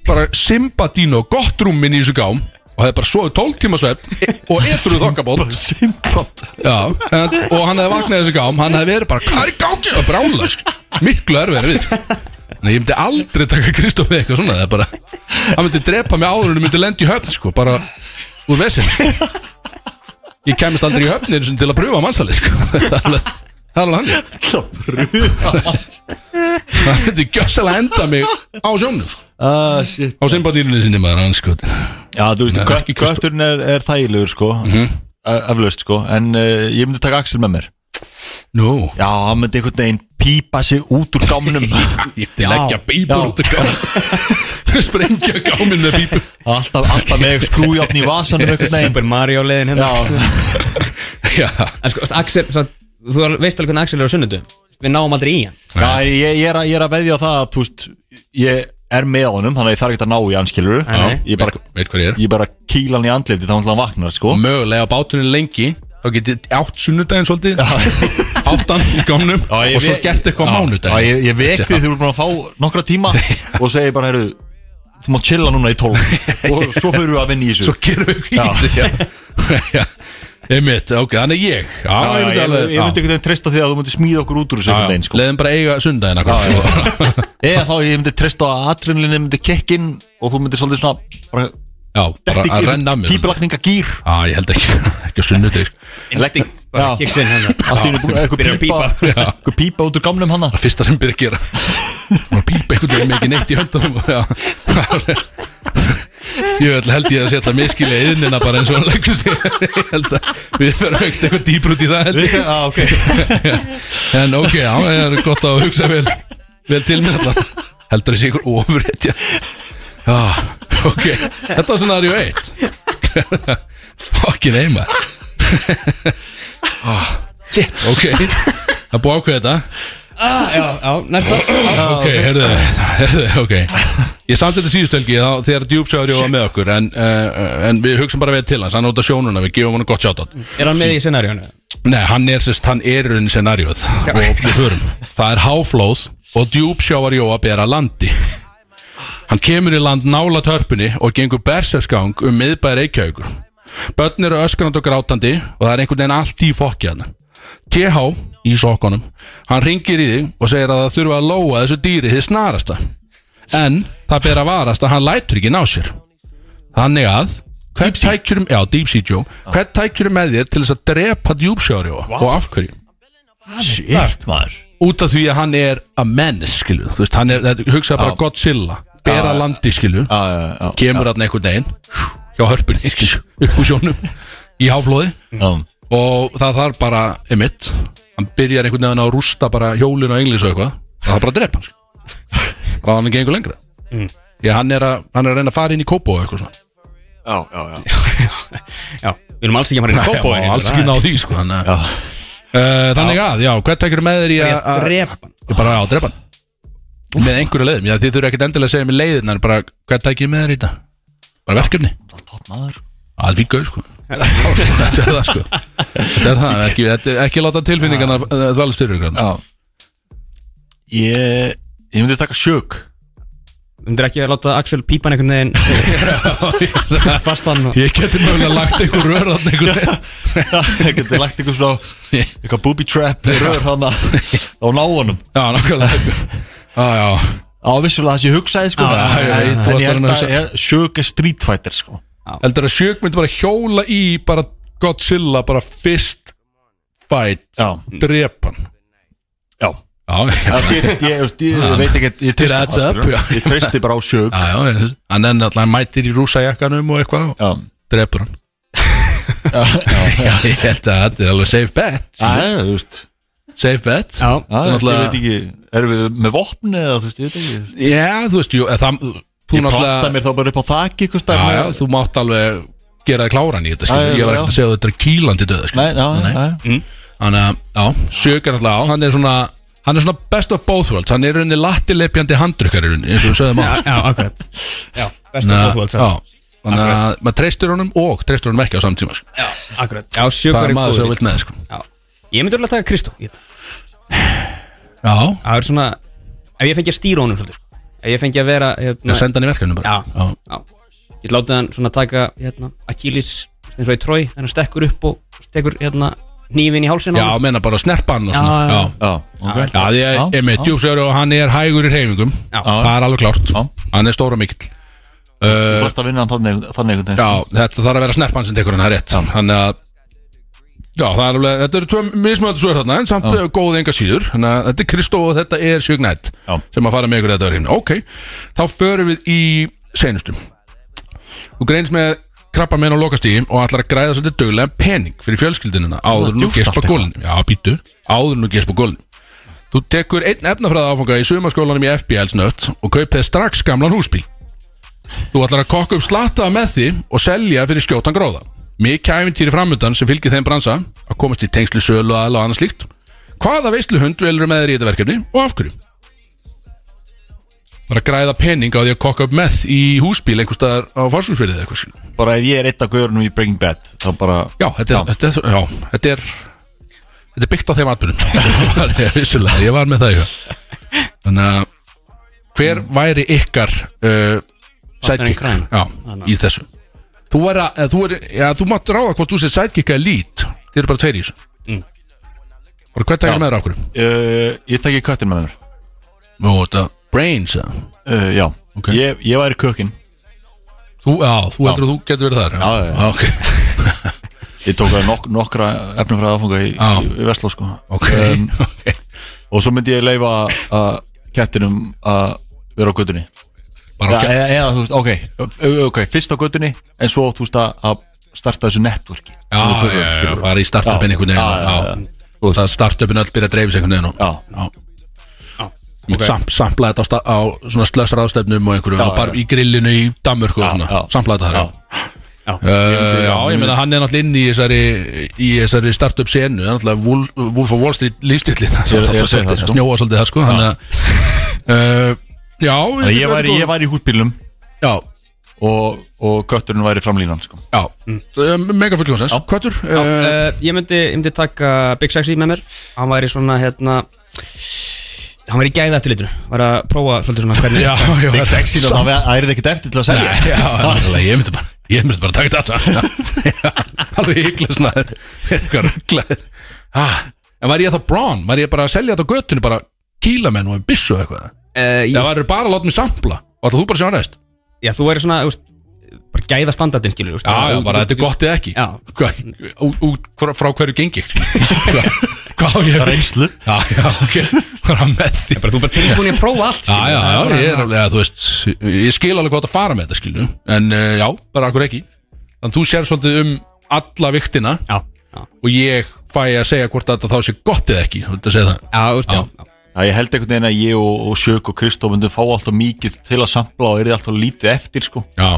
bara Simbadino Gott rúmin í þessu gám Og hefði bara sofið 12 tíma svefn e- Og edru þokkabótt Bara Simbad Já en, Og hann hefði vaknað í þessu gám Hann hefði verið bara Hvað er í gangi? Og brála sko. Miklu erfið við sko. Nei, ég myndi aldrei taka Kristó með eitthvað svona Það er bara Hann myndi drepa mig áður En myndi lendi í höfn sko Bara úr vesin sko. Ég kemist aldrei í höfnin sinni Til að pröfa mannsali sko. Það er alveg Það er alveg hann Það myndi gjössalega enda mig á sjónum sko.
Ah, shit
Á simbadýrinu sinni maður hann sko
Já, þú veist,
Nei,
kött,
ekki Kristó.
kötturinn er, er þægilegur sko Ö- Eflaust sko En uh, ég myndi taka Axel með mér
Nú
Já, hann myndi einhvern veginn pípa sig út úr gámnum
Ég til leggja bíbur út og gáð Sprengja gáminn með bíbur
alltaf, alltaf með skrújáfn í vasanum einhvern veginn
Super Mario leiðin hérna
Já,
Já
En sko, Axel, svo, þú veist alveg hvernig Axel er á sunnudu Við náum aldrei í hann
já ég, ég, er að, ég er að veðja á það að þú veist Ég er með honum, þannig að ég þarf ekki að ná í hann skilur
nei.
Ég bara,
Veit hvað ég er
ég bara kýla hann í andliti þá hann hann vaknar sko
Og mögulega á bátunni lengi Þá getið átt sunnudaginn svolítið Áttan í gámnum
Já, ég
Og svo
ve-
gert eitthvað á
Já, Já,
mánudaginn
ég, ég vek
Þetta-
því þú erum búin að fá nokkra tíma og segi bara, heyrðu, þú má chilla núna í tólf og svo fyrir við að vinna í þessu
Svo gerum við
Já.
ekki í þessu Já Einmitt, ok, þannig ég Já,
Já,
ég
já,
myndi
ég,
alveg
ég myndi einhvern veginn treysta því að þú myndi smíða okkur út úr þessu einhvern veginn sko.
Leðum bara eiga sundaginn akkur
eða þá ég myndi treysta að adrenalinni myndi kekkin og þú myndir svolítið svona bara,
Já, bara að renna að mér
pípulakninga gýr
Já, ég held ekki, ekki sko. að sunnu þig
Instinkt, bara
Já.
kikks inn hann
allt í einu búin
Byrjar
eitthvað
að
pípa
pípa.
Já.
eitthvað pípa út úr gamlum hana
Það fyrsta sem byrja að gera Hún pípa einhvern veginn með ekki neitt í höndunum Já Ég held, held ég að setja miskilja yðnina bara eins og hann leggur sig Ég held að Við ferum ekkert eitthvað dýpr út í það held ég.
ah, okay.
En ok, já, það er gott að hugsa vel Vel til mér allan Heldur þessi ykkur ofrétt Já, ok Þetta var scenario 1 Fucking eima Shit, ok Það er búið að ákveða þetta
Já, næsta
Ok, herðu, herðu, ok Ég samt þetta síðustu helgi þá þegar djúpsjáður var með okkur en, uh, en við hugsaum bara við til hans, hann er út af sjónuna við gefum hann gott sjátt
Er hann með í scenarjónu?
Nei, hann er sérst, hann er unn scenarióð og við förum Það er háflóð og djúpsjávar Jóa bera landi Hann kemur í land nála törpunni og gengur berserskang um miðbæri reykjaukur Börn eru öskrand og grátandi og það er einhvern veginn allt í fokkjaðna TH í sokkunum Hann ringir í þig og segir að það þurfa að lóa þessu dýri þið snarasta En það ber að varast að hann lætur ekki ná sér Þannig að Hvern tækjurum, já, Deep Sea Joe Hvern tækjurum með þér til þess að drepa djúpsjári og af hverju?
shit maður
Út af því að hann er a menace, skilju Þú veist, hann er, þetta- hugsaðu bara Godzilla Bera landi, skilju
ah, já, já,
Kemur hann einhvern veginn Hjá hörpunni, skilju, upp úr sjónum Í háflóði
já.
Og það þarf bara, emitt Hann byrjar einhvern veginn að rústa bara hjólinu og englis og eitthvað Það þarf bara að drepa hann, skilju Það hann ekki einhver lengra Því að hann er að, hann er að reyna að fara inn í kópo og eitthvað svona
Já, já, já.
Já, við erum alls ekki að fara inn í kópa
Já, alls ekki ná því sko þannig að Uh, þannig að, já, hvað tekur með þér í að
Ég
að-
drep hann
Ég bara á drepan Með einhverju leiðum, já, þið þurfum ekkert endilega að segja mér leiðin En bara, hvað tekur með þér í þetta? Bara verkefni
Það er topp maður
Það er vikau sko Þetta er það sko Þetta er það, ekki, þetta er- ekki láta tilfinningarna uh, Þvæla styrur ykkur
já. Ég, ég myndi taka sjög
Þú myndir ekki að láta Axel pípa hann einhvern veginn Fastan og
Ég geti mögulega lagt einhver rör þarna einhver leið.
Ég geti lagt eitthvað svona eitthvað booby trap í rör hana á náunum
Já, nákvæmlega Já, já
á vissulega það sem ég hugsaði sko
Já, já, já,
En- en
ég- þú varst
ég held
alveg
að-
að-
Sjög er Street Fighter sko
Heldur að Sjög myndi bara hjóla í bara Godzilla bara fyrst fight,
Já,
drepan
já
Já, já,
Ég, ég, ég, ég, ég veit ekki, ég treysti
adds
bara,
up,
skilur.
já.
Ég treysti bara á sjög
já, já ég- hann er náttúrulega mætir í rúsajakkanum og eitthvað og
Já,
drepur hann Já, ég held að þetta er alveg safe bet
já, þú veist
Safe bet Já,
Já, þú veist, ég veit
náttúrulega
ekki, erum við með vopn eða þú veist, ég veit ekki
Já, þú veist, jú, eða það Þú
Ég planta
náttúrulega
mér þá bara upp á þakki ykkur
Já, já,
stafn
þú mátt alveg gera það kláran í þetta, skilur
Já, já,
Ég var
já.
ekkert að segja að þetta er kýlandi döð, skilur
Nei, já, já, já
Mm. Þannig að, já, Sjögg er náttúrulega á Hann er svona, hann er svona best of both worlds Hann er í rauninni lattilepjandi handrukkar í rauninni Eins og við sögðum á
Já, akkurat Já, best of both worlds
Þannig að, já, þannig að maður treystur honum og treystur honum ekki á samtíma sko.
Já, akkurat Já, sjögur
Það
er
er maður sem
góður
vilt með sko.
Já. Ég myndi alveg að taka Kristó Ég-
Já,
Það er svona Ef ég fengi að stýra honum svolítið sko. Ef ég fengi að vera hérna,
það senda hann í verkefni bara
Já. já. Ég látið hann svona taka hérna, Achilles eins og í trói Þannig að stekkur upp og tekur hérna, nýfin í hálsinn
já,
á honum.
menna bara snerpa hann og
Já,
svona
já,
Já,
já.
Já, ok
já því að ég er með djúpsöru og hann er hægur í reyfingum
Já.
Það er alveg klárt,
Já.
hann er stóra mikill
Þú
uh,
ætti að vinna hann þannig þannig einhvern veginn
Já, þetta þarf að vera snerpan sem tekur hann, það er rétt Þannig að Já, það er alveg, þetta eru tvö mismöndu svo þarna en samt já. góð enga síður þannig að þetta er Kristó og þetta er Sjögnætt
Já.
sem að fara með ykkur í þetta verkefni Ok, þá förum við í senustum Þú greins með krabba meina á lokastíði og ætlar að græða svolítið dögulega pening fyrir fjölskyldinina áður nú
djúpt
gespa
allt eitthvað.
gólinu Já, býtu, áður nú gespa gólinu Þú tekur einn efnafræða áfanga í sumaskólanum í FBL snött og kaup þeir strax gamlan húsbíl Þú ætlar að kokka upp slattaða með því og selja fyrir skjótan gróða. Mikið æfintýri framöndan sem fylgir þeim bransa að komast í tengslu sölu aðal og annað slíkt. Hvaða veisluhund velur með þér í þetta verkefni og af hverju? Bara að græða pening á því að kokka upp með í húsbíl einhvers staðar á farsúsverðið eða eitthvað skil.
Bara ef ég er eitt af gaurunum í Breaking Bad Þá bara
Já, þetta er, þetta er, já, þetta er, þetta er byggt á þeim atbyrjum. Vissulega, ég var með það í það. Þannig að hver
Mm.
væri ykkar uh,
Partner in
sidekick
crime.
já, í þessu? Þú, er að, eða þú, er, já, þú mátt ráða hvort þú sér sidekick eða lead. Þið eru bara tveir í þessu.
Mm.
Bara hvert tækir með þér okkur? Eh,
Uh, Ég tekki köttin með mér
Nú, þetta brains. eða?
uh, Já,
Ok.
ég, ég væri kökkin
Þú, já, þú heldur að þú getur verið þar. Ah,
Já, já, já.
Ok,
Ég tók að nok nokkra efnum frá aðfanga í,
Já.
í, í Vestló sko
Ah. ok.
Um,
ok.
Og svo myndi ég leifa að kettinum að vera á göttunni
Bara
Já,
ok.
eða, eða, þú veist, ok, ö- ok, fyrst á göttunni En svo, þú veist, að- að starta þessu networki
Já, já, já, já, fara í startupin einhvern veginn.
Já, já, já.
já. Og það startupin öll byrja að dreifis einhvern veginn. og-
Já,
okay. sam, samplaði þetta á, sta- á svona slösraðstöfnum og einhverju,
Já,
já, bara
já.
í grillinu í Danmörku og svona,
já.
samplaði þetta þar já.
Já.
Uh, já,
já,
ég
ég
meina hann er náttúrulega inn í þessari, í þessari startup senu, það er náttúrulega Wolf- Wolf of Wall Street lífstillin
Ég er- ég er að segja það, sko.
snjóa svolítið það sko þannig að uh, já,
Þannig að ég væri, ég væri í hútbílum
já,
og, og kötturinn væri framlínan sko.
já, mm. mega full konsens, Köttur uh,
Uh, ég, myndi, ég myndi taka Big Sexy með mér Hann væri svona hérna Hann væri í gæða eftir litinu Var að prófa svolítið svona hvernig
Eh,
já, já,
Big sexy, þá ærið ekkert eftir til að
Nei,
selja
já, náttúrulega, ég myndi bara Ég myndi bara taka þetta allt. Alveg hygglust maður Eitthvað rugglaðir ah, En var ég þá brawn? Var ég bara að selja þetta á göttunni bara kýla menn og en byssu og eitthvað
uh,
Já,
ég,
var ég bara að láta mig sampla Og ætla þú bara að sjá hann rest
Já, þú væri svona, þú veist Bara gæða standardin, skilur þú veist.
Já, já,
Þú-
bara
þú-
þetta er gott eða ekki
Já.
Hva, ú, ú, hva, Frá hverju gengi Hvað hva á ég
Reynslu.
Já, já, ok Hvað er með því
bara, Þú er bara tilbúin í að prófa allt
Já,
skilur.
já,
Það
já,
bara-
ég er alveg að þú veist Ég skil alveg hvað það fara með þetta skilur En uh, já, bara akkur ekki Þannig þú sér svolítið um alla viktina
Já, já,
Og ég fæ að segja hvort þetta þá sé gott eða ekki Þú veist að segja það
já, þú veist, já, já.
Já, ég held einhvern veginn að ég og, og Sjökk og Kristó myndum fá alltaf mikið til að sampla og er alltaf lítið eftir sko.
Já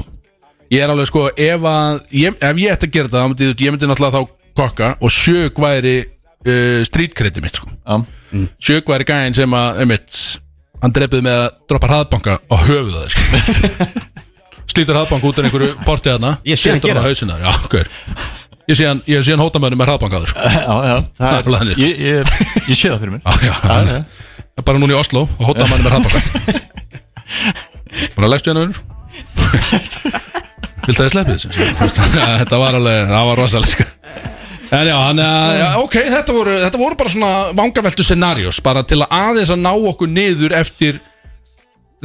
Ég er alveg sko, ef, að, ég, ef ég ætti að gera þetta þá myndi, Ég myndi náttúrulega þá kokka Og sjög væri uh, strítkriti mitt sko.
Já,
Sjög væri gæðin sem að einmitt, Hann drepið með að droppa hraðbanka Á höfuð það sko. Slítur hraðbanka út af einhverju portið hana
Ég sé hann gera.
hausinar, já, hver Ég sé hann, ég sé hann hóta mönnum með hraðbanka á þér, sko.
já, já
Það er
það,
bara þannig.
ég, ég, ég sé það fyrir mér
Já, já, já, Bara núna í Oslo og hótaði manni með hraðbakka Bara leggstu hérna unnur Viltu að ég sleppi þessu? þetta var alveg, það var rosalega sko. En já, hann, já, ok, þetta voru, þetta voru bara svona vangaveltu scenarios bara til að aðeins að ná okkur niður eftir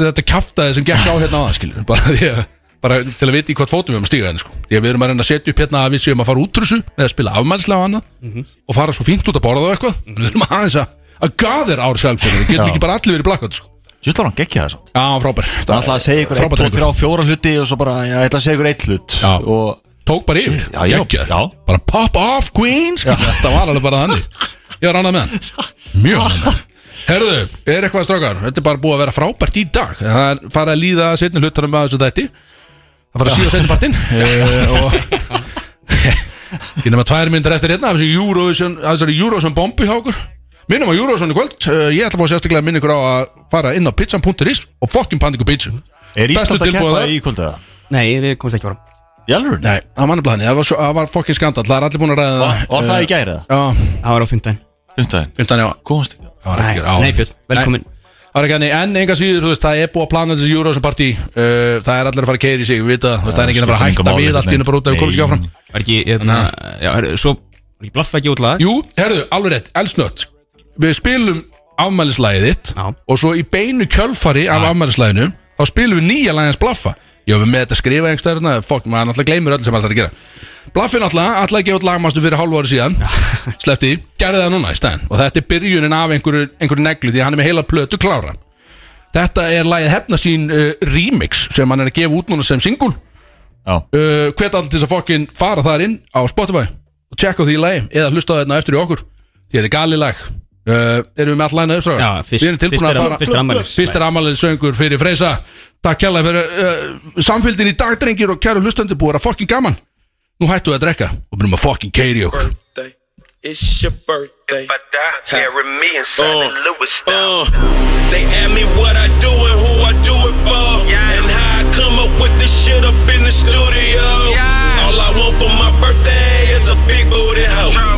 þetta kjaftaði sem gekk á hérna á það skilur bara, því að, bara til að vita í hvað fótum við erum að stíga hérna sko. því að við erum að reyna að setja upp hérna að við séum að fara útrússu með að spila afmælslega og annað
Mhm.
og fara svo fínt út að borða og eitthvað við erum aðeins að, að gaðir ár sjálfsögur við getum
Já.
ekki bara allir verið blakkat sko.
Sjöld var hann geggja það samt
já, frábær
Það ætlaði að segja ykkur 1,
Frábær
2,
drengur.
3, 4 hluti og svo bara, já, ég ætla að segja ykkur 1 hlut
Já.
og
tók bara yfir,
Já, ég-
geggjaður.
já.
bara pop off queen skilur. þetta var alveg bara þannig ég var ránað með hann mjög ránað með hann. Herðu, er eitthvað strákar, þetta er bara búið að vera frábært í dag það er farið að líða setni hlutunum að þessu þætti það farið að síða setni partinn eh, og ég nefna tvær myndir eftir hérna af þessu Eurovision, af þessari Eurovision bombu hjá okkur minnum á Eurovision í kvöld eh, ég ætla að fá sérstaklega að minna ykkur á að fara inn á pizzan.is og fokkin pandingu pizza
er Ísland
Bestu
að
tilboð
keppa
það?
í kvöldu það?
Nei, við komumst ekki ára
Í alveg?
nei, það var nefnilega þannig, það var, svo- það var fokkin skandall það er allir búin að ræða
Var var það í gæri það?
Já,
Það var á fymtdæn
Fymtdæðin?
Undan já,
Komast ekki
það var ekki á
Nei, Björn, velkomin
Það var ekki hannig, en enga síður, þú veist, það er búið að plana þessi Eurovision partí uh, Það er allir að fara að keira í sig, við vita Það, það er ekki að fara að
skiptir engu
hætta
máli,
við allt í hennu bara út að við komum ekki áfram
nei.
Var ekki, ég,
Nei.
já, herru, svo Var ekki blaffa ekki út lag
Jú, herðu, alveg rétt, elsnött Við spilum afmælislægið þitt
Já.
Og svo í beinu kjölfari af afmælislæginu Þá spilum við nýja lægins blaffa Ég hef með þetta skrifa einhver stöðurna Fokk, hérna, maður náttúrulega gleymur öll sem alltaf að gera Blaffi náttúrulega, alltaf að gefa út lagmastu fyrir hálfu ári síðan Sleppti, því, gerði það núna í stæðin Og þetta er byrjunin af einhverju, einhverju neglu Því að hann er með heila plötu klára Þetta er lagið hefna sín uh, remix Sem hann er að gefa út núna sem single
Já.
uh, Hvet allir til þess að fokkin fara þar inn Á Spotify og tjekka á því lagi Eða hlusta á þetta eftir í okkur Því þetta er gali lag uh, Erum við með all lagina upp
Já, fyrst-
Við erum tilbúin
fyrst er-
að fara
fyrst er afmælis-
Fyrst er afmælis söngur fyrir Freysa Takk kjærlega fyrir uh, samfylgdin í dag drengir Og kæru hlustandi búið að fokkin gaman Nú hættu við að drekka og byrjum að fokkin keiri okkur
birthday. It's your birthday.
But I bury me in St. Louis style.
Uh, they ask me what I do and who I do it for.
Yeah.
And how I come up with this shit up in the studio.
Yeah.
All I want for my birthday is a big booty hoe.
True.